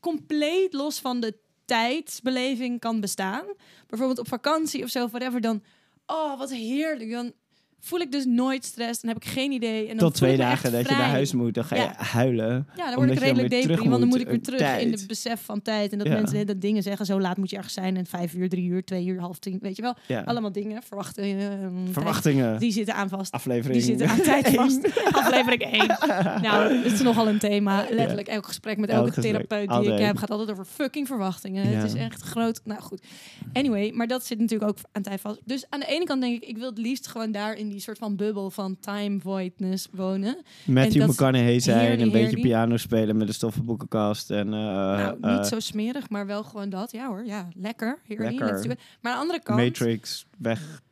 [SPEAKER 1] compleet los van de tijdsbeleving kan bestaan. Bijvoorbeeld op vakantie of zo, whatever, dan, oh, wat heerlijk. Dan voel ik dus nooit stress en heb ik geen idee. En dan
[SPEAKER 2] Tot
[SPEAKER 1] voel
[SPEAKER 2] twee
[SPEAKER 1] ik me echt
[SPEAKER 2] dagen dat je
[SPEAKER 1] vrij.
[SPEAKER 2] naar huis moet, dan ga je
[SPEAKER 1] Ja.
[SPEAKER 2] huilen.
[SPEAKER 1] Ja, dan word ik
[SPEAKER 2] omdat je dan
[SPEAKER 1] redelijk
[SPEAKER 2] weer terug
[SPEAKER 1] depri, want dan moet
[SPEAKER 2] moet,
[SPEAKER 1] ik weer
[SPEAKER 2] eh,
[SPEAKER 1] terug in
[SPEAKER 2] tijd.
[SPEAKER 1] het besef van tijd. En dat
[SPEAKER 2] Ja.
[SPEAKER 1] mensen de hele tijd dingen zeggen, zo laat moet je ergens zijn. En vijf uur, drie uur, twee uur, half tien, weet je wel.
[SPEAKER 2] Ja.
[SPEAKER 1] Allemaal dingen, verwachten. eh, tijd.
[SPEAKER 2] Verwachtingen.
[SPEAKER 1] Die zitten aan vast.
[SPEAKER 2] aflevering.
[SPEAKER 1] Die zitten aan tijd
[SPEAKER 2] één.
[SPEAKER 1] vast. Aflevering 1. Nou, het is nogal een thema. Letterlijk elk gesprek met
[SPEAKER 2] Elk
[SPEAKER 1] elke
[SPEAKER 2] gesprek.
[SPEAKER 1] therapeut die
[SPEAKER 2] Altijd.
[SPEAKER 1] ik heb gaat altijd over fucking verwachtingen.
[SPEAKER 2] Ja.
[SPEAKER 1] Het is echt groot. Nou goed. Anyway, maar dat zit natuurlijk ook aan tijd vast. Dus aan de ene kant denk ik, ik wil het liefst gewoon daar in die soort van bubbel van time voidness wonen. En
[SPEAKER 2] Matthew
[SPEAKER 1] dat is
[SPEAKER 2] McConaughey zijn,
[SPEAKER 1] heerly,
[SPEAKER 2] een beetje
[SPEAKER 1] heerly.
[SPEAKER 2] piano spelen met een stoffenboekenkast. En, eh,
[SPEAKER 1] nou,
[SPEAKER 2] eh,
[SPEAKER 1] niet zo smerig, maar wel gewoon dat. Ja hoor, ja, lekker. Heerlijk.
[SPEAKER 2] Lekker.
[SPEAKER 1] Let's do it. Maar aan de andere kant...
[SPEAKER 2] Matrix, weg.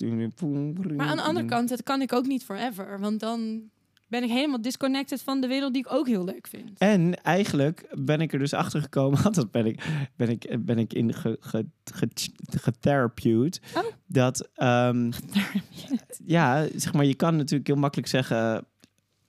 [SPEAKER 1] Maar aan de andere kant, dat kan ik ook niet forever. Want dan ben ik helemaal disconnected van de wereld die ik ook heel leuk vind.
[SPEAKER 2] En eigenlijk ben ik er dus achter gekomen, want dat ben ik, ben ik, ben ik in ge, ge, ge, getherapeuwd,
[SPEAKER 1] Oh.
[SPEAKER 2] Dat, ehm, ja, zeg maar, je kan natuurlijk heel makkelijk zeggen,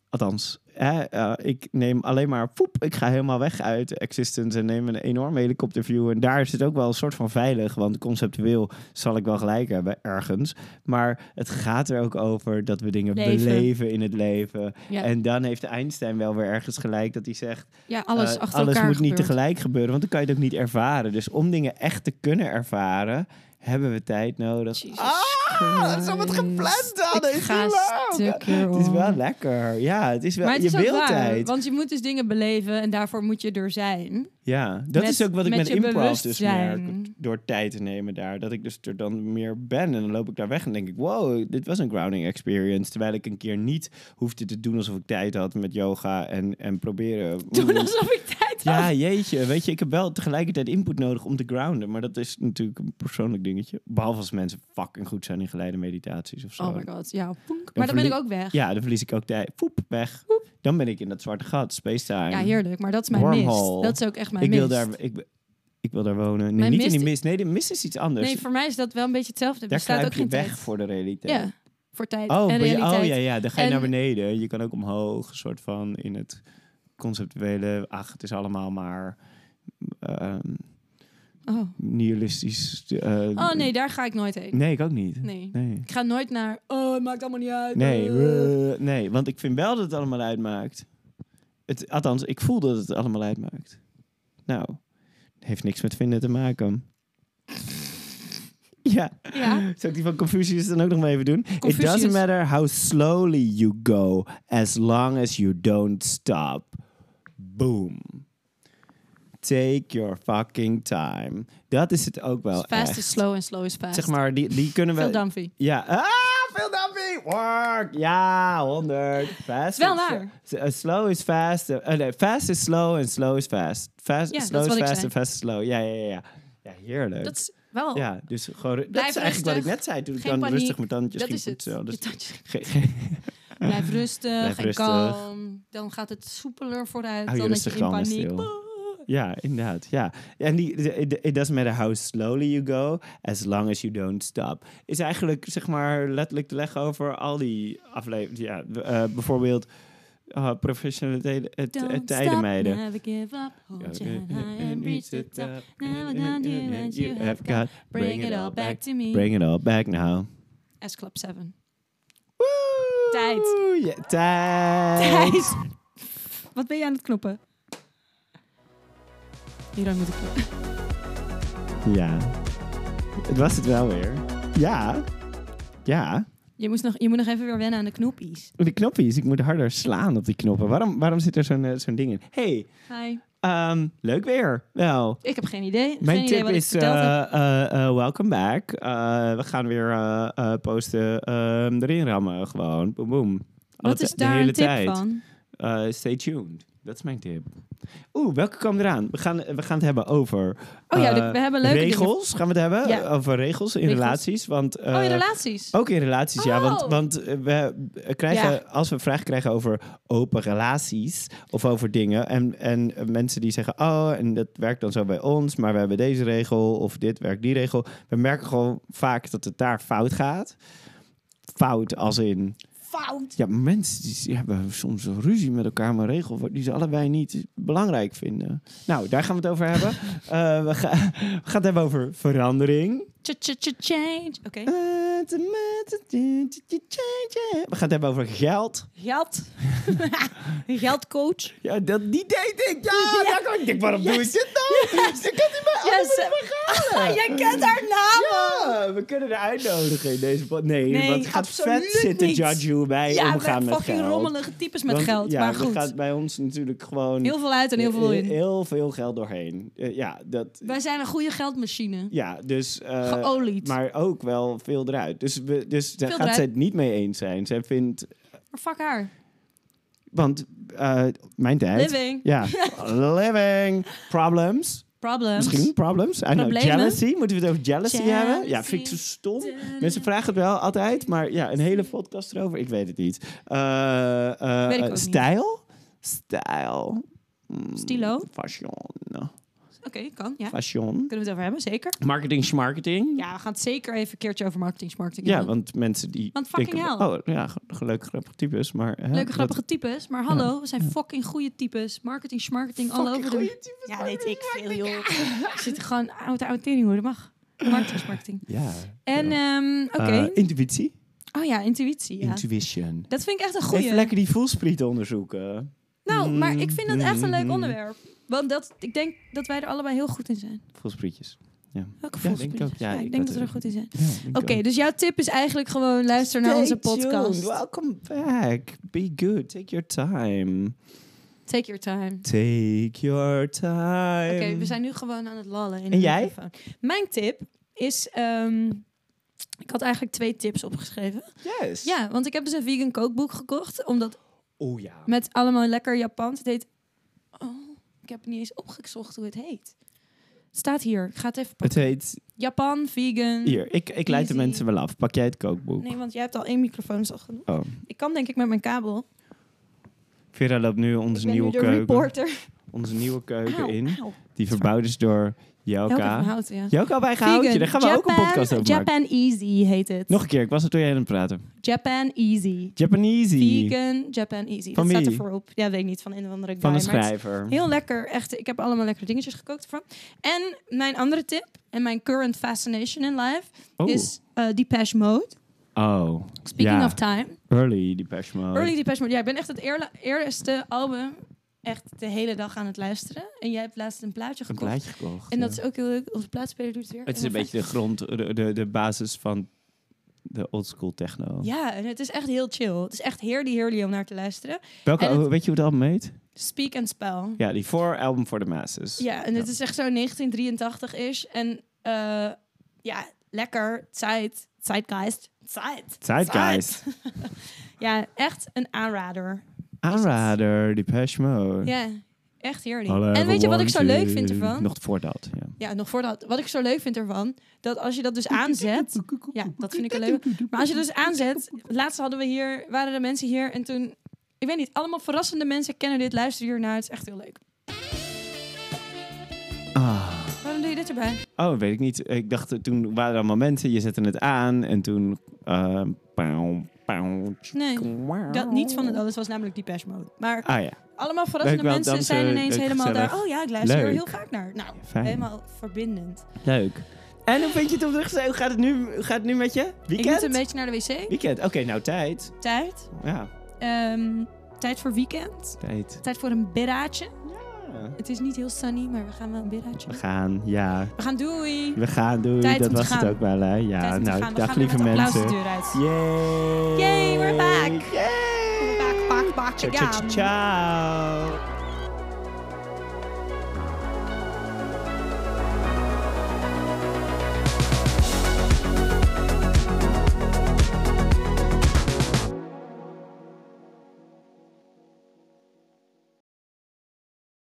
[SPEAKER 2] althans, hè, eh, ik neem alleen maar, poep, ik ga helemaal weg uit Existence en neem een enorme helikopterview. En daar is het ook wel een soort van veilig, want conceptueel zal ik wel gelijk hebben ergens. Maar het gaat er ook over dat we dingen
[SPEAKER 1] Leven.
[SPEAKER 2] beleven in het leven.
[SPEAKER 1] Ja.
[SPEAKER 2] En dan heeft Einstein wel weer ergens gelijk dat hij zegt...
[SPEAKER 1] Ja, alles
[SPEAKER 2] Eh,
[SPEAKER 1] achter
[SPEAKER 2] alles
[SPEAKER 1] elkaar
[SPEAKER 2] moet niet
[SPEAKER 1] gebeurt.
[SPEAKER 2] tegelijk gebeuren, want dan kan je het ook niet ervaren. Dus om dingen echt te kunnen ervaren, hebben we tijd nodig.
[SPEAKER 1] Jezus
[SPEAKER 2] ah, dat is allemaal
[SPEAKER 1] Christ.
[SPEAKER 2] gepland hadden.
[SPEAKER 1] Ik
[SPEAKER 2] is
[SPEAKER 1] ga
[SPEAKER 2] niet leuk.
[SPEAKER 1] stuk, joh.
[SPEAKER 2] Het is wel lekker. Ja, het is wel.
[SPEAKER 1] Maar het
[SPEAKER 2] je
[SPEAKER 1] is ook
[SPEAKER 2] wilt
[SPEAKER 1] waar,
[SPEAKER 2] tijd.
[SPEAKER 1] want je moet dus dingen beleven en daarvoor moet je er zijn.
[SPEAKER 2] Ja, dat
[SPEAKER 1] met-
[SPEAKER 2] is ook wat ik
[SPEAKER 1] met
[SPEAKER 2] met
[SPEAKER 1] je
[SPEAKER 2] improv dus
[SPEAKER 1] bewustzijn.
[SPEAKER 2] merk. Door tijd te nemen daar. Dat ik dus er dan meer ben. En dan loop ik daar weg en denk ik... Wow, dit was een grounding experience. Terwijl ik een keer niet hoefde te doen alsof ik tijd had met yoga. En, en proberen...
[SPEAKER 1] Toen alsof ik tijd had.
[SPEAKER 2] Ja, jeetje. Weet je, ik heb wel tegelijkertijd input nodig om te grounden. Maar dat is natuurlijk een persoonlijk dingetje. Behalve als mensen fucking goed zijn in geleide meditaties of zo.
[SPEAKER 1] Oh my god, ja. poenk. Maar dan ben ik
[SPEAKER 2] verlie-
[SPEAKER 1] ook weg. Ja,
[SPEAKER 2] Ja, dan verlies ik ook tijd. Poep, weg. Dan ben ik in dat zwarte gat, space time.
[SPEAKER 1] heerlijk, maar dat is mijn
[SPEAKER 2] Wormhole.
[SPEAKER 1] mist. Dat is ook echt mijn
[SPEAKER 2] ik
[SPEAKER 1] mist.
[SPEAKER 2] wil daar, ik, ik wil daar wonen. Nee,
[SPEAKER 1] Mijn
[SPEAKER 2] niet in
[SPEAKER 1] mist-
[SPEAKER 2] die mist. Nee, de mist is iets anders.
[SPEAKER 1] Nee, voor mij is dat wel een beetje hetzelfde. Er
[SPEAKER 2] dus- daar
[SPEAKER 1] bestaat ook
[SPEAKER 2] kruip je
[SPEAKER 1] geen
[SPEAKER 2] weg
[SPEAKER 1] tijd.
[SPEAKER 2] voor de realiteit.
[SPEAKER 1] Ja, voor tijd
[SPEAKER 2] Oh,
[SPEAKER 1] en
[SPEAKER 2] ben je-
[SPEAKER 1] realiteit.
[SPEAKER 2] oh ja, ja, dan ga je
[SPEAKER 1] En-
[SPEAKER 2] naar beneden. Je kan ook omhoog, een soort van in het conceptuele. Ach, het is allemaal maar ehm,
[SPEAKER 1] Oh.
[SPEAKER 2] nihilistisch. eh,
[SPEAKER 1] Oh nee, daar ga ik nooit heen.
[SPEAKER 2] Nee, ik ook niet.
[SPEAKER 1] Nee.
[SPEAKER 2] Nee.
[SPEAKER 1] Ik ga nooit naar, oh, het maakt allemaal niet uit.
[SPEAKER 2] Nee,
[SPEAKER 1] eh.
[SPEAKER 2] eh, nee, want ik vind wel dat het allemaal uitmaakt. Het, althans, ik voel dat het allemaal uitmaakt. Nou, heeft niks met vinden te maken. ja,
[SPEAKER 1] Ja,
[SPEAKER 2] zou ik die van Confucius dan ook nog maar even doen? It
[SPEAKER 1] Confucius.
[SPEAKER 2] doesn't matter how slowly you go, as long as you don't stop. Boom. Take your fucking time. Dat is het ook wel
[SPEAKER 1] fast
[SPEAKER 2] echt.
[SPEAKER 1] is slow en slow is fast.
[SPEAKER 2] Zeg maar, die, die kunnen we...
[SPEAKER 1] Veel Danfi.
[SPEAKER 2] Ja. Ah, veel Dumpy! Work! Ja, 100. Fast.
[SPEAKER 1] Is wel
[SPEAKER 2] is-
[SPEAKER 1] waar.
[SPEAKER 2] s- eh, slow is fast. eh, eh, nee, fast is slow en slow is fast. Fast
[SPEAKER 1] Ja, dat
[SPEAKER 2] slow
[SPEAKER 1] is wat
[SPEAKER 2] is
[SPEAKER 1] ik
[SPEAKER 2] fast
[SPEAKER 1] zei.
[SPEAKER 2] en fast is slow. Ja, ja, ja. ja. Ja, heerlijk.
[SPEAKER 1] Dat is wel...
[SPEAKER 2] ja, dus gewoon, dat is
[SPEAKER 1] Oh. Blijf
[SPEAKER 2] eigenlijk wat ik
[SPEAKER 1] rustig.
[SPEAKER 2] net zei toen ik
[SPEAKER 1] Geen
[SPEAKER 2] dan
[SPEAKER 1] paniek.
[SPEAKER 2] rustig mijn tandjes
[SPEAKER 1] Dat
[SPEAKER 2] ging
[SPEAKER 1] is het.
[SPEAKER 2] poetsen. Dus
[SPEAKER 1] Je tandjes-
[SPEAKER 2] ge- ge-
[SPEAKER 1] Blijf rustig
[SPEAKER 2] Blijf
[SPEAKER 1] en
[SPEAKER 2] rustig.
[SPEAKER 1] kalm. Dan gaat het soepeler vooruit
[SPEAKER 2] Hou je
[SPEAKER 1] dan dat je
[SPEAKER 2] rustig
[SPEAKER 1] in
[SPEAKER 2] kalm en
[SPEAKER 1] paniek... Oh,
[SPEAKER 2] stil. ja, inderdaad. Ja. En die, de- de- it doesn't matter how slowly you go, as long as you don't stop. Is eigenlijk zeg maar letterlijk te leggen over al die afleveringen. Ja, eh, bijvoorbeeld eh professionele tijden- eh, t- eh,
[SPEAKER 1] Don't stop,
[SPEAKER 2] tijdenmeiden.
[SPEAKER 1] never give up. Hold your
[SPEAKER 2] eh,
[SPEAKER 1] head high and reach the top. Now I got you and you have got. Bring it all back to me.
[SPEAKER 2] Bring it all back now.
[SPEAKER 1] S Club 7.
[SPEAKER 2] Woe!
[SPEAKER 1] Tijd.
[SPEAKER 2] Ja, tijd.
[SPEAKER 1] Thijs! Wat ben je aan het knoppen? Hieruit moet ik knoppen.
[SPEAKER 2] Ja. Het was het wel weer. Ja. Ja.
[SPEAKER 1] Je, moest nog, je moet nog even weer wennen aan de knoepies.
[SPEAKER 2] De knopjes, ik moet harder slaan op die knoppen. Waarom, waarom zit er zo'n eh, zo'n ding in? hey,
[SPEAKER 1] Hi.
[SPEAKER 2] ehm, leuk weer. Wel,
[SPEAKER 1] Ik heb geen idee. Geen
[SPEAKER 2] mijn
[SPEAKER 1] idee
[SPEAKER 2] tip
[SPEAKER 1] wat ik
[SPEAKER 2] is eh
[SPEAKER 1] verteld heb.
[SPEAKER 2] eh, eh, welcome back. Eh, we gaan weer eh, eh, posten, ehm, erin rammen gewoon. Boom, boom. Alle
[SPEAKER 1] Wat is
[SPEAKER 2] ti-
[SPEAKER 1] daar een tip van?
[SPEAKER 2] Eh, stay tuned. Dat is mijn tip. Oeh, welke kwam eraan? We gaan, we gaan het hebben over
[SPEAKER 1] Oh ja,
[SPEAKER 2] eh,
[SPEAKER 1] de- we hebben leuke dingen.
[SPEAKER 2] regels. Gaan we het hebben
[SPEAKER 1] Ja.
[SPEAKER 2] over regels in
[SPEAKER 1] Regels.
[SPEAKER 2] relaties? Want,
[SPEAKER 1] oh, je
[SPEAKER 2] eh,
[SPEAKER 1] relaties.
[SPEAKER 2] ook in relaties, ja. Want,
[SPEAKER 1] Oh.
[SPEAKER 2] want eh, we eh, krijgen,
[SPEAKER 1] Ja.
[SPEAKER 2] als we vragen krijgen over open relaties of over dingen. En, en eh, mensen die zeggen, oh, en dat werkt dan zo bij ons, maar we hebben deze regel of dit werkt die regel. We merken gewoon vaak dat het daar fout gaat. Fout als in.
[SPEAKER 1] Fout.
[SPEAKER 2] Ja, mensen die, die hebben soms een ruzie met elkaar, maar een regel voor- die ze allebei niet belangrijk vinden. Nou, daar gaan we het over hebben. Eh, we, ga- we gaan het hebben over verandering.
[SPEAKER 1] Ch-ch-ch-change. Oké.
[SPEAKER 2] Eh, We gaan het hebben over geld.
[SPEAKER 1] Geld. Geldcoach.
[SPEAKER 2] Ja, dat, die deed ik. Ja,
[SPEAKER 1] Ja.
[SPEAKER 2] daar kan ik denk, waarom doe ik dit nou? Ze kan die mij
[SPEAKER 1] Yes.
[SPEAKER 2] allemaal niet vergalen.
[SPEAKER 1] Jij kent haar naam.
[SPEAKER 2] Ja, we kunnen haar uitnodigen in deze pod. Nee,
[SPEAKER 1] Nee,
[SPEAKER 2] want het gaat vet
[SPEAKER 1] absoluut
[SPEAKER 2] zitten,
[SPEAKER 1] niet.
[SPEAKER 2] judge, hoe wij
[SPEAKER 1] Ja, we
[SPEAKER 2] omgaan
[SPEAKER 1] zijn
[SPEAKER 2] met geld.
[SPEAKER 1] fucking rommelige types met
[SPEAKER 2] Want,
[SPEAKER 1] geld.
[SPEAKER 2] ja,
[SPEAKER 1] maar
[SPEAKER 2] er
[SPEAKER 1] goed,
[SPEAKER 2] gaat bij ons natuurlijk gewoon
[SPEAKER 1] heel veel uit en heel veel in.
[SPEAKER 2] Eh, heel veel geld doorheen. Eh, ja, dat,
[SPEAKER 1] Wij zijn een goede geldmachine.
[SPEAKER 2] ja, dus... eh,
[SPEAKER 1] Geolied. Maar,
[SPEAKER 2] maar ook wel veel eruit. Dus, we, dus daar gaat
[SPEAKER 1] eruit.
[SPEAKER 2] zij het niet mee eens zijn. Zij vindt...
[SPEAKER 1] fuck haar.
[SPEAKER 2] Want eh, mijn tijd...
[SPEAKER 1] Living.
[SPEAKER 2] Ja, living. Problems.
[SPEAKER 1] Problems.
[SPEAKER 2] Misschien problems. I don't know.
[SPEAKER 1] Problemen.
[SPEAKER 2] Jealousy. Moeten we het over jealousy,
[SPEAKER 1] Jealousy.
[SPEAKER 2] hebben? Ja, vind ik zo stom.
[SPEAKER 1] Eh,
[SPEAKER 2] Mensen vragen het wel altijd, maar ja, een hele podcast erover. Ik weet het niet. Eh, eh,
[SPEAKER 1] Weet ik ook niet.
[SPEAKER 2] stijl? Stijl. Mm,
[SPEAKER 1] Stilo?
[SPEAKER 2] Fashion.
[SPEAKER 1] Oké, kan. Ja.
[SPEAKER 2] Fashion.
[SPEAKER 1] Kunnen we het over hebben, zeker.
[SPEAKER 2] Marketing, schmarketing.
[SPEAKER 1] Ja, we gaan het zeker even een keertje over marketing, marketing
[SPEAKER 2] Ja,
[SPEAKER 1] hebben.
[SPEAKER 2] want mensen die...
[SPEAKER 1] Want fucking
[SPEAKER 2] denken,
[SPEAKER 1] hell.
[SPEAKER 2] Oh, ja, ge- ge- leuke grappige types, maar... hè,
[SPEAKER 1] Leuke,
[SPEAKER 2] dat-
[SPEAKER 1] grappige types. Maar hallo, we zijn fucking goede types. Marketing, smarketing, all over de... Ja, weet ik veel, joh. Ik zit gewoon oude oude tering, hoor. Dat mag. Marketing, marketing.
[SPEAKER 2] Ja.
[SPEAKER 1] En,
[SPEAKER 2] ja.
[SPEAKER 1] ehm, oké.
[SPEAKER 2] Eh, intuïtie.
[SPEAKER 1] oh ja, intuïtie, ja.
[SPEAKER 2] Intuition.
[SPEAKER 1] Dat vind ik echt een
[SPEAKER 2] Even
[SPEAKER 1] goeie.
[SPEAKER 2] lekker die voelspriet onderzoeken.
[SPEAKER 1] Nou, maar ik vind dat echt een leuk
[SPEAKER 2] Mm.
[SPEAKER 1] onderwerp. Want dat, ik denk dat wij er allebei heel goed in zijn.
[SPEAKER 2] Voelsprietjes.
[SPEAKER 1] Welke
[SPEAKER 2] Ja, denk ik
[SPEAKER 1] voelsprietjes?
[SPEAKER 2] ook. Ja,
[SPEAKER 1] Ja, ik,
[SPEAKER 2] ik
[SPEAKER 1] denk dat
[SPEAKER 2] had
[SPEAKER 1] we
[SPEAKER 2] er-
[SPEAKER 1] er goed in zijn.
[SPEAKER 2] Ja, denk ik
[SPEAKER 1] Oké,
[SPEAKER 2] ook.
[SPEAKER 1] dus jouw tip is eigenlijk gewoon luister naar onze
[SPEAKER 2] Stay
[SPEAKER 1] podcast.
[SPEAKER 2] tuned. Welcome back. Be good. Take your time.
[SPEAKER 1] Take your time.
[SPEAKER 2] Take your time.
[SPEAKER 1] Oké, we zijn nu gewoon aan het lallen. In
[SPEAKER 2] Ehm, En
[SPEAKER 1] de
[SPEAKER 2] jij?
[SPEAKER 1] microfoon. Mijn tip is... ehm, ik had eigenlijk twee tips opgeschreven.
[SPEAKER 2] Yes.
[SPEAKER 1] Ja, want ik heb dus een vegan kookboek gekocht. Omdat
[SPEAKER 2] Oh ja.
[SPEAKER 1] met allemaal lekker Japans. Het heet... Oh, ik heb niet eens opgezocht hoe het heet. Het staat hier. Ik ga het even
[SPEAKER 2] Het
[SPEAKER 1] pakken.
[SPEAKER 2] heet...
[SPEAKER 1] Japan, vegan.
[SPEAKER 2] Hier, ik, ik leid de
[SPEAKER 1] Mm. Easy.
[SPEAKER 2] mensen wel af. Pak jij het kookboek?
[SPEAKER 1] Nee, want jij hebt al één microfoon, is al genoeg.
[SPEAKER 2] Oh.
[SPEAKER 1] Ik kan denk ik met mijn kabel.
[SPEAKER 2] Vera loopt nu
[SPEAKER 1] Ik
[SPEAKER 2] onze
[SPEAKER 1] ben
[SPEAKER 2] nieuwe
[SPEAKER 1] nu de
[SPEAKER 2] keuken.
[SPEAKER 1] reporter.
[SPEAKER 2] Onze nieuwe keuken
[SPEAKER 1] Auw,
[SPEAKER 2] in.
[SPEAKER 1] auw.
[SPEAKER 2] Die verbouwd is door
[SPEAKER 1] Elke van
[SPEAKER 2] Joka.
[SPEAKER 1] houten, ja.
[SPEAKER 2] Joka bij
[SPEAKER 1] Vegan.
[SPEAKER 2] Gehoutje. Daar gaan we ook een
[SPEAKER 1] Japan-
[SPEAKER 2] podcast over maken.
[SPEAKER 1] Japan Easy heet het.
[SPEAKER 2] Nog een keer. Ik was er toen jij aan het praten.
[SPEAKER 1] Japan Easy.
[SPEAKER 2] Japanese.
[SPEAKER 1] Vegan, Japan Easy.
[SPEAKER 2] Van
[SPEAKER 1] dat staat er
[SPEAKER 2] wie?
[SPEAKER 1] voorop. Ja, weet ik niet. Van een of andere guy.
[SPEAKER 2] Van een
[SPEAKER 1] maar het is
[SPEAKER 2] schrijver.
[SPEAKER 1] Heel lekker. Echt, ik heb allemaal lekkere dingetjes gekookt ervan. En mijn andere tip, en mijn current fascination in life,
[SPEAKER 2] Oh.
[SPEAKER 1] is eh Depeche Mode.
[SPEAKER 2] oh.
[SPEAKER 1] Speaking
[SPEAKER 2] ja.
[SPEAKER 1] of time.
[SPEAKER 2] Early Depeche Mode.
[SPEAKER 1] Early Depeche Mode. Ja, ik ben echt het eerla- eerste album echt de hele dag aan het luisteren. En jij hebt laatst een plaatje
[SPEAKER 2] Een
[SPEAKER 1] gekocht.
[SPEAKER 2] plaatje gekocht.
[SPEAKER 1] En dat
[SPEAKER 2] ja.
[SPEAKER 1] is ook heel leuk. Onze plaatspeler doet het weer.
[SPEAKER 2] Het is een
[SPEAKER 1] Heel
[SPEAKER 2] beetje de grond, de, de, de basis van de oldschool techno.
[SPEAKER 1] fijn. Ja, en het is echt heel chill. Het is echt heerlijk, heerlijk om naar te luisteren.
[SPEAKER 2] Welke,
[SPEAKER 1] en het-
[SPEAKER 2] weet je hoe het album heet?
[SPEAKER 1] Speak and Spell.
[SPEAKER 2] Ja, die voor album voor de masses.
[SPEAKER 1] Ja, en het is echt zo 1983 is. En eh, ja, lekker. Zeit. Zeitgeist. Zeit.
[SPEAKER 2] Zeitgeist.
[SPEAKER 1] Ja, echt een aanrader.
[SPEAKER 2] Aanrader, Depeche Mode.
[SPEAKER 1] Ja, echt heerlijk.
[SPEAKER 2] All I
[SPEAKER 1] En weet je wat
[SPEAKER 2] ever
[SPEAKER 1] ik zo leuk
[SPEAKER 2] wanted.
[SPEAKER 1] vind ervan?
[SPEAKER 2] eh, Nog voordat, ja.
[SPEAKER 1] Ja, nog voordat. Wat ik zo leuk vind ervan, dat als je dat dus aanzet. Ja, dat vind ik een leuk. Maar als je dus aanzet. Laatst hadden we hier, waren de mensen hier en toen. Ik weet niet, allemaal verrassende mensen kennen dit, luisteren hiernaar. Het is echt heel leuk.
[SPEAKER 2] Ah.
[SPEAKER 1] Waarom doe je dit erbij?
[SPEAKER 2] Oh, weet ik niet. Ik dacht, eh, toen waren er momenten, je zette het aan en toen... eh, pauw, pauw, tsk,
[SPEAKER 1] Nee.
[SPEAKER 2] wauw.
[SPEAKER 1] Dat, niet van het, oh, het was namelijk die Depeche Mode. Maar
[SPEAKER 2] Ah ja,
[SPEAKER 1] allemaal verrassende
[SPEAKER 2] Leuk wel,
[SPEAKER 1] mensen
[SPEAKER 2] dansen,
[SPEAKER 1] zijn ineens
[SPEAKER 2] leuk,
[SPEAKER 1] helemaal daar.
[SPEAKER 2] gezellig.
[SPEAKER 1] Oh ja, ik luister er
[SPEAKER 2] Leuk.
[SPEAKER 1] heel vaak naar. Nou,
[SPEAKER 2] Fijn.
[SPEAKER 1] helemaal verbindend.
[SPEAKER 2] leuk. En hoe vind je het om terug te zijn? Hoe gaat het nu, hoe gaat het nu met je?
[SPEAKER 1] Ik
[SPEAKER 2] Weekend?
[SPEAKER 1] moet een beetje naar de wc.
[SPEAKER 2] Weekend, oké, nou tijd.
[SPEAKER 1] Tijd.
[SPEAKER 2] Ja,
[SPEAKER 1] Ehm, tijd voor weekend.
[SPEAKER 2] tijd.
[SPEAKER 1] Tijd voor een biddaatje.
[SPEAKER 2] Ja.
[SPEAKER 1] Het is niet heel sunny, maar we gaan wel een biddaatje
[SPEAKER 2] We
[SPEAKER 1] doen.
[SPEAKER 2] gaan, ja.
[SPEAKER 1] We gaan doei.
[SPEAKER 2] We gaan, doei.
[SPEAKER 1] Tijd
[SPEAKER 2] dat
[SPEAKER 1] om te
[SPEAKER 2] was
[SPEAKER 1] gaan.
[SPEAKER 2] het ook wel, hè? Ja,
[SPEAKER 1] Tijd om te
[SPEAKER 2] nou,
[SPEAKER 1] gaan. We
[SPEAKER 2] dag
[SPEAKER 1] gaan weer
[SPEAKER 2] lieve
[SPEAKER 1] met applaus
[SPEAKER 2] mensen.
[SPEAKER 1] de deur uit.
[SPEAKER 2] Yay!
[SPEAKER 1] Yay, we're back.
[SPEAKER 2] Yay!
[SPEAKER 1] We're back, back, back
[SPEAKER 2] Ciao, ciao,
[SPEAKER 1] again.
[SPEAKER 2] ciao.